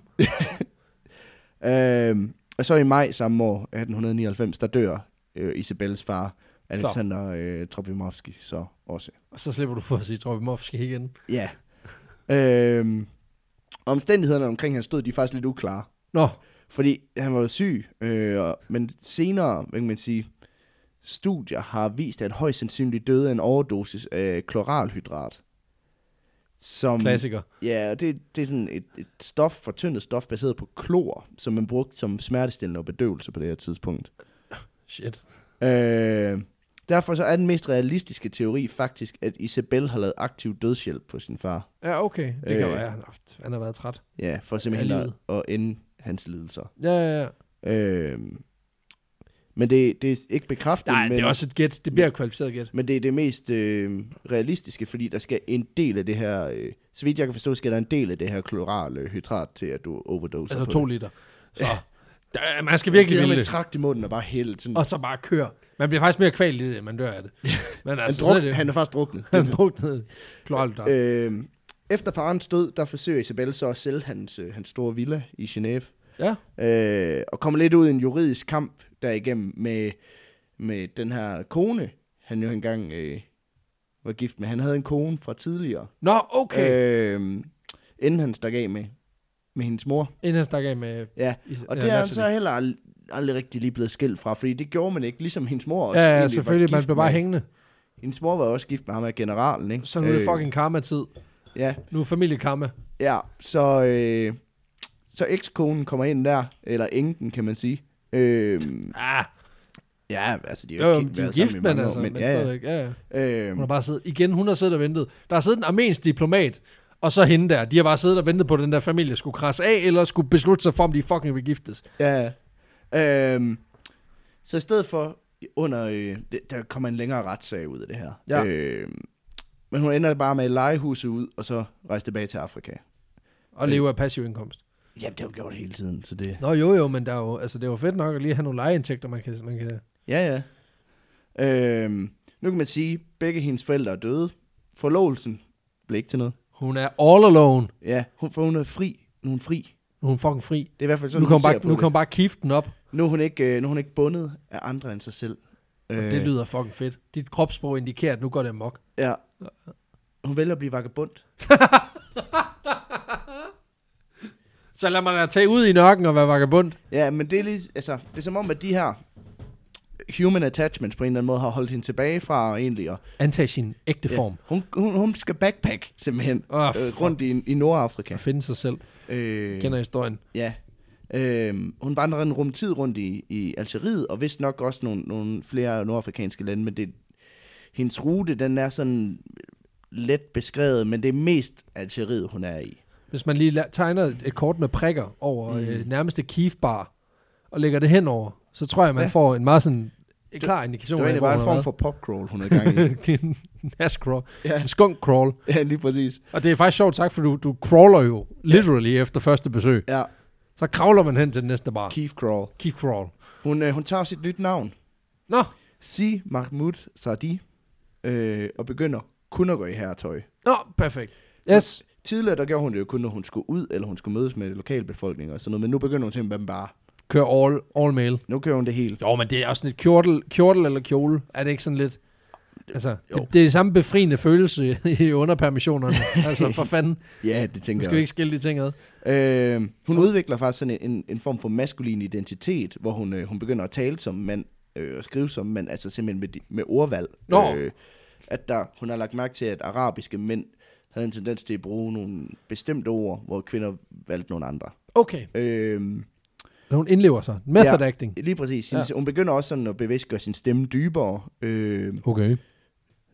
Øhm, og så i maj samme år, 1899, der dør øh, Isabelles far, Alexander øh, Tropimovski, så også. Og så slipper du for at sige, tror vi må skal igen. Ja. øhm, omstændighederne omkring hans død, de er faktisk lidt uklare. Nå, Fordi han var jo syg, øh, og, men senere, hvad kan man sige, studier har vist, at højst sandsynligt døde af en overdosis af kloralhydrat. Som, klassiker. Ja, og det, det er sådan et, et stof, fortyndet stof, baseret på klor, som man brugte som smertestillende og bedøvelse på det her tidspunkt. Shit. Øh, derfor så er den mest realistiske teori faktisk, at Isabel har lavet aktiv dødshjælp på sin far. Ja, okay. Det kan Øh. være. Han har haft- Han har været træt. Ja, for simpelthen Af at, livet. at ende hans lidelser. Ja, ja, ja. Øh, men det, det er ikke bekræftet, Nej, men, det er også et gæt. Det bliver et kvalificeret gæt. men det er det mest øh, realistiske, fordi der skal en del af det her, øh, så vidt jeg kan forstå, skal der en del af det her klorale hydrat til, at du overdoser Altså på to det. liter. Så der, man skal virkelig Gider ville med det. trakt i munden og bare hælde. Sådan, Og så bare køre. Man bliver faktisk mere kvalt i det, end man dør af det. Men Han, altså, så er druk, det, han er faktisk druknet. han druknet ned. Klart, der. øh, efter farens død, der forsøger Isabel så at sælge hans, øh, hans store villa i Genève. Ja, Øh, og kommer lidt ud i en juridisk kamp derigennem med, med den her kone, han jo engang øh, var gift med. Han havde en kone fra tidligere, nå, okay. Øh, øh, inden han stak af med, med hendes mor. Inden han stak af med... Ja, Is- og ja, det er altså han Natalie. så heller aldrig, aldrig rigtig lige blevet skilt fra, fordi det gjorde man ikke, ligesom hendes mor også. Ja, ja, egentlig var selvfølgelig. Man gift blev bare med- hængende. Hendes mor var også gift med ham af generalen, ikke? Øh, Så nu er det fucking karma-tid. Ja, Nu er familiekarma. Ja, så, øh, så ekskonen kommer ind der, eller enken, kan man sige. Øh, Ah, ja, altså, de er jo, jo, jo, ikke de er været gift, sammen i men mange altså... år, Men, ja, ja. stadigvæk, ja, ja. Øh, Hun har bare siddet, igen, hun har siddet og ventet. Der har siddet en armensk diplomat, og så hende der. De har bare siddet og ventet på, at den der familie skulle krasse af, eller skulle beslutte sig for, om de fucking vil giftes. ja. Øh, så i stedet for, under, øh, det- der kommer en længere retssag ud af det her. Ja. Øh, men hun ender bare med at lege huset ud, og så rejse tilbage til Afrika. Og leve af passiv indkomst. Jamen, det har hun gjort hele tiden, så det... Nå jo jo, men der er jo, altså, det er jo fedt nok at lige have nogle lejeindtægter, man kan, man kan... Ja, ja. Øh, nu kan man sige, at begge hendes forældre er døde. Forlovelsen blev ikke til noget. Hun er all alone. Ja, hun, for hun er fri. Nu er hun fri. Nu er hun fucking fri. Det er i hvert fald sådan, nu kan hun hun bare, ser på nu det. kan hun bare kifte den op, nu, er hun ikke, øh, nu er hun ikke bundet af andre end sig selv. Øh, og det lyder fucking fedt. Dit kropssprog indikerer, at nu går det amok. Ja. Hun vælger at blive vagabund. Så lad mig da tage ud i nørken og være vagabund. Ja, men det er, lige, altså, det er som om, at de her human attachments på en eller anden måde har holdt hende tilbage fra egentlig. Og, Antag sin ægte ja. form. hun, hun, hun skal backpack simpelthen Åh, oh, øh, fuck. rundt i, i Nordafrika. Og finde sig selv. Øh, Kender historien. ja. Øh, hun vandrede en rum tid rundt i, i Algeriet, og vist nok også nogle, nogle flere nordafrikanske lande, men det, hendes rute, den er sådan let beskrevet, men det er mest Algeriet, hun er i. Hvis man lige la- tegner et et kort med prikker over mm. øh, nærmeste kiefbar, og lægger det henover, så tror jeg, man ja. Ja. får en meget sådan en klar indikation. Det var af, egentlig hvor bare en hun har form for popcrawl, hun er i gang i. været. det er en ass crawl. ja, En skunk crawl. ja, lige præcis. Og det er faktisk sjovt sagt, for du, du crawler jo literally efter første besøg. Ja, Så kravler man hen til den næste bar. Keith Crawl. Keep crawl. Hun, øh, hun tager sit nyt navn. Nå, Sig Mahmoud Sardi øh, og begynder kun at gå i herretøj. Nå, perfekt. Yes. Tidligere der gjorde hun det jo kun, når hun skulle ud, eller hun skulle mødes med lokalbefolkningen og sådan noget, men nu begynder hun simpelthen bare, Kør all, all mail. nu kører hun det helt. Jo, men det er også sådan lidt kjortel, kjortel eller kjole. Er det ikke sådan lidt... Altså, det, det, er det samme befriende følelse i underpermissionerne. altså, for fanden. Ja, det Nu tænker skal vi jeg ikke skille de ting ad. Øh, hun udvikler faktisk sådan en- en, en form for maskulin identitet, hvor hun, øh, hun begynder at tale som mand, øh, og skrive som mand, altså simpelthen med, de- med ordvalg. Nå. Øh, at der, hun har lagt mærke til, at arabiske mænd havde en tendens til at bruge nogle bestemte ord, hvor kvinder valgte nogle andre. Okay. Øh, Så hun indlever sig. Method Ja. acting. lige præcis. Ja. Ja. Hun begynder også sådan at bevidst gøre sin stemme dybere. Øh, Okay.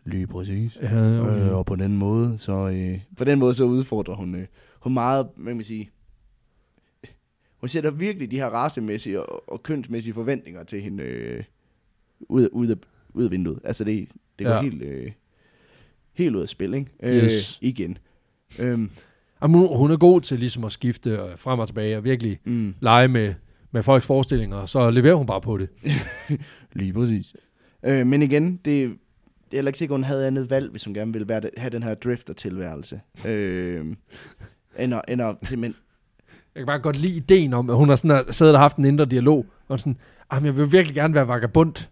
lige præcis. Ja, okay. Øh, og på den måde, så øh, på den måde så udfordrer hun, øh, hun meget, hvad kan man sige, hun sætter virkelig de her racemæssige og, og kønsmæssige forventninger til hende øh, ud, ud, af, ud af vinduet. Altså det, det går Ja. ja. helt, øh, helt ud af spil, ikke? Øh, Yes. Igen. Øhm, Jamen, hun, hun er god til ligesom at skifte øh, frem og tilbage og virkelig mm, lege med, med folks forestillinger, og så leverer hun bare på det. lige præcis. Øh, men igen, det, det er heller ikke sikkert, hun havde andet valg, hvis hun gerne ville være, have den her drifter-tilværelse. Øh, end, at, end at simpelthen Jeg kan bare godt lide ideen om, at hun har sådan, har siddet og haft en indre dialog, og sådan, jamen, jeg vil virkelig gerne være vagabund,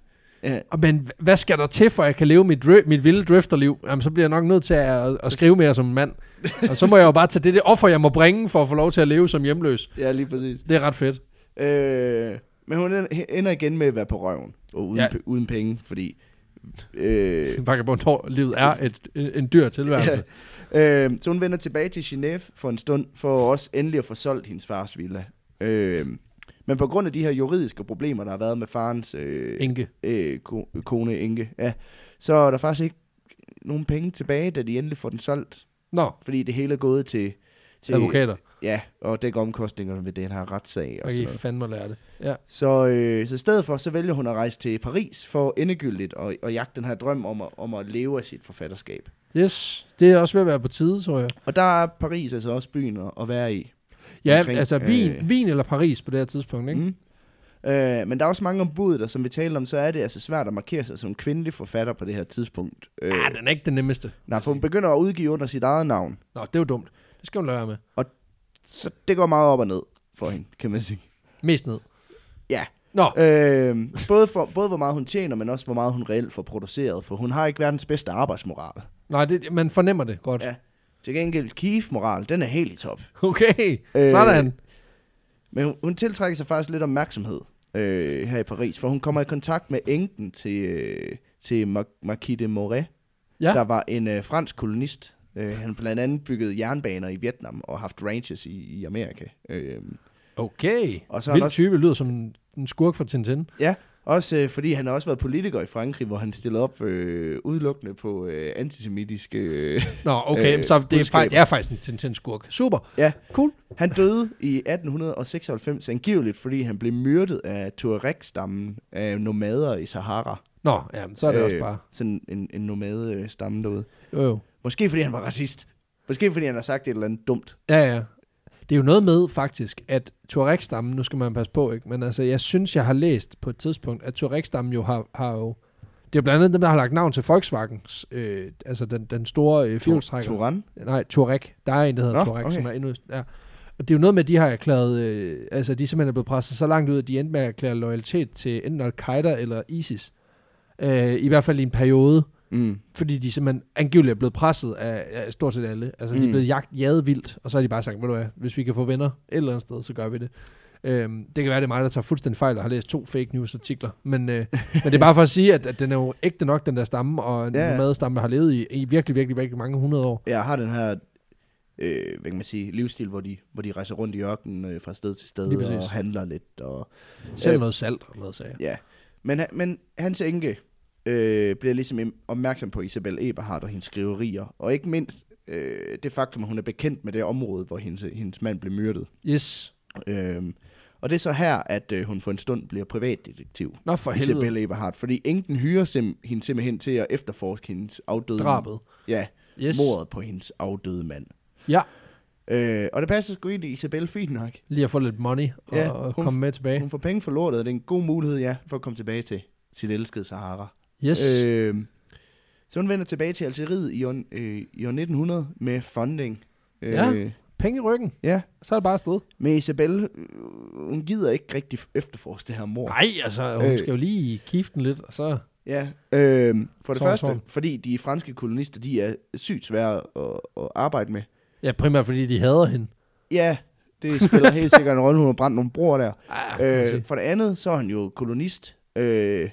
Ja. Og men h- hvad skal der til, for at jeg kan leve mit, dri- mit vilde drifterliv? Jamen, så bliver jeg nok nødt til at, at, at skrive mere som en mand. Og så må jeg jo bare tage det, det offer, jeg må bringe, for at få lov til at leve som hjemløs. Ja, lige præcis. Det er ret fedt. Øh, men hun en- ender igen med at være på røven, og uden, Ja. ja. p- uden penge, fordi... Øh, Vagabundlivet er et, en, en dyr tilværelse. øh, så hun vender tilbage til Genève for en stund, for også endelig at få solgt hendes fars villa. Øh, men på grund af de her juridiske problemer, der har været med farens øh, Inge. øh, ko- kone Inge, ja, så er der faktisk ikke nogen penge tilbage, da de endelig får den solgt. Nå, Fordi det hele er gået til... til advokater. Ja, og dække omkostningerne ved den her retssag. Og Jeg sådan kan noget. I fandme lære det. Ja. Så, øh, så i stedet for, så vælger hun at rejse til Paris for endegyldigt at, at jagte den her drøm om at, om at leve af sit forfatterskab. Yes, det er også ved at være på tide, tror jeg. Og der er Paris altså også byen at, at være i. Ja, Omkring, altså Wien, øh, Wien eller Paris på det her tidspunkt, ikke? Mm. Mm. Øh, men der er også mange ombud, og som vi talte om, så er det altså svært at markere sig som kvindelig forfatter på det her tidspunkt. Øh, Ja, Ah, den er ikke den nemmeste. nej, for hun begynder at udgive under sit eget navn. Nå, det er jo dumt. Det skal hun lade være med. Så det går meget op og ned for hende, kan man sige. Mest ned. Ja. Nå, Øh, både, for, både hvor meget hun tjener, men også hvor meget hun reelt får produceret, for hun har ikke verdens bedste arbejdsmoral. nej, det, man fornemmer det godt. Ja. Til gengæld, Keith-moral, den er helt i top. Okay, Øh, sådan. Men hun, hun tiltrækker sig faktisk lidt opmærksomhed øh, her i Paris, for hun kommer i kontakt med enken til, øh, til Mar- Marquis de Moret, Ja. ja. der var en øh, fransk kolonist. Øh, han blandt andet byggede jernbaner i Vietnam og haft ranches i, i Amerika. Øh, Okay. og så Så har han Vild også, type lyder som en, en skurk fra Tintin. ja, også øh, fordi han har også været politiker i Frankrig, hvor han stillede op øh, udelukkende på øh, antisemitiske... Øh, Nå, okay, øh, Øh, så det er, budskaber. faktisk, det er faktisk en Tintin-skurk. Super. ja, Cool. han døde i 1896 angiveligt, fordi han blev myrdet af Tuareg-stammen af nomader i Sahara. Nå, ja, men så er det øh, også bare... Sådan en, en nomade øh, stamme derude. Jo, jo. Måske fordi han var racist. Måske fordi han har sagt et eller andet dumt. Ja, ja. Det er jo noget med faktisk, at Tuareg-stammen, nu skal man passe på, ikke? men altså, jeg synes, jeg har læst på et tidspunkt, at Tuareg-stammen jo har, har jo... Det er jo blandt andet dem, der har lagt navn til Volkswagens, øh, altså den, den store øh, fjolstrækker. Turan? Nej, Touareg. Der er en, der hedder Nå, Touareg, okay. som er endnu... Ja. Og det er jo noget med, at de har erklæret... Øh, altså, de simpelthen er blevet presset så langt ud, at de endte med at erklære loyalitet til enten Al-Qaida eller ISIS. Øh, I hvert fald i en periode, Mm. fordi de simpelthen angiveligt er blevet presset af, af stort set alle. Altså, mm. de er Mm. blevet jagt, jaget vildt, og så har de bare sagt, ved du hvad, hvis vi kan få venner et eller andet sted, så gør vi det. Øhm, det kan være, det er mig, der tager fuldstændig fejl og har læst to fake news artikler. Men, øh, men det er bare for at sige, at, at den er jo ægte nok, den der stamme, og en Ja, ja. ja. madstamme har levet i, i virkelig, virkelig, virkelig mange hundrede år. Jeg har den her, øh, hvad kan man sige, livsstil, hvor de, hvor de rejser rundt i ørkenen øh, fra sted til Lige sted præcis. og handler lidt. Og, Selv Øh, noget salt og noget sager. ja. men, han- men hans enke øh, bliver ligesom im- opmærksom på Isabel Eberhardt og hendes skriverier. Og ikke mindst øh, det faktum, at hun er bekendt med det område, hvor hendes, hendes mand blev myrdet. Yes. Øhm, og det er så her, at øh, hun for en stund bliver privatdetektiv. Nå for helvede. Isabel Eberhardt, fordi enken hyrer sim- hende simpelthen til at efterforske hendes afdøde Drabet. Ja, Yes. yes. mordet på hendes afdøde mand. Ja, Øh, og det passer sgu egentlig Isabel fint nok. lige at få lidt money og, ja, Ja, og hun- komme med tilbage. Hun får penge for lortet, og det er en god mulighed, ja, for at komme tilbage til. sit elskede Sahara. Yes. Øh, Øh, så hun vender tilbage til Algeriet i år, øh, i år 1900 med funding. Øh, Ja. Penge i ryggen, ja. så er det bare afsted. Men Isabelle, øh, hun gider ikke rigtig efterforske det her mor. Nej, altså, hun Øh. øh. skal jo lige kifte den lidt, og så... Ja, øh, for det Sådan, første, sådan. fordi de franske kolonister, de er sygt svære at, at arbejde med. Ja, primært fordi de hader hende. Ja, det spiller helt sikkert en rolle, hun har brændt nogle broer der. Ah, Øh, for det andet, så er han jo kolonist, øh,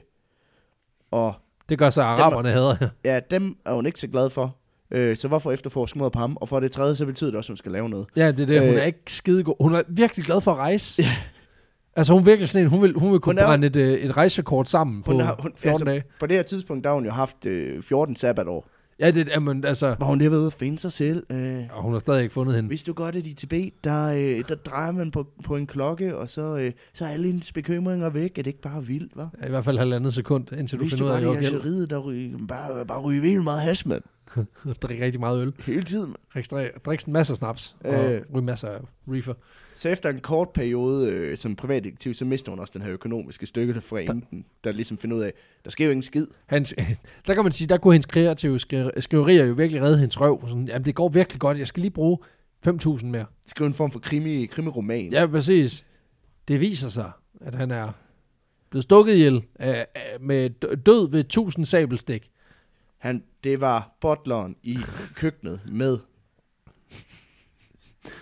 og det gør så, at araberne hader hende. ja, dem er hun ikke så glad for. Øh, så hvorfor efterforske mordet på ham? Og for det tredje, så betyder det også, at hun skal lave noget. Ja, det er det. Hun Øh. er ikke skidegod. Hun er virkelig glad for at rejse. Ja. Altså, hun er virkelig sådan en, hun vil, hun vil kunne Hun er- brænde et, øh, et rejsekort sammen på Hun har- hun- 14 altså- dage. På det her tidspunkt, der har hun jo haft øh, 14 sabbatår. Ja, det er, men altså... Hvor hun lige har været ude og finde sig selv. Øh, Og hun har stadig ikke fundet hende. Hvis du godt er i Tibet, der, øh, der drejer man på, på en klokke, og så, øh, så er alle ens bekymringer væk. Er det ikke bare vildt, hva'? Ja, I hvert fald halvandet sekund, indtil du Hvis finder du ud af, at godt er i jeg ikke Algeriet, der ryger, bare, bare ryger vildt meget hash, mand. drikker rigtig meget øl. Hele tiden, mand. Registrer- Drikker en masse snaps, og Øh. ryger masser af reefer. Så efter en kort periode øh, som privatdetektiv, så mister hun også den her økonomiske stykke fra enden, der ligesom finder ud af, der sker jo ingen skid. Hans, der kan man sige, der kunne hendes kreative skri- skriverier jo virkelig redde hendes røv. Sådan, jamen, det går virkelig godt, jeg skal lige bruge 5.000 mere. Det skal jo en form for krimi, krimiroman. Ja, præcis. Det viser sig, at han er blevet stukket ihjel af, af, med d- død ved 1000 sabelstik. Han, det var butleren i køkkenet med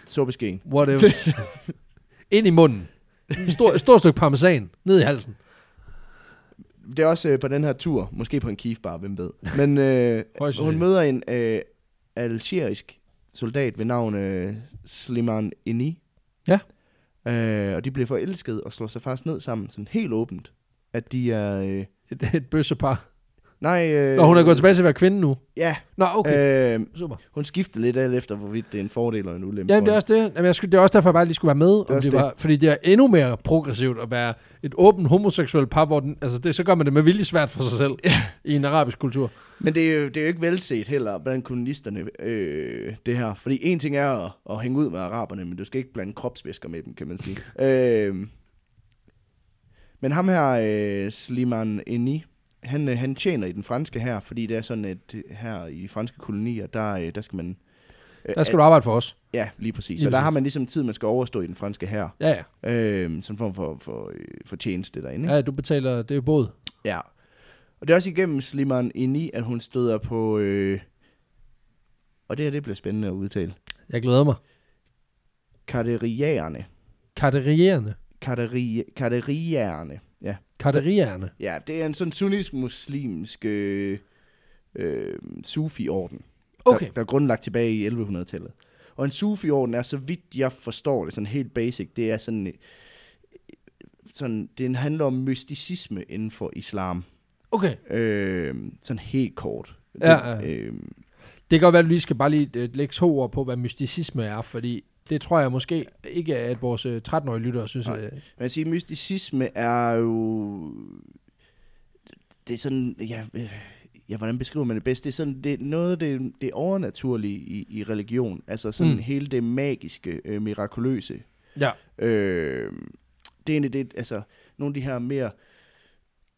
suppeskeen. Whatever. Ind i munden. Stor, et stort stykke parmesan, ned i halsen. Det er også øh, på den her tur, måske på en kiefbar, hvem ved. Men øh, Højst hun sandsynligt. møder en øh, algerisk soldat ved navn øh, Sliman Eni. Ja. Øh, og de bliver forelsket og slår sig faktisk ned sammen, sådan helt åbent. At de er... Øh, Et, et bøssepar. nej... Øh, Nå, hun er gået tilbage til at være kvinde nu. Ja, Nå, okay. okay. øh, Super. hun skifter lidt alt efter, hvorvidt det er en fordel eller en ulempe. Jamen, det er for også det. Jamen, jeg skulle, det er også derfor, jeg bare lige skulle være med. Det om også det var, Fordi det er endnu mere progressivt at være et åbent homoseksuelt par, hvor den, altså det, så gør man det med vilje svært for sig selv i en arabisk kultur. hende. Men det er, jo, det er jo ikke velset heller blandt kolonisterne, øh, det her. Fordi en ting er at, at hænge ud med araberne, men du skal ikke blande kropsvæsker med dem, kan man sige. øh, men ham her, øh, Sliman Eni, han, øh, han tjener i den franske her, fordi det er sådan, at øh, her i de franske kolonier, der, øh, der skal man... øh, Der skal du arbejde for os. Ja, lige præcis. Lige Så der præcis. har man ligesom tid, man skal overstå i den franske her. Ja, ja. Øh, sådan en form for, for, øh, for tjeneste derinde. ikke? ja du betaler, det er jo båd. Ja. Og det er også igennem Slimane Eni, at hun støder på... Øh, og det her, det bliver spændende at udtale. Jeg glæder mig. Katerierne. Kaderierende. Kateri- Katerierne. Ja. Kaderierende. ja, det er en sådan sunnisk-muslimsk øh, øh, sufi-orden. Okay. Der, der er grundlagt tilbage i 1100-tallet. Og en sufi-orden er, så vidt jeg forstår det, sådan helt basic, det er sådan... øh, sådan det handler om mysticisme inden for islam. Okay. Øh, sådan helt kort. Ja, Det, ja. øh, Det kan godt være, at du lige skal bare lige øh, lægge to ord på, hvad mysticisme er, fordi det tror jeg måske ikke, at vores øh, 13-årige lyttere synes. Nej. øh, Man kan sige, mysticisme er jo... Det er sådan... Ja, øh, ja, hvordan beskriver man det bedst? Det er sådan det er noget af det, det overnaturlige i, i religion. Altså sådan mm. Mm. hele det magiske, øh, mirakuløse. Ja. Øh, det er egentlig det, altså nogle af de her mere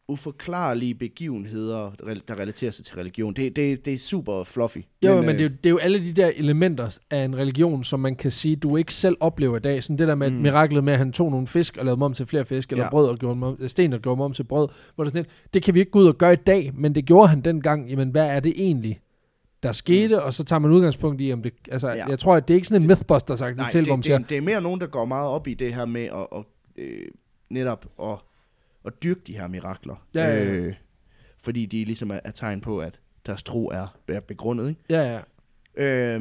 uforklarlige begivenheder, rel- der relaterer sig til religion. Det, det, det er super fluffy. Jo, men, men øh, det, er jo, det er jo alle de der elementer af en religion, som man kan sige, du ikke selv oplever i dag. Sådan det der med Mm. mm. miraklet med, at han tog nogle fisk og lavede dem om til flere fisk, eller Ja. ja. brød og gjorde dem om, øh, sten og gjorde dem om til brød. Hvor det, er sådan, lidt, det kan vi ikke gå ud og gøre i dag, men det gjorde han dengang. Jamen, hvad er det egentlig, der skete? Mm. Og så tager man udgangspunkt i, om det... Altså, Ja. ja. jeg tror, at det er ikke sådan en mythbusters Nej, aktivitet, det, hvor man det, siger, det, det er mere nogen, der går meget op i det her med at, at øh, netop at, at dyrke de her mirakler. Ja, ja, ja. Øh, fordi de ligesom er, er tegn på, at deres tro er, er begrundet. Ikke? ja, ja, Øh,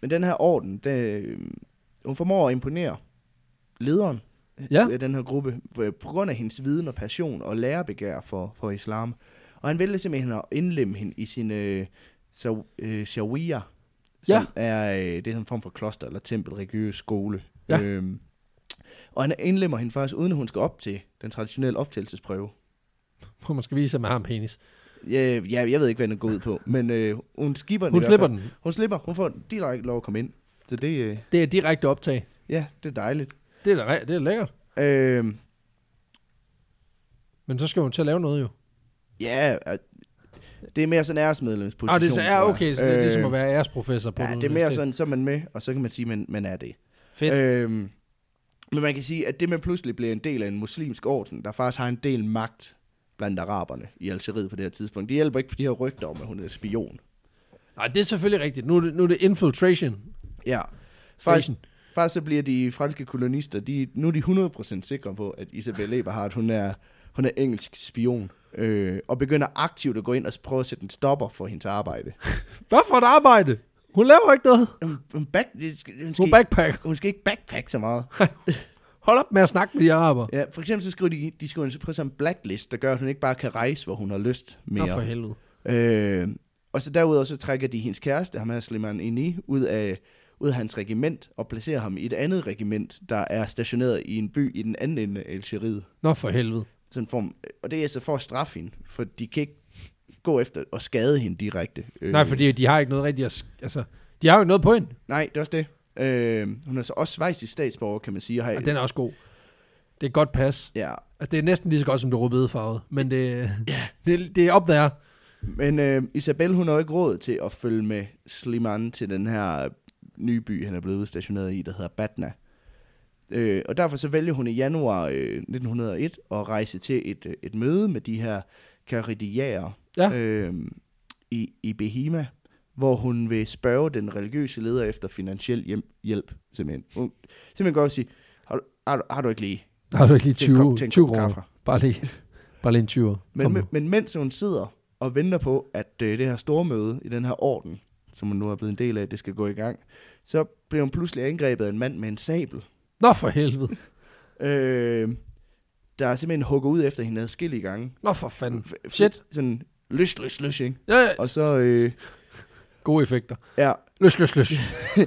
men den her orden, det, øh, hun formår at imponere lederen Ja. af den her gruppe øh, på grund af hendes viden og passion og lærebegær for, for islam. Og han vælger simpelthen at indlemme hende i sin øh, shaw- øh, sharia, som ja. er øh, det er sådan en form for kloster eller tempel, religiøs skole. Ja. Øhm, og han indlemmer hende faktisk, uden at hun skal op til den traditionelle optagelsesprøve. hvor man skal vise, at man har en penis. Ja, Øh, ja, jeg ved ikke, hvad den går ud på, men øh, hun skipper den i Hun hvert slipper fald. den. Hun slipper. Hun får direkte lov at komme ind. Så det, øh, Det er direkte optag. ja, det er dejligt. Det er da re- det er lækkert. Øhm, Men så skal hun til at lave noget jo. Ja, øh, det er mere sådan æresmedlemsposition. Ah, det er, så- tror ja, jeg. okay, så det er ligesom Øh, at være æresprofessor på Ja, et det er mere universitet. sådan, så er man med, og så kan man sige, at man, man er det. Fedt. Øhm, men man kan sige, at det med pludselig bliver en del af en muslimsk orden, der faktisk har en del magt blandt araberne i Algeriet på det her tidspunkt. Det hjælper ikke på de her rygter om, at hun er spion. Øh. Nej, det er selvfølgelig rigtigt. Nu er det, nu er det infiltration. Ja. Faktisk, Station. faktisk så bliver de franske kolonister, de, nu er de 100% sikre på, at Isabel Eberhardt, hun er, hun er engelsk spion. Øh, og begynder aktivt at gå ind og prøve at sætte en stopper for hendes arbejde. Hvad for et arbejde? Hun laver ikke noget. Hun, hun, back, hun, skal, hun, Hun skal, backpacker. hun skal ikke backpack så meget. Hold op med at snakke med de araber. Ja, for eksempel så skriver de, de skriver en, på sådan en blacklist, der gør, at hun ikke bare kan rejse, hvor hun har lyst Nå for mere. helvede. Øh, og så derudover så trækker de hendes kæreste, ham her Slimane Ini, ud af, ud af hans regiment og placerer ham i et andet regiment, der er stationeret i en by i den anden ende af Algeriet. Nå for helvede. Sådan en form, og det er så for at straffe hende, for de kan ikke gå efter og skade hende direkte. Øh, Nej, fordi de har ikke noget rigtigt at... sk- Altså, de har jo ikke noget på hende. Nej, det er også det. Øh, hun er så også svejsisk statsborger, kan man sige. og Har, Og den er også god. Det er et godt pas. Ja, Altså, det er næsten lige så godt som det rødbede farvet. Men det, yeah. det, det er op der. Men øh, Isabel, hun har jo ikke råd til at følge med Slimane til den her øh, nye by, han er blevet udstationeret i, der hedder Batna. Øh, og derfor så vælger hun i januar øh, 1901 at rejse til et, øh, et møde med de her karidiager Ja. øh, i, i Behima, hvor hun vil spørge den religiøse leder efter finansiel hjem, hjælp, simpelthen. Hun simpelthen går og siger, har du, har, du, har du ikke lige Har du ikke lige til en 20, kop- til en 20 kop kroner? kaffe? Bare lige, bare lige en 20. Men, men, men mens hun sidder og venter på, at øh, det her store møde i den her orden, som hun nu er blevet en del af, det skal gå i gang, så bliver hun pludselig angrebet af en mand med en sabel, Nå for helvede. øh, der simpelthen hugger ud efter hende adskillige gange. Nå for fanden. F- f- Shit. Sådan løs, løs, løs, ikke? Ja, ja. Og så, øh, Gode effekter. ja. Løs, løs, løs. Øh.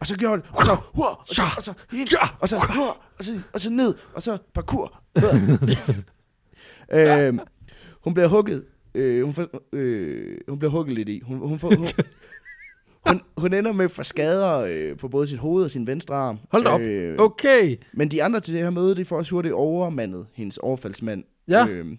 Og så gjorde hun, og så, hua, og så, og så, ind, og så, hua, og så, og så ned, og så parkour. øhm, hun bliver hugget. Øh, hun, får, øh, hun bliver hugget lidt i. Hun, hun, får, hun, hun, hun ender med at få skader øh, på både sit hoved og sin venstre arm. Hold da op. Øh, Okay. Men de andre til det her møde, de får også hurtigt overmandet hendes overfaldsmand. Ja. Øhm,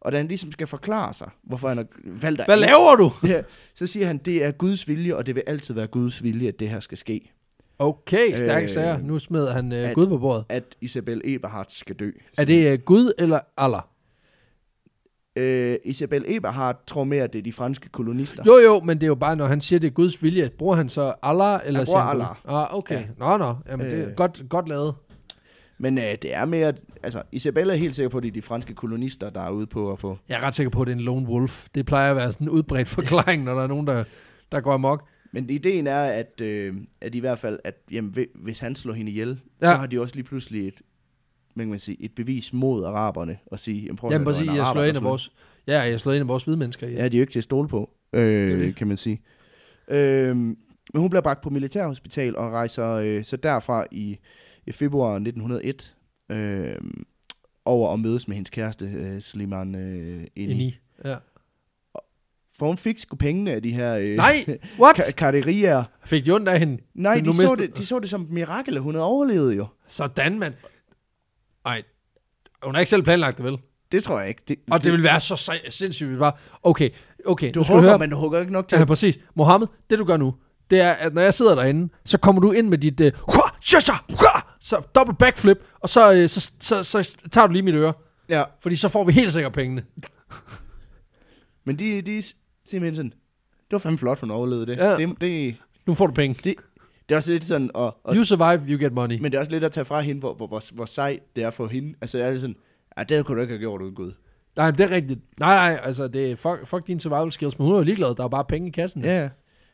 og da han ligesom skal forklare sig, hvorfor han har valgt at... Hvad laver du? Ja, så siger han, det er Guds vilje, og det vil altid være Guds vilje, at det her skal ske. Okay, stærke øh, Øh, sager. Nu smed han øh, at- Gud på bordet. At Isabel Eberhardt skal dø. Er det øh, Gud eller Allah? Øh, Isabel Eberhardt tror mere, at det er de franske kolonister. Jo, jo, men det er jo bare, når han siger, det er Guds vilje, bruger han så Allah? Eller Han siger bruger Gud? Ah, okay. Ja. Nå, nå. Jamen, det er Øh. godt, godt lavet. Men øh, det er mere... Altså, Isabel er helt sikker på, at det er de franske kolonister, der er ude på at få... Jeg er ret sikker på, at det er en lone wolf. Det plejer at være sådan en udbredt forklaring, når der er nogen, der, der går amok. Men ideen er, at, øh, at i hvert fald, at jamen, hvi- hvis han slår hende ihjel, ja. Ja. så har de også lige pludselig et, hvad kan man sige, et bevis mod araberne og sige, jamen, prøv at Jamen, høre, det var præcis, en jeg araber, slår der ind af slog vores... Ja, jeg slår ind af vores hvide mennesker. Ja. Ja, de er jo ikke til at stole på, er øh, det det. kan man sige. Øh, men hun bliver bragt på militærhospital og rejser øh, så derfra i, i februar 1901 øh, over og mødes med hendes kæreste, øh, Sliman øh, Ind Eni. i. Ja. For hun fik sgu pengene af de her øh, Nej, what? ka- karterier. Fik de ondt af hende? Nej, Men nu de så, mistede- det, de så det som et mirakel, at hun havde overlevet jo. Sådan, mand. Ej, hun har ikke selv planlagt det, vel? Det tror jeg ikke. Det, Og det vil være så sej- sindssygt, hvis bare... Okay, okay. du nu skal høre- hugger, men du hugger ikke nok til. Ja, præcis. Mohammed, det du gør nu, det er, at når jeg sidder derinde, så kommer du ind med dit... Øh, hua, shasha, hua, så dobbelt backflip, og så, øh, så, så, så, så tager du lige mit øre. Ja. Fordi så får vi helt sikkert pengene. Men de, de er simpelthen sådan, det var fandme flot, hun overlevede det. Ja. Det, det, Nu får du penge. det, det er også lidt sådan at, at You survive, you get money. Men det er også lidt at tage fra hende, hvor, hvor, hvor, hvor sej det er for hende. Altså, jeg er lidt sådan, ja, det kunne du ikke have gjort uden Gud. Nej, men det er rigtigt. Nej, nej, altså, det er fuck, fuck din survival skills, men hun er jo ligeglad. Der er bare penge i kassen. Ja, ja.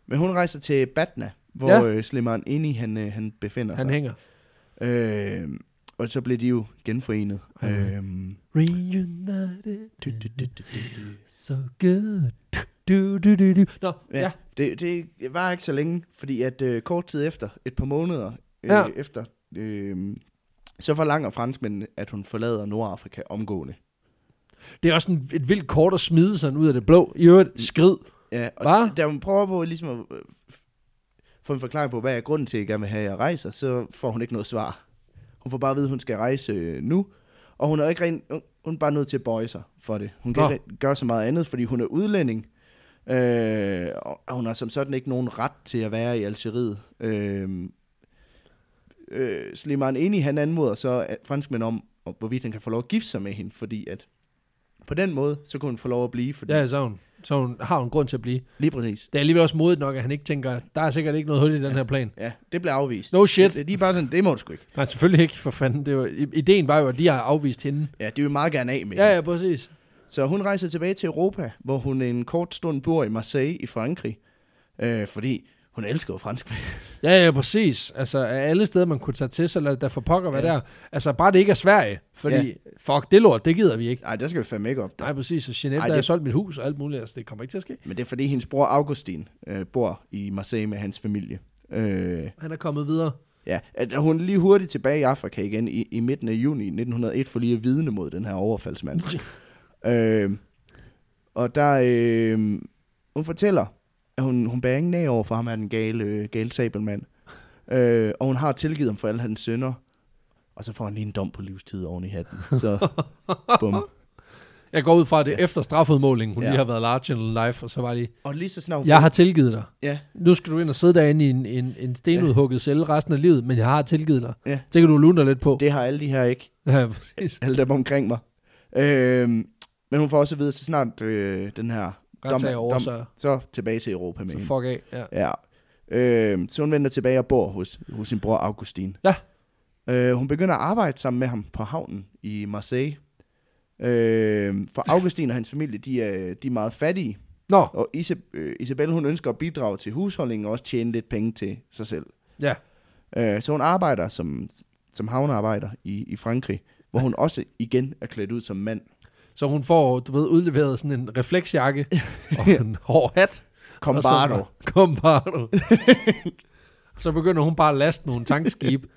Men hun rejser til Batna, hvor Ja. ja. øh, Slimane Eni, han, øh, han befinder Han sig. hænger. Øh, og så bliver de jo genforenet. Ja. Ja. Øhm, Reunited, du, du, du, du, du, du. so good. Du, du, du, du. Nå, ja. Ja. ja. Det, det var ikke så længe, fordi at øh, kort tid efter, et par måneder øh, Ja. ja. efter, øh, så forlanger franskmændene, at hun forlader Nordafrika omgående. Det er også en, et vildt kort at smide sådan ud af det blå. I Mm. øvrigt, skrid. Ja, og Hva? da hun prøver på ligesom at øh, f- få en forklaring på, hvad er grunden til, at jeg gerne vil have, at jeg rejser, så får hun ikke noget svar. Hun får bare at vide, at hun skal rejse øh, nu, Og hun er ikke rent, hun, hun er bare nødt til at bøje sig for det. Hun kan Nå. ikke rigtig gøre så meget andet, fordi hun er udlænding. Øh, og og hun har som sådan ikke nogen ret til at være i Algeriet. Øh, øh, Slimane Eni, han anmoder så øh, franskmænd om, om, hvorvidt han kan få lov at gifte sig med hende, fordi at på den måde, så kunne hun få lov at blive, fordi, Ja, så, hun, så hun, har hun grund til at blive. lige præcis, Det er alligevel også modigt nok, at han ikke tænker, der er sikkert ikke noget hul i den her plan. ja, det blev afvist. No shit. De, de er bare sådan, det må du sgu ikke. Nej, selvfølgelig ikke, for fanden. Det var, i- ideen var jo, at de har afvist hende. Ja, det vil meget gerne af med. Ja, ja, præcis. Så hun rejser tilbage til Europa, hvor hun en kort stund bor i Marseille i Frankrig, øh, fordi hun elsker jo fransk. Ja, ja, præcis. Altså, af alle steder, man kunne tage til, så lad der for pokker være Ja. der. Altså, bare det ikke er Sverige. Fordi, fuck, det lort, det gider vi ikke. Nej, der skal vi fandme ikke op. Nej, præcis. Så Genève, Ej, der har det- solgt mit hus og alt muligt. Altså, det kommer ikke til at ske. Men det er fordi, hendes bror Augustin øh, bor i Marseille med hans familie. Øh, Han er kommet videre. ja, at hun er lige hurtigt tilbage i Afrika igen i, i midten af juni 1901, for lige at vidne mod den her overfaldsmand. øh, og der, øh, hun fortæller, at hun, hun bærer ingen af over for ham, er den gale, øh, gale sabelmand. Øh, og hun har tilgivet ham for alle hans synder. Og så får han lige en dom på livstid oven i hatten. Så, bum. Jeg går ud fra, at det er efter strafudmålingen, hun Ja. lige har været large and life, og så var de, Og lige så snart hun jeg får- har tilgivet dig. Ja, Nu skal du ind og sidde derinde i en, en, en stenudhugget celle resten af livet, men jeg har tilgivet dig. Ja. Det kan du lune dig lidt på. det har alle de her ikke. Ja, præcis. Alle dem omkring mig. Øh, men hun får også at vide, så snart øh, den her Retssag er over, dom- så, så tilbage til Europa med så hende. fuck af. Ja. Ja. Øh, så hun vender tilbage og bor hos, hos sin bror Augustin. Ja. Øh, hun begynder at arbejde sammen med ham på havnen i Marseille. Øh, for Augustin og hans familie, de er, de er meget fattige. Nå, Og Isab- øh, Isabel, hun ønsker at bidrage til husholdningen og også tjene lidt penge til sig selv. ja. Øh, så hun arbejder som, som havnearbejder i, i Frankrig, hvor hun også igen er klædt ud som mand. Så hun får, du ved, udleveret sådan en refleksjakke og en hård hat. og så- Combardo. Combardo. så begynder hun bare at laste nogle tankskib.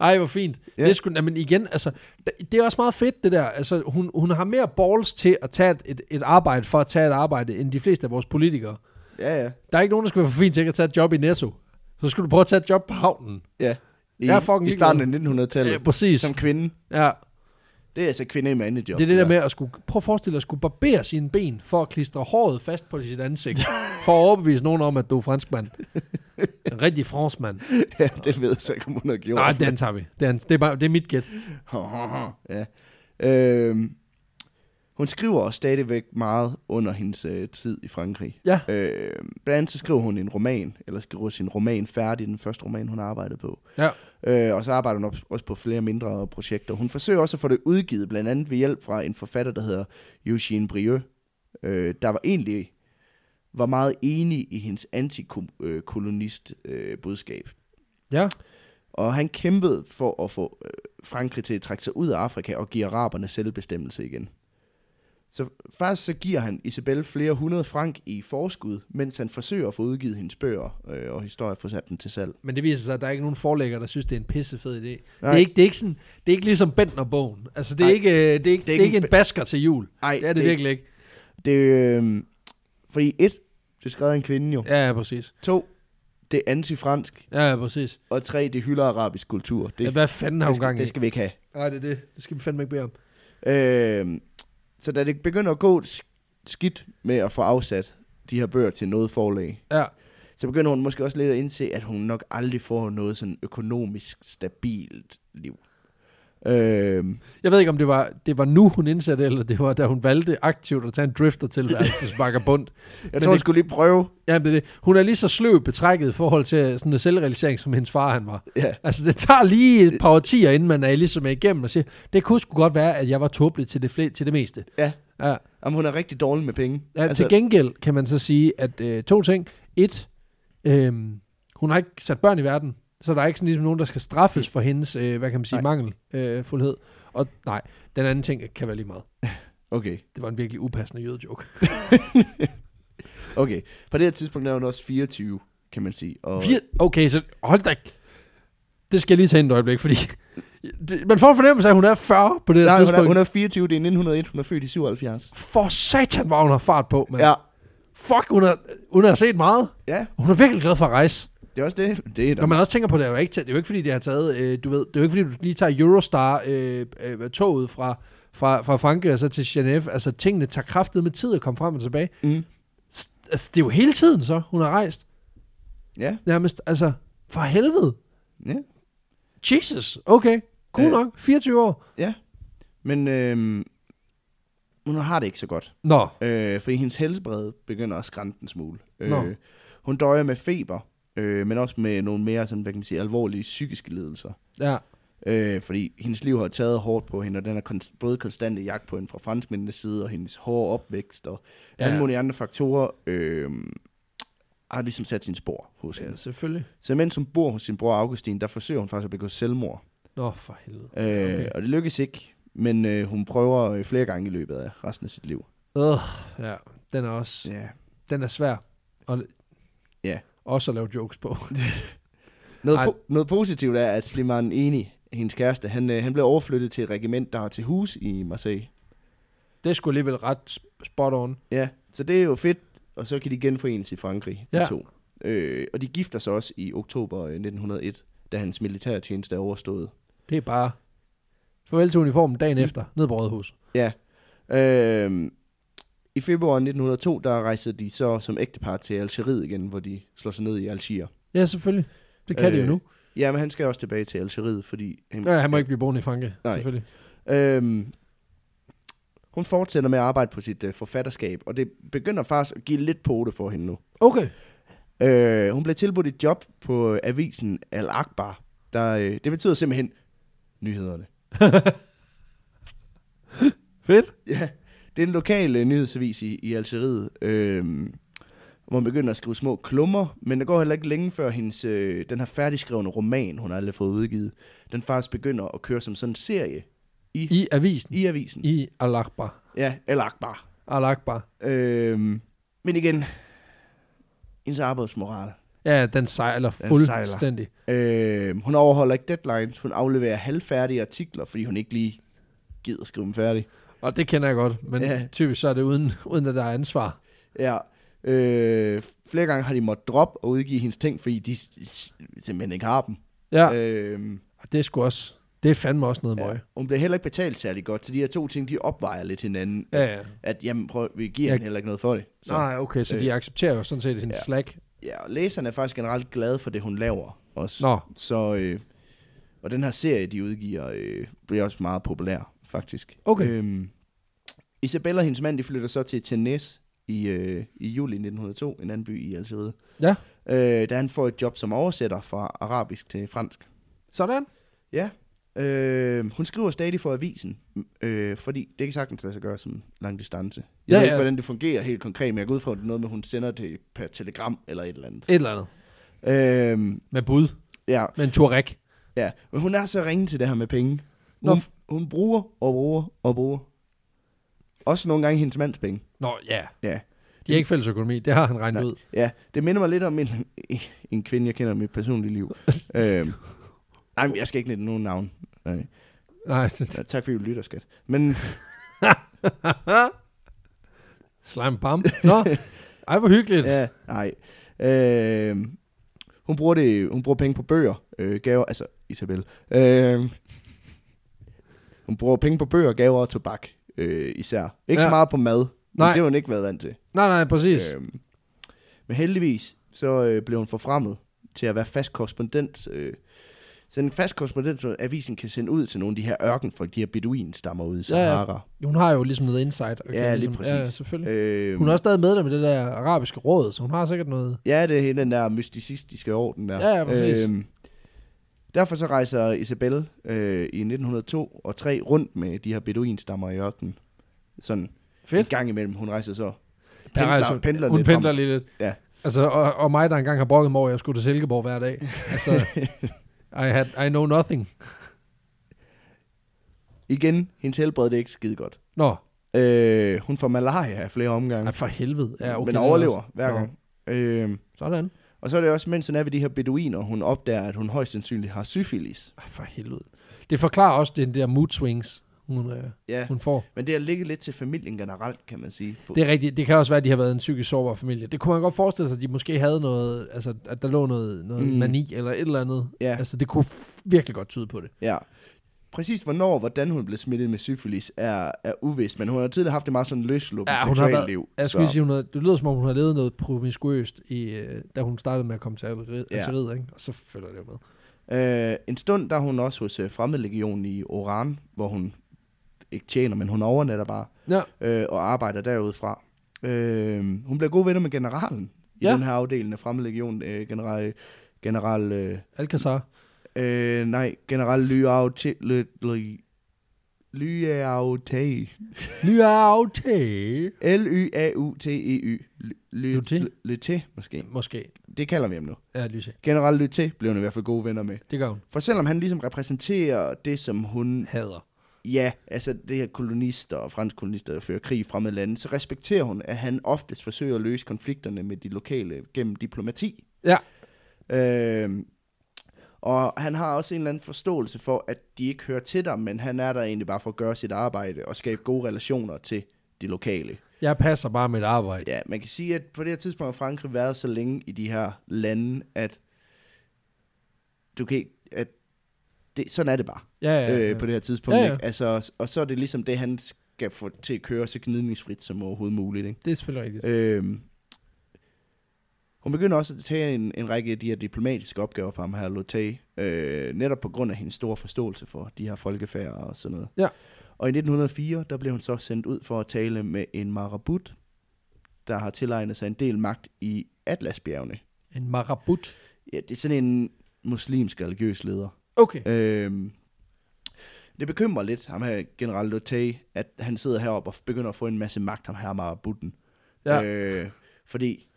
Ej, hvor fint. Ja. Ja. Det skulle, men igen, altså, d- det er også meget fedt, det der. Altså, hun, hun har mere balls til at tage et, et arbejde for at tage et arbejde, end de fleste af vores politikere. Ja, ja. Der er ikke nogen, der skal være for fint til ikke at tage et job i Netto. Så skulle du prøve at tage et job på havnen. ja. I, Jeg er fucking I starten af Ja, 1900-tallet. præcis. Som kvinde. Ja, Det er altså kvinde i mandejob. det er det der med at skulle, prøv at forestille dig at skulle barbere sine ben for at klistre håret fast på sit ansigt, for at overbevise nogen om, at du er franskmand. En rigtig franskmand. Ja, det ved jeg så ikke, om hun har gjort. Nej, den tager vi. Den, det, er bare, det er mit gæt. ja. øhm, hun skriver også stadigvæk meget under hendes øh, tid i Frankrig. Ja. Øhm, blandt andet så skriver hun en roman, eller skriver sin roman færdig, den første roman, hun har arbejdet på. Ja. Øh, og så arbejder hun op, også på flere mindre projekter. Hun forsøger også at få det udgivet, blandt andet ved hjælp fra en forfatter, der hedder Eugene Brieux, øh, der var egentlig var meget enig i hendes antikolonist øh, budskab. Ja. Og han kæmpede for at få øh, Frankrig til at trække sig ud af Afrika og give araberne selvbestemmelse igen. Så faktisk så giver han Isabel flere hundrede frank i forskud, mens han forsøger at få udgivet hendes bøger øh, og historier for sat dem til salg. Men det viser sig, at der er ikke nogen forlægger, der synes, det er en pissefed idé. Det Nej. er, ikke, det, er ikke sådan, det er ikke ligesom Bentner-bogen. Altså, det er, Nej. ikke, øh, det er, ikke, det er, ikke, det er ikke en en basker til jul. Nej, Det er det virkelig ikke. Det, øh, fordi et, det er skrevet af en kvinde jo. Ja, ja, præcis. To, det er antifransk. Ja, ja, præcis. Og tre, det hylder arabisk kultur. Det, Ja, hvad fanden har det, hun gang i? skal, det skal vi ikke have. Nej, det er det. Det skal vi fandme ikke bede om. Øh, så da det begynder at gå sk- skidt med at få afsat de her bøger til noget forlag, Ja. så begynder hun måske også lidt at indse, at hun nok aldrig får noget sådan økonomisk stabilt liv. Øhm, Jeg ved ikke, om det var, det var nu, hun indsatte, eller det var, da hun valgte aktivt at tage en drifter tilværelse vagabond. jeg Men tror, jeg det- skulle lige prøve. Ja, det, er det. Hun er lige så sløv betrækket i forhold til sådan en selvrealisering, som hendes far han var. Ja, Altså, det tager lige et par årtier, inden man er ligesom er igennem og siger, det kunne sgu godt være, at jeg var tåbelig til det, fle- til det meste. ja. Ja. Jamen, hun er rigtig dårlig med penge. Ja, altså, til gengæld kan man så sige, at øh, to ting. Et, øh, hun har ikke sat børn i verden, så der er ikke sådan ligesom nogen, der skal straffes for hendes, øh, hvad kan man sige, Nej. mangelfuldhed. Øh, fuldhed. og nej, den anden ting kan være lige meget. Okay, Det var en virkelig upassende jødejoke. okay. På det her tidspunkt er hun også 24, kan man sige. Og, Fire, okay, så hold da Det skal jeg lige tage ind et øjeblik, fordi det, man får en fornemmelse af, at hun er 40 på det her nej, hun tidspunkt. er, hun er 24, det er 1901, hun er født i 77. For satan, hvor hun har fart på, mand. Ja, Fuck, hun har, hun har set meget. ja. Hun er virkelig glad for at rejse. Det er også det. det er Når man også tænker på det, er jo ikke, det er jo ikke fordi, det har taget, øh, du ved, det er jo ikke fordi, du lige tager Eurostar-toget øh, øh, toget fra, fra, fra Frankrig og så til Genève. Altså, tingene tager kraftet med tid at komme frem og tilbage. Mm. S- altså, det er jo hele tiden så, hun har rejst. Ja, Nærmest, altså, for helvede. ja, Jesus, okay, cool Øh. øh. nok, 24 år. ja. Men øhm, hun har det ikke så godt. Nå, Øh, fordi hendes helbred begynder at skrænte en smule. Nå. Øh, hun døjer med feber, øh, men også med nogle mere sådan, hvad kan man sige, alvorlige psykiske lidelser. ja, Øh, fordi hendes liv har taget hårdt på hende, og den er konst- både konstante jagt på hende fra franskmændenes side, og hendes hårde opvækst, og Ja. ja. alle mulige andre faktorer, øh, har ligesom sat sin spor hos hende. ja selvfølgelig. Så mens hun bor hos sin bror Augustin, der forsøger hun faktisk at begå selvmord. Nå, for helvede. Øh, okay. Og det lykkes ikke, men øh, hun prøver øh, flere gange i løbet af resten af sit liv. Øh, ja, den er også, Ja. den er svær. Og, Ja. Også at lave jokes på. Noget, Ej. po- noget positivt er, at Slimane Eni, hendes kæreste, han, øh, han blev overflyttet til et regiment, der har til hus i Marseille. Det er sgu alligevel ret sp- spot on. Ja, så det er jo fedt. Og så kan de genforenes i Frankrig, de Ja. ja. to. Øh, og de gifter sig også i oktober øh, 1901, da hans militærtjeneste er overstået. Det er bare... Farvel til uniformen dagen efter, ned på Rådhus. Ja. Øh, I februar 1902, der rejser de så som ægtepar til Algeriet igen, hvor de slår sig ned i Algier. Ja, selvfølgelig. Det kan øh, det jo Øh, nu. Ja, men han skal også tilbage til Algeriet, fordi... Han, Ja, han må ikke blive boende i Frankrig, Nej. selvfølgelig. Øhm, hun fortsætter med at arbejde på sit øh, forfatterskab, og det begynder faktisk at give lidt pote for hende nu. Okay. Øh, hun blev tilbudt et job på øh, avisen Al Akbar. Der, øh, det betyder simpelthen nyhederne. Fedt. Ja, det er en lokal øh, nyhedsavis i, i Algeriet, øh, hvor hun begynder at skrive små klummer, men der går heller ikke længe før hendes, øh, den her færdigskrevne roman, hun har aldrig fået udgivet, den faktisk begynder at køre som sådan en serie i, I avisen. I, i avisen. I Al-Akbar. Ja, Al Akbar. Al-Akbar. Øhm, men igen, hendes arbejdsmoral. Ja, den sejler Den fuldstændig. Øhm, hun overholder ikke deadlines. Hun afleverer halvfærdige artikler, fordi hun ikke lige gider skrive dem færdig. Og det kender jeg godt, men ja. Ja. typisk så er det uden, uden at der er ansvar. Ja. Øh, flere gange har de måttet droppe og udgive hendes ting, fordi de s- s- simpelthen ikke har dem. Ja, øh. Øhm, det er sgu også... Det er fandme også noget møg. ja. Hun bliver heller ikke betalt særlig godt, så de her to ting, de opvejer lidt hinanden. Ja, ja. At jamen, prøv, vi giver Ja. hende heller ikke noget for det. Øh, Så. Nej, okay, så øh. de Øh. accepterer jo sådan set hendes ja. Ja. slack. Ja, og læserne er faktisk generelt glade for det, hun laver også. Nå. Så, øh, og den her serie, de udgiver, øh, bliver også meget populær, faktisk. Okay. Øhm, Isabella og hendes mand, de flytter så til Tennes i, øh, i juli 1902, en anden by i Algeriet. Ja. Øh, da han får et job som oversætter fra arabisk til fransk. Sådan. Ja. Øh, hun skriver stadig for avisen, m- øh, fordi det kan sagtens lade sig gøre som lang distance. Jeg Ja, ja, ved ikke, ja. hvordan det fungerer helt konkret, men jeg går ud fra, at det er noget med, hun sender det per telegram eller et eller andet. Et eller andet. Øh, Med bud. ja, Med en Touareg. Ja, men hun er så ringe til det her med penge. Hun, Nå. Nå. hun bruger og bruger og bruger. Også nogle gange hendes mands penge. Nå, ja. Ja. De har ikke fælles økonomi. Det har han regnet Nej. ud. ja, det minder mig lidt om en, en kvinde, jeg kender i mit personlige liv. øhm, nej, men jeg skal ikke nævne nogen navn. Nej. Nej, Ja, Tak fordi du lytter, skat. Men slime bam. Nå, ej, hvor hyggeligt. ja, nej. Øhm, hun, bruger det, hun bruger penge på bøger, øh, gaver, altså Isabel. Øhm, hun bruger penge på bøger, gaver og tobak øh, især. Ikke ja. Ja. så meget på mad. Nej. Nej. Det har hun ikke været vant til. Nej, nej, præcis. Øhm, men heldigvis, så øh, blev hun forfremmet til at være fast korrespondent. Øh, sådan en fast korrespondent, som avisen kan sende ud til nogle af de her ørkenfolk, de her beduinstammer ude i Ja, ja. Sahara. Hun har jo ligesom noget insight. og Ja, kan lige ligesom, Ja, præcis. selvfølgelig. Øhm, Hun er også stadig medlem i det der arabiske råd, så hun har sikkert noget... Ja, det er hele den der mysticistiske orden der. Ja, ja, præcis. Øhm, derfor så rejser Isabel øh, i 1902 og 3 rundt med de her beduinstammer i ørkenen. Sådan Fedt. en gang imellem. Hun rejser så. Ja, Pendler, altså, pendler hun lidt pendler frem. lige lidt. Ja. Altså, og, og mig, der engang har brokket mig over, at jeg skulle til Silkeborg hver dag. Altså, I, had, I know nothing. Igen, hendes helbred det er ikke skide godt. Nå, Øh, hun får malaria i flere omgange. ej, for helvede. Ja, okay, men det er overlever også- hver Nå, gang. Øhm, Sådan. og så er det også, mens hun er ved de her beduiner, hun opdager, at hun højst sandsynligt har syfilis. Ej, for helvede. Det forklarer også den der mood swings, hun, øh, Ja, hun får. men det har ligget lidt til familien generelt, kan man sige. På- Det er rigtigt. Det kan også være, at de har været en psykisk sårbar familie. Det kunne man godt forestille sig, at de måske havde noget, altså at der lå noget, noget Mm. mm. mani eller et eller andet. Ja. Altså det kunne f- virkelig godt tyde på det. Ja. Præcis hvornår og hvordan hun blev smittet med syfilis er, er uvist, men hun har tidligere haft et meget sådan løsluppet Ja, ja, hun har seksuelt været- liv. Jeg skulle lige sige, hun havde, det lyder som om, hun har levet noget promiskuøst, i, øh, da hun startede med at komme til Algeriet, Ja. ja. ikke? og så følger det jo med. Øh, en stund der er hun også hos øh, Fremmedlegionen i Oran, hvor hun ikke tjener, men hun overnatter bare Ja, øh, og arbejder derudfra. Øh, hun bliver gode venner med generalen i Ja. den her afdeling af Fremmedlegionen, øh, general, general øh, Alcazar. øh, nej, general Lyautei, Ly, Ly, Lyautei, Lyaute. L-Y-A-U-T-E-Y, Lyté? Lyté, måske, Måske. det kalder vi ham nu. Ja, Lyse. General Lyté blev hun i hvert fald gode venner med. Det gør hun. For selvom han ligesom repræsenterer det, som hun Hader. Ja, altså det her kolonister og franske kolonister, der fører krig i fremmede lande, så respekterer hun, at han oftest forsøger at løse konflikterne med de lokale gennem diplomati. Ja. Øhm, og han har også en eller anden forståelse for, at de ikke hører til dig, men han er der egentlig bare for at gøre sit arbejde og skabe gode relationer til de lokale. Jeg passer bare mit arbejde. Ja, man kan sige, at på det her tidspunkt har Frankrig været så længe i de her lande, at du kan ikke- at det, sådan er det bare Ja, ja, ja. øh, på det her tidspunkt. Ja, Ja, ja. ja. Ikke? Altså, og så er det ligesom det, han skal få til at køre så gnidningsfrit som overhovedet muligt. Ikke? Det er selvfølgelig rigtigt. Øhm, hun begynder også at tage en, en række af de her diplomatiske opgaver fra ham her, Lotte, øh, netop på grund af hendes store forståelse for de her folkefærd og sådan noget. Ja. Og i 1904, der blev hun så sendt ud for at tale med en marabut, der har tilegnet sig en del magt i Atlasbjergene. En marabut. Ja, det er sådan en muslimsk religiøs leder. Okay. Øhm, det bekymrer lidt ham her, general Lotte, at han sidder heroppe og begynder at få en masse magt, ham her Marabutten. Ja. Øh, fordi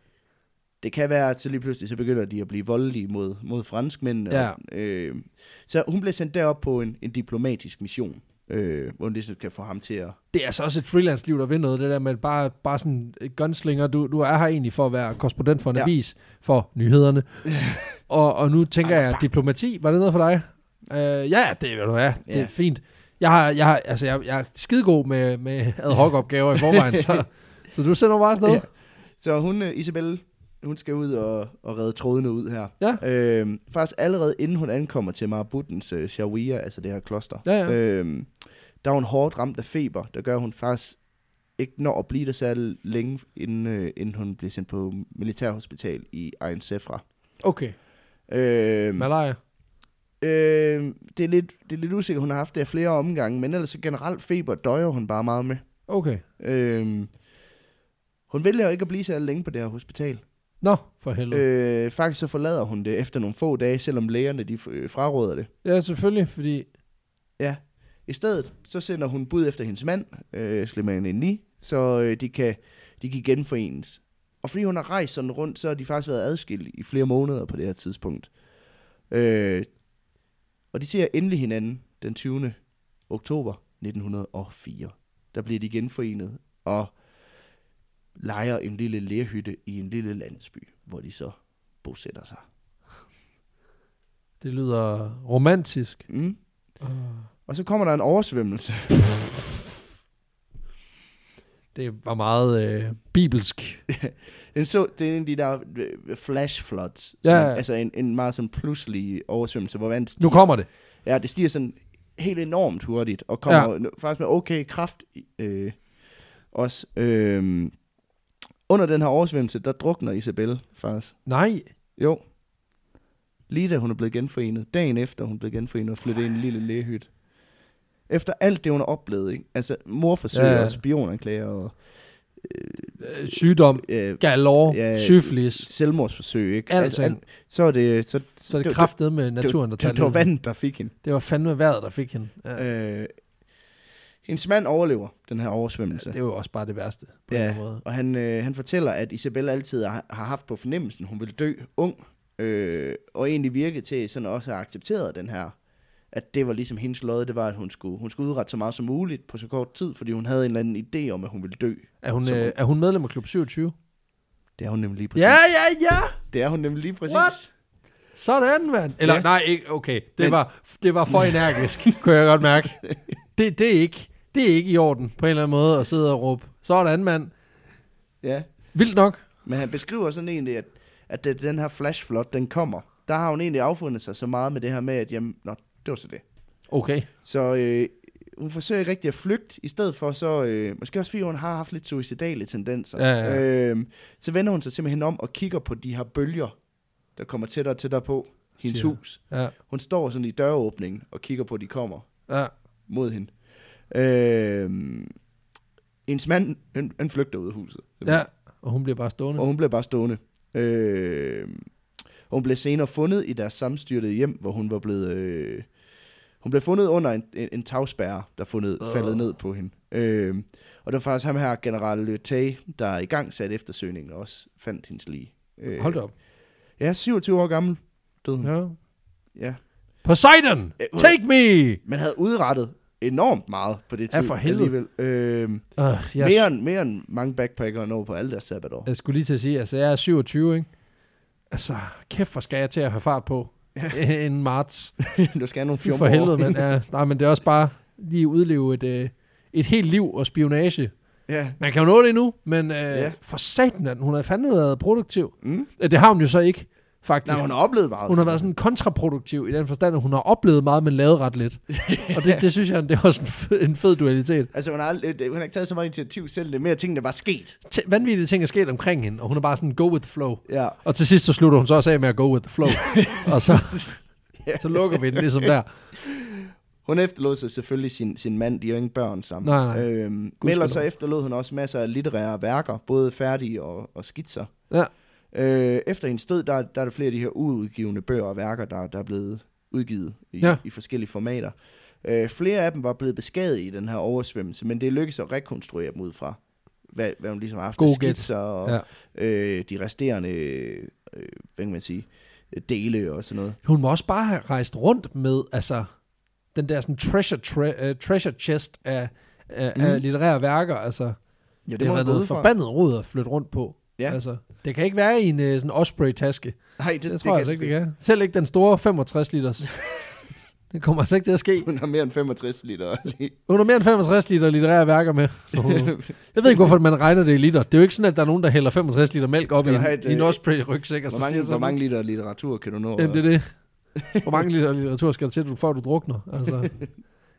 det kan være, at så lige pludselig så begynder de at blive voldelige mod, mod franskmændene. Ja. Og, øh, så hun bliver sendt derop på en, en diplomatisk mission, øh, hvor hun ligesom kan få ham til at... Det er altså også et freelance-liv, der vil noget. Det der med bare, bare sådan et gunslinger. Du, du er her egentlig for at være korrespondent for en Ja. ja. avis for nyhederne. og, og nu tænker Bang, jeg, bang. diplomati, var det noget for dig? Øh, ja, det vil du have. Det Ja. er fint. Jeg, har, jeg, har, altså, jeg, jeg er skidegod med, med ad hoc-opgaver i forvejen, så, så du sender mig bare afsted. Ja. Så hun, øh, Isabelle, hun skal ud og, og redde trådene ud her. Ja. Øh, faktisk allerede inden hun ankommer til Marabuttens øh, Shawiya, altså det her kloster, Ja, ja. Øh, der er hun hårdt ramt af feber, der gør at hun faktisk ikke når at blive der særlig længe, inden, øh, inden hun bliver sendt på militærhospital i Ain Sefra. Okay, Øh, malaria. øh, det, er lidt, det er lidt usikkert, hun har haft det af flere omgange, men ellers så generelt feber døjer hun bare meget med. Okay. Øh, hun vælger ikke at blive særlig længe på det her hospital. Nå, for helvede. Øh. Øh, faktisk så forlader hun det efter nogle få dage, selvom lægerne de øh, fraråder det. Ja, selvfølgelig, fordi... Ja. I stedet, så sender hun bud efter hendes mand, øh, Slimane Ni, så øh, de, kan, de kan genforenes. Og fordi hun har rejst sådan rundt, så har de faktisk været adskilt i flere måneder på det her tidspunkt. Øh, og de ser endelig hinanden den 20. oktober 1904. Der bliver de genforenet og leger en lille lærhytte i en lille landsby, hvor de så bosætter sig. Det lyder romantisk. Mm. Uh, Og så kommer der en oversvømmelse. det var meget øh, bibelsk. Den så, det er en af de der øh, flash floods. Ja, Ja, ja. ja. Altså en, en meget sådan pludselig oversvømmelse, hvor vand stiger. Nu kommer det. Ja, det stiger sådan helt enormt hurtigt, og kommer ja. faktisk med okay kraft øh, også. Øh, under den her oversvømmelse, der drukner Isabel faktisk. Nej, Jo. Lige da hun er blevet genforenet, dagen efter hun blev genforenet og flyttet ind i en lille lægehytte. Efter alt det, hun har oplevet, ikke? Altså morforsøg Ja, ja. ja. og spionanklager og øh, sygdom, øh, galore, Ja, ja, syflis, selvmordsforsøg, ikke? alt sådan. så er det... Så, Så er det var- kraftede med naturen, der det, tager det, det var livet. vandet, der fik hende. Det var fandme vejret, der fik hende. Ja, Ja. Øh, hendes mand overlever den her oversvømmelse. det var jo også bare det værste, på ja. Ja. en måde. Og han, øh, han fortæller, at Isabella altid har, har haft på fornemmelsen, hun ville dø ung, øh, og egentlig virket til sådan også at have accepteret den her, at det var ligesom hendes lod, det var, at hun skulle, hun skulle udrette så meget som muligt på så kort tid, fordi hun havde en eller anden idé om, at hun ville dø. Er hun, Som- øh, er hun medlem af Klub 27? Det er hun nemlig lige præcis. Præcis. Ja, ja, ja! Det er hun nemlig lige præcis. What? Sådan, mand! Eller ja. Ja. nej, ikke, okay. Det, Men- var, det var for energisk, kunne jeg godt mærke. Det, det, er ikke, det er ikke i orden på en eller anden måde at sidde og råbe. Sådan, mand. Ja. Vildt nok. Men han beskriver sådan egentlig, at, at det, den her flash flood, den kommer. Der har hun egentlig affundet sig så meget med det her med, at jamen, nå, det var så det. Okay. Så øh, hun forsøger ikke rigtig at flygte, i stedet for så, øh, måske også fordi hun har haft lidt suicidale tendenser, Ja, ja, Øh, så vender hun sig simpelthen om og kigger på de her bølger, der kommer tættere og tættere på hendes Siger. hus. Ja. Hun står sådan i døråbningen og kigger på, at de kommer Ja. mod hende. Øh, hendes mand, han, han flygter ud af huset. ja. Og hun bliver bare stående. Og hun blev bare stående. Øh, hun blev senere fundet i deres sammenstyrtede hjem, hvor hun var blevet... Øh, hun blev fundet under en, en, en tagspærre, der fundet, Åh. oh. faldet ned på hende. Øh, og det var faktisk ham her, general Le Tay, der i gang satte eftersøgningen og også fandt hendes lige. Øh, Hold da op. Ja, 27 år gammel døde hun. Ja. Ja. ja. Poseidon, Mm. Øh, hun- take me! Men havde udrettet enormt meget på det Ja, tid. for helvede. alligevel. Øh, Uh, jeg, mere, end, mere end mange backpackere når på alle deres sabbatår. jeg skulle lige til at sige, altså jeg er 27, ikke? Altså, kæft hvor skal jeg til at have fart på inden marts. du skal have nogle Fy 14 for år. helvede, men, ja, nej, men det er også bare lige udleve et, øh, et helt liv og spionage. Ja. Man kan jo nå det endnu, men øh, Ja. for satan, at hun har fandme været produktiv. Mm. Øh, Det har hun jo så ikke, faktisk. Nej, hun har oplevet meget. hun har været sådan kontraproduktiv i den forstand, at hun har oplevet meget, men lavet ret lidt. og det, det synes jeg, det er også en fed, en fed dualitet. Altså, hun har, aldrig, øh, hun har ikke taget så meget initiativ selv. Det er mere ting, der bare sket. T- vanvittige ting er sket omkring hende, og hun er bare sådan, go with the flow. Ja. Og til sidst, så slutter hun så også af med at go with the flow. og så, så lukker vi den ligesom der. Hun efterlod sig selvfølgelig sin, sin mand, de ingen børn sammen. Nej, nej. Øhm, men ellers så lov. efterlod hun også masser af litterære værker, både færdige og, og skitser. Ja. Øh, efter hendes død, der, der er der flere af de her uudgivende bøger og værker, der, der er blevet udgivet i, Ja. ja. i forskellige formater. Øh, flere af dem var blevet beskadiget i den her oversvømmelse, men det lykkedes at rekonstruere dem ud fra, hvad, hvad hun ligesom har haft af God gæt. skitser og Ja. ja. øh, de resterende, øh, hvad kan man sige, dele og sådan noget. Hun må også bare have rejst rundt med, altså, den der sådan treasure, tre, uh, treasure chest af, af, mm. af litterære værker, altså. Ja, det, det har været noget forbandet rod at flytte rundt på. Ja. Altså, det kan ikke være i en øh, sådan Osprey-taske. Det, Nej, det, det, tror jeg altså ikke, det kan. Selv ikke den store 65 liters. det kommer altså ikke til at ske. Hun har mere end 65 liter. lige. Hun har mere end 65 liter litterære værker med. jeg ved ikke, hvorfor man regner det i liter. Det er jo ikke sådan, at der er nogen, der hælder 65 liter mælk op i Skal du en, have et, i en øh, Osprey-rygsæk. hvor, mange, hvor mange liter litteratur kan du nå? Jamen, det er det. Hvor mange liter litteratur skal der til, du- før du drukner? Altså,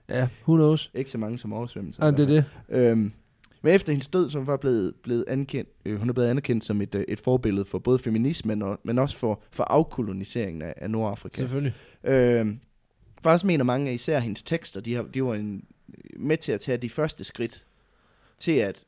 ja, who knows. Ikke så mange som oversvømmelser. Jamen, det er det. Øhm, men efter hendes død, som var blevet, blevet ankendt, øh, hun er blevet anerkendt som et, øh, et forbillede for både feminismen, og, men også for, for afkoloniseringen af, af Nordafrika. Selvfølgelig. Øhm, faktisk mener mange af især hendes tekster, de, har, de var en, med til at tage de første skridt til, at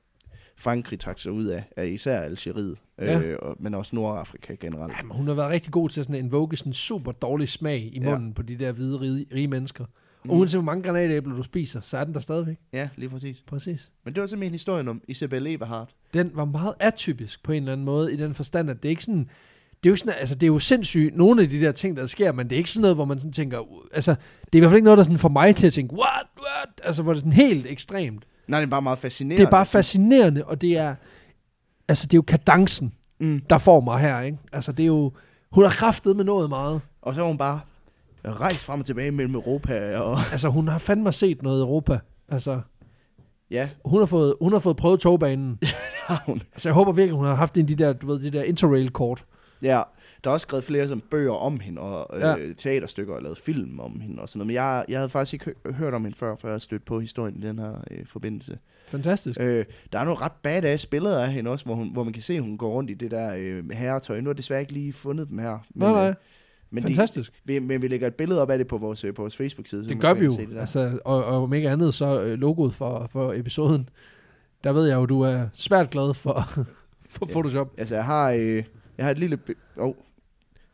Frankrig trak sig ud af, af især Algeriet, Ja. øh, og, men også Nordafrika generelt. Jamen, hun har været rigtig god til sådan at invoke sådan en super dårlig smag i Ja. munden ja. på de der hvide, rige, rige mennesker. Og Mm. uanset hvor mange granatæbler du spiser, så er den der stadigvæk. Ja, lige præcis. Præcis. Men det var simpelthen historien om Isabel Eberhardt. Den var meget atypisk på en eller anden måde, i den forstand, at det er ikke sådan... Det er jo sådan, altså det er jo sindssygt, nogle af de der ting, der sker, men det er ikke sådan noget, hvor man sådan tænker, "Uh," altså det er i hvert fald ikke noget, der sådan får mig til at tænke, what, what, altså hvor det er sådan helt ekstremt. Nej, det er bare meget fascinerende. Det er bare fascinerende, og det er, altså det er jo kadencen, Mm. der får mig her, ikke? Altså det er jo, hun har kraftet med noget meget. Og så er hun bare rejst frem og tilbage mellem Europa og... Altså hun har fandme set noget i Europa, altså Ja, hun har fået, hun har fået prøvet togbanen. har hun. altså jeg håber virkelig, hun har haft en af de der, du ved, de der interrail-kort. Ja, der er også skrevet flere som bøger om hende, og øh, Ja. ja. teaterstykker og lavet film om hende og sådan noget. Men jeg, jeg havde faktisk ikke hø- hørt om hende før, før jeg stødte på historien i den her øh, forbindelse. Fantastisk. Øh, der er nogle ret badass billeder af hende også, hvor, hun, hvor man kan se, at hun går rundt i det der øh, herretøj. Nu har jeg desværre ikke lige fundet dem her. nej, nej, øh, men, de, fantastisk. vi, men vi lægger et billede op af det på vores, øh, på vores Facebook-side. så Det man gør kan vi se det jo. der. Altså, og, og om ikke andet, så øh, logoet for, for episoden. Der ved jeg jo, du er svært glad for, for Ja. Photoshop. Altså, jeg har, øh, jeg har et lille... Bi- oh.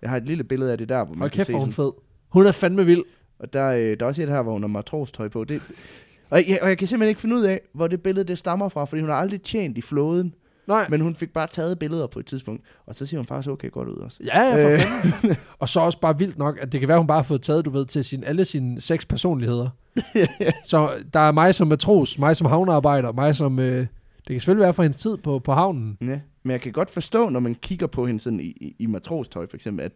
Jeg har et lille billede af det der, hvor man Hold kan kæft, se hvor er hun sådan, fed. Hun er fandme vild. Og der, øh, der er også et her, hvor hun har matrostøj på. Det, og, jeg, og jeg kan simpelthen ikke finde ud af, hvor det billede det stammer fra, fordi hun har aldrig tjent i flåden. Nej. Men hun fik bare taget billeder på et tidspunkt. Og så ser hun faktisk okay godt ud også. Ja, ja, for Øh. fanden. Og så også bare vildt nok, at det kan være, hun bare har fået taget, du ved, til sin, alle sine seks personligheder. så der er mig som matros, mig som havnearbejder, mig som... Øh, det kan selvfølgelig være fra hendes tid på, på havnen. Ja. Men jeg kan godt forstå, når man kigger på hende sådan i, i, i matrostøj for eksempel, at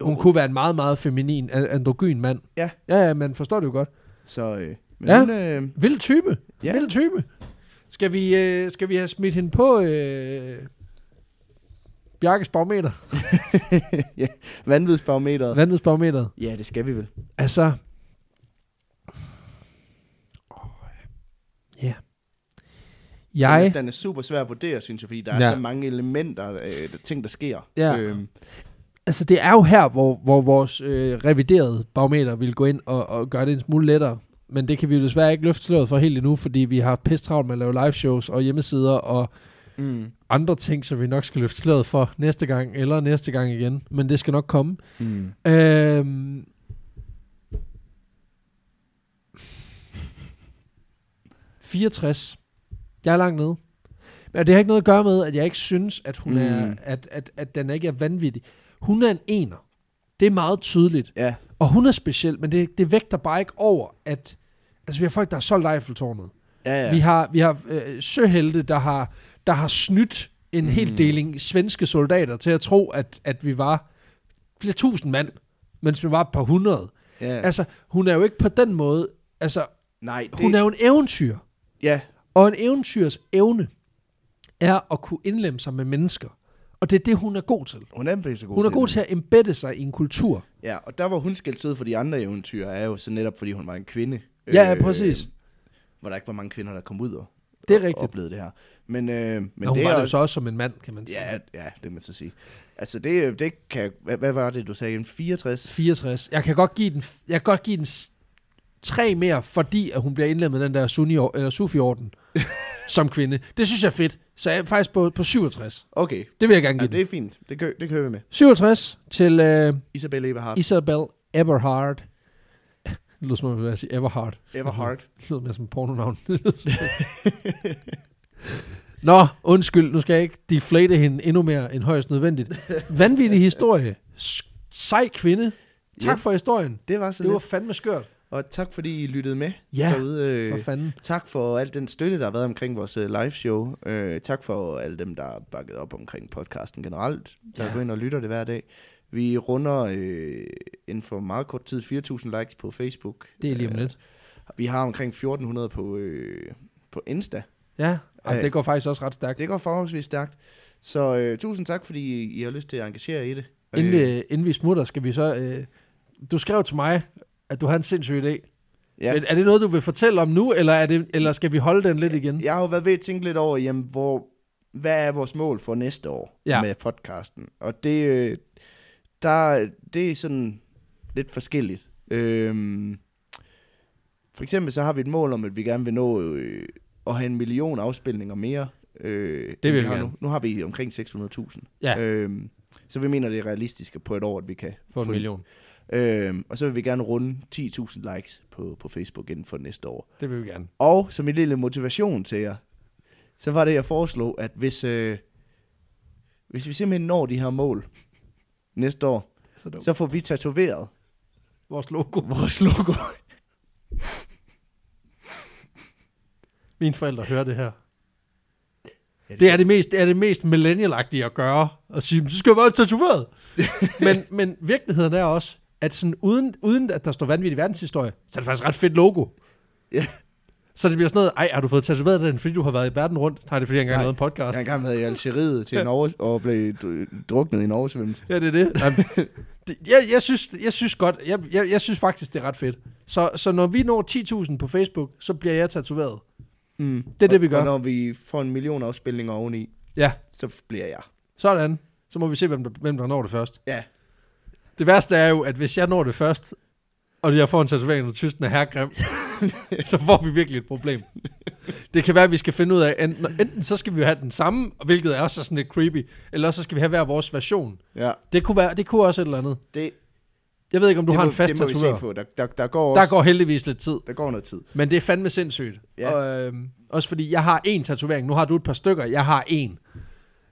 Hun kunne være en meget, meget feminin, a- androgyn mand. Oh. Ja. Ja, ja, man forstår det jo godt. så... Øh, Men Ja. hun, øh, Vild type. Ja. Ja. Vild type. Skal vi, øh, skal vi have smidt hende på øh, Bjarkes barometer? vanvidsbarometeret. Vandvidsbarometeret. Ja, det skal vi vel. Altså... Åh, Ja. Jeg... Den er super svær at vurdere, synes jeg, fordi der er Ja. så mange elementer, øh, der- ting, der sker. Ja. Øhm, Altså, det er jo her, hvor, hvor vores øh, reviderede barometer vil gå ind og, og gøre det en smule lettere. Men det kan vi jo desværre ikke løfte sløret for helt endnu, fordi vi har pisse travlt med at lave live shows og hjemmesider og mm, andre ting, som vi nok skal løfte sløret for næste gang eller næste gang igen. Men det skal nok komme. mm. Øhm... ...64. Jeg er langt nede. Men det har ikke noget at gøre med, at jeg ikke synes, at, hun mm. er, Mm. at, at, at den ikke er vanvittig. Hun er en ener. Det er meget tydeligt. Ja, Og hun er speciel, men det, det vægter bare ikke over, at... Altså, vi har folk, der har solgt Eiffeltårnet. ja, ja. Vi har, vi har øh, søhelte, der har, der har snydt en mm. Mm. hel deling svenske soldater til at tro, at, at vi var flere tusind mand, mens vi var et par hundrede. ja. Ja. Altså, hun er jo ikke på den måde... Altså, Nej, det, hun er jo en eventyr. Ja, Og en eventyrs evne er at kunne indlemme sig med mennesker. Og det er det, hun er god til. hun er blevet så god Hun er til god det. til at embedde sig i en kultur. Ja, og der var hun skældt ud for de andre eventyr, er jo så netop, fordi hun var en kvinde. Øh, Ja, ja, præcis. Hvor der ikke var mange kvinder, der kom ud og, Det er og rigtigt. oplevede det her. Men, øh, men Men hun det var er det jo så også som en mand, kan man sige. Ja, ja, det må man så sige. Altså, det, det kan... Hvad, hvad var det, du sagde? En 64? 64. Jeg kan godt give den, jeg kan godt give den s- tre mere, fordi at hun bliver indlemmet i den der sunni, eller Sufi-orden som kvinde. Det synes jeg er fedt. Så jeg er faktisk på, på 67. Okay, Det vil jeg gerne ja, give det ja, er fint. Det, kø, det kører vi med. 67 til øh, Isabel Eberhardt. Isabel Eberhard. Det lyder som om, jeg vil sige Everhard. Eberhardt. Det lyder mere som et pornonavn. Nå, undskyld, nu skal jeg ikke deflate hende endnu mere end højst nødvendigt. Vanvittig historie. S- Sej kvinde. Tak Ja. for historien. Det var så Det var det. fandme skørt. Og tak, fordi I lyttede med Ja, derude. øh, For fanden. Tak for al den støtte, der har været omkring vores øh, live show. Øh, tak for alle dem, der har bakket op omkring podcasten generelt, der Ja. går ind og lytter det hver dag. Vi runder øh, inden for meget kort tid 4.000 likes på Facebook. Det er lige om Øh, lidt. Vi har omkring 1.400 på, øh, på Insta. Ja, og øh, det går faktisk også ret stærkt. Det går forholdsvis stærkt. Så øh, tusind tak, fordi I har lyst til at engagere jer i det. Inden, øh, inden vi smutter, skal vi så... Øh, du skrev til mig, at du har en sindssyg idé. ja. Men Er det noget, du vil fortælle om nu, eller, er det, eller skal vi holde den lidt igen? Jeg har jo været ved at tænke lidt over, jamen, hvor, hvad er vores mål for næste år ja. Ja. med podcasten? Og det, øh, der, det er sådan lidt forskelligt. Øhm, for eksempel så har vi et mål om, at vi gerne vil nå øh, at have en million afspilninger mere. Øh, end vil vi har gerne. Nu. nu har vi omkring 600.000. Ja. Øhm, så vi mener, det er realistisk at på et år, at vi kan For en få- million. Øhm, og så vil vi gerne runde 10.000 likes på, på Facebook inden for næste år. Det vil vi gerne. Og som en lille motivation til jer, så var det, jeg foreslog, at hvis, øh, hvis vi simpelthen når de her mål næste år, Så dumt. så får vi tatoveret Vores logo. vores logo. Mine forældre hører det her. Ja, det Det er det mest, det er det mest millennial at gøre. At sige, så skal jeg være tatoveret. men, men virkeligheden er også, at sådan, uden, uden at der står vanvittig verdenshistorie, så er det faktisk et ret fedt logo. Ja. Så det bliver sådan noget, ej, har du fået tatoveret den, fordi du har været i verden rundt? Nej, det er fordi, jeg engang Nej, lavede en podcast. Jeg har engang været i Algeriet til en over- og blev dr- druknet i en oversvømmelse. Ja, det er det. Jamen, det jeg, jeg, synes, jeg synes godt, jeg, jeg, jeg synes faktisk, det er ret fedt. Så, så når vi når 10.000 på Facebook, så bliver jeg tatoveret. Mm. Det er det, vi gør. Og når vi får en million afspilninger oveni, Ja, så bliver jeg. sådan. Så må vi se, hvem der, hvem der når det først. Ja. Det værste er jo, at hvis jeg når det først, og jeg får en tatovering, når tysten er herregrim, så får vi virkelig et problem. Det kan være, at vi skal finde ud af, enten, enten så skal vi jo have den samme, hvilket er også sådan lidt creepy, eller også så skal vi have hver vores version. Ja, Det kunne, være, det kunne også et eller andet. det, Jeg ved ikke, om du det har må, en fast det må vi se tatovør. på. Der, der, der, går også, Der går heldigvis lidt tid. der går noget tid. Men det er fandme sindssygt. Ja. Ja. Og, øhm, også fordi jeg har en tatovering. Nu har du et par stykker. Jeg har en.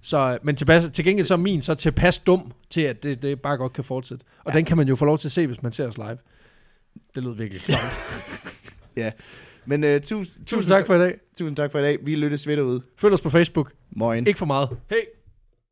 Så, men tilpas, til gengæld så er min så tilpas dum til, at det, det bare godt kan fortsætte. Og ja. den kan man jo få lov til at se, hvis man ser os live. Det lød virkelig klart. Men uh, tusind, Tusind tak for i dag. tusind tak for i dag. Vi lyttes ved derude. Følg os på Facebook. Moin. Ikke for meget. Hej.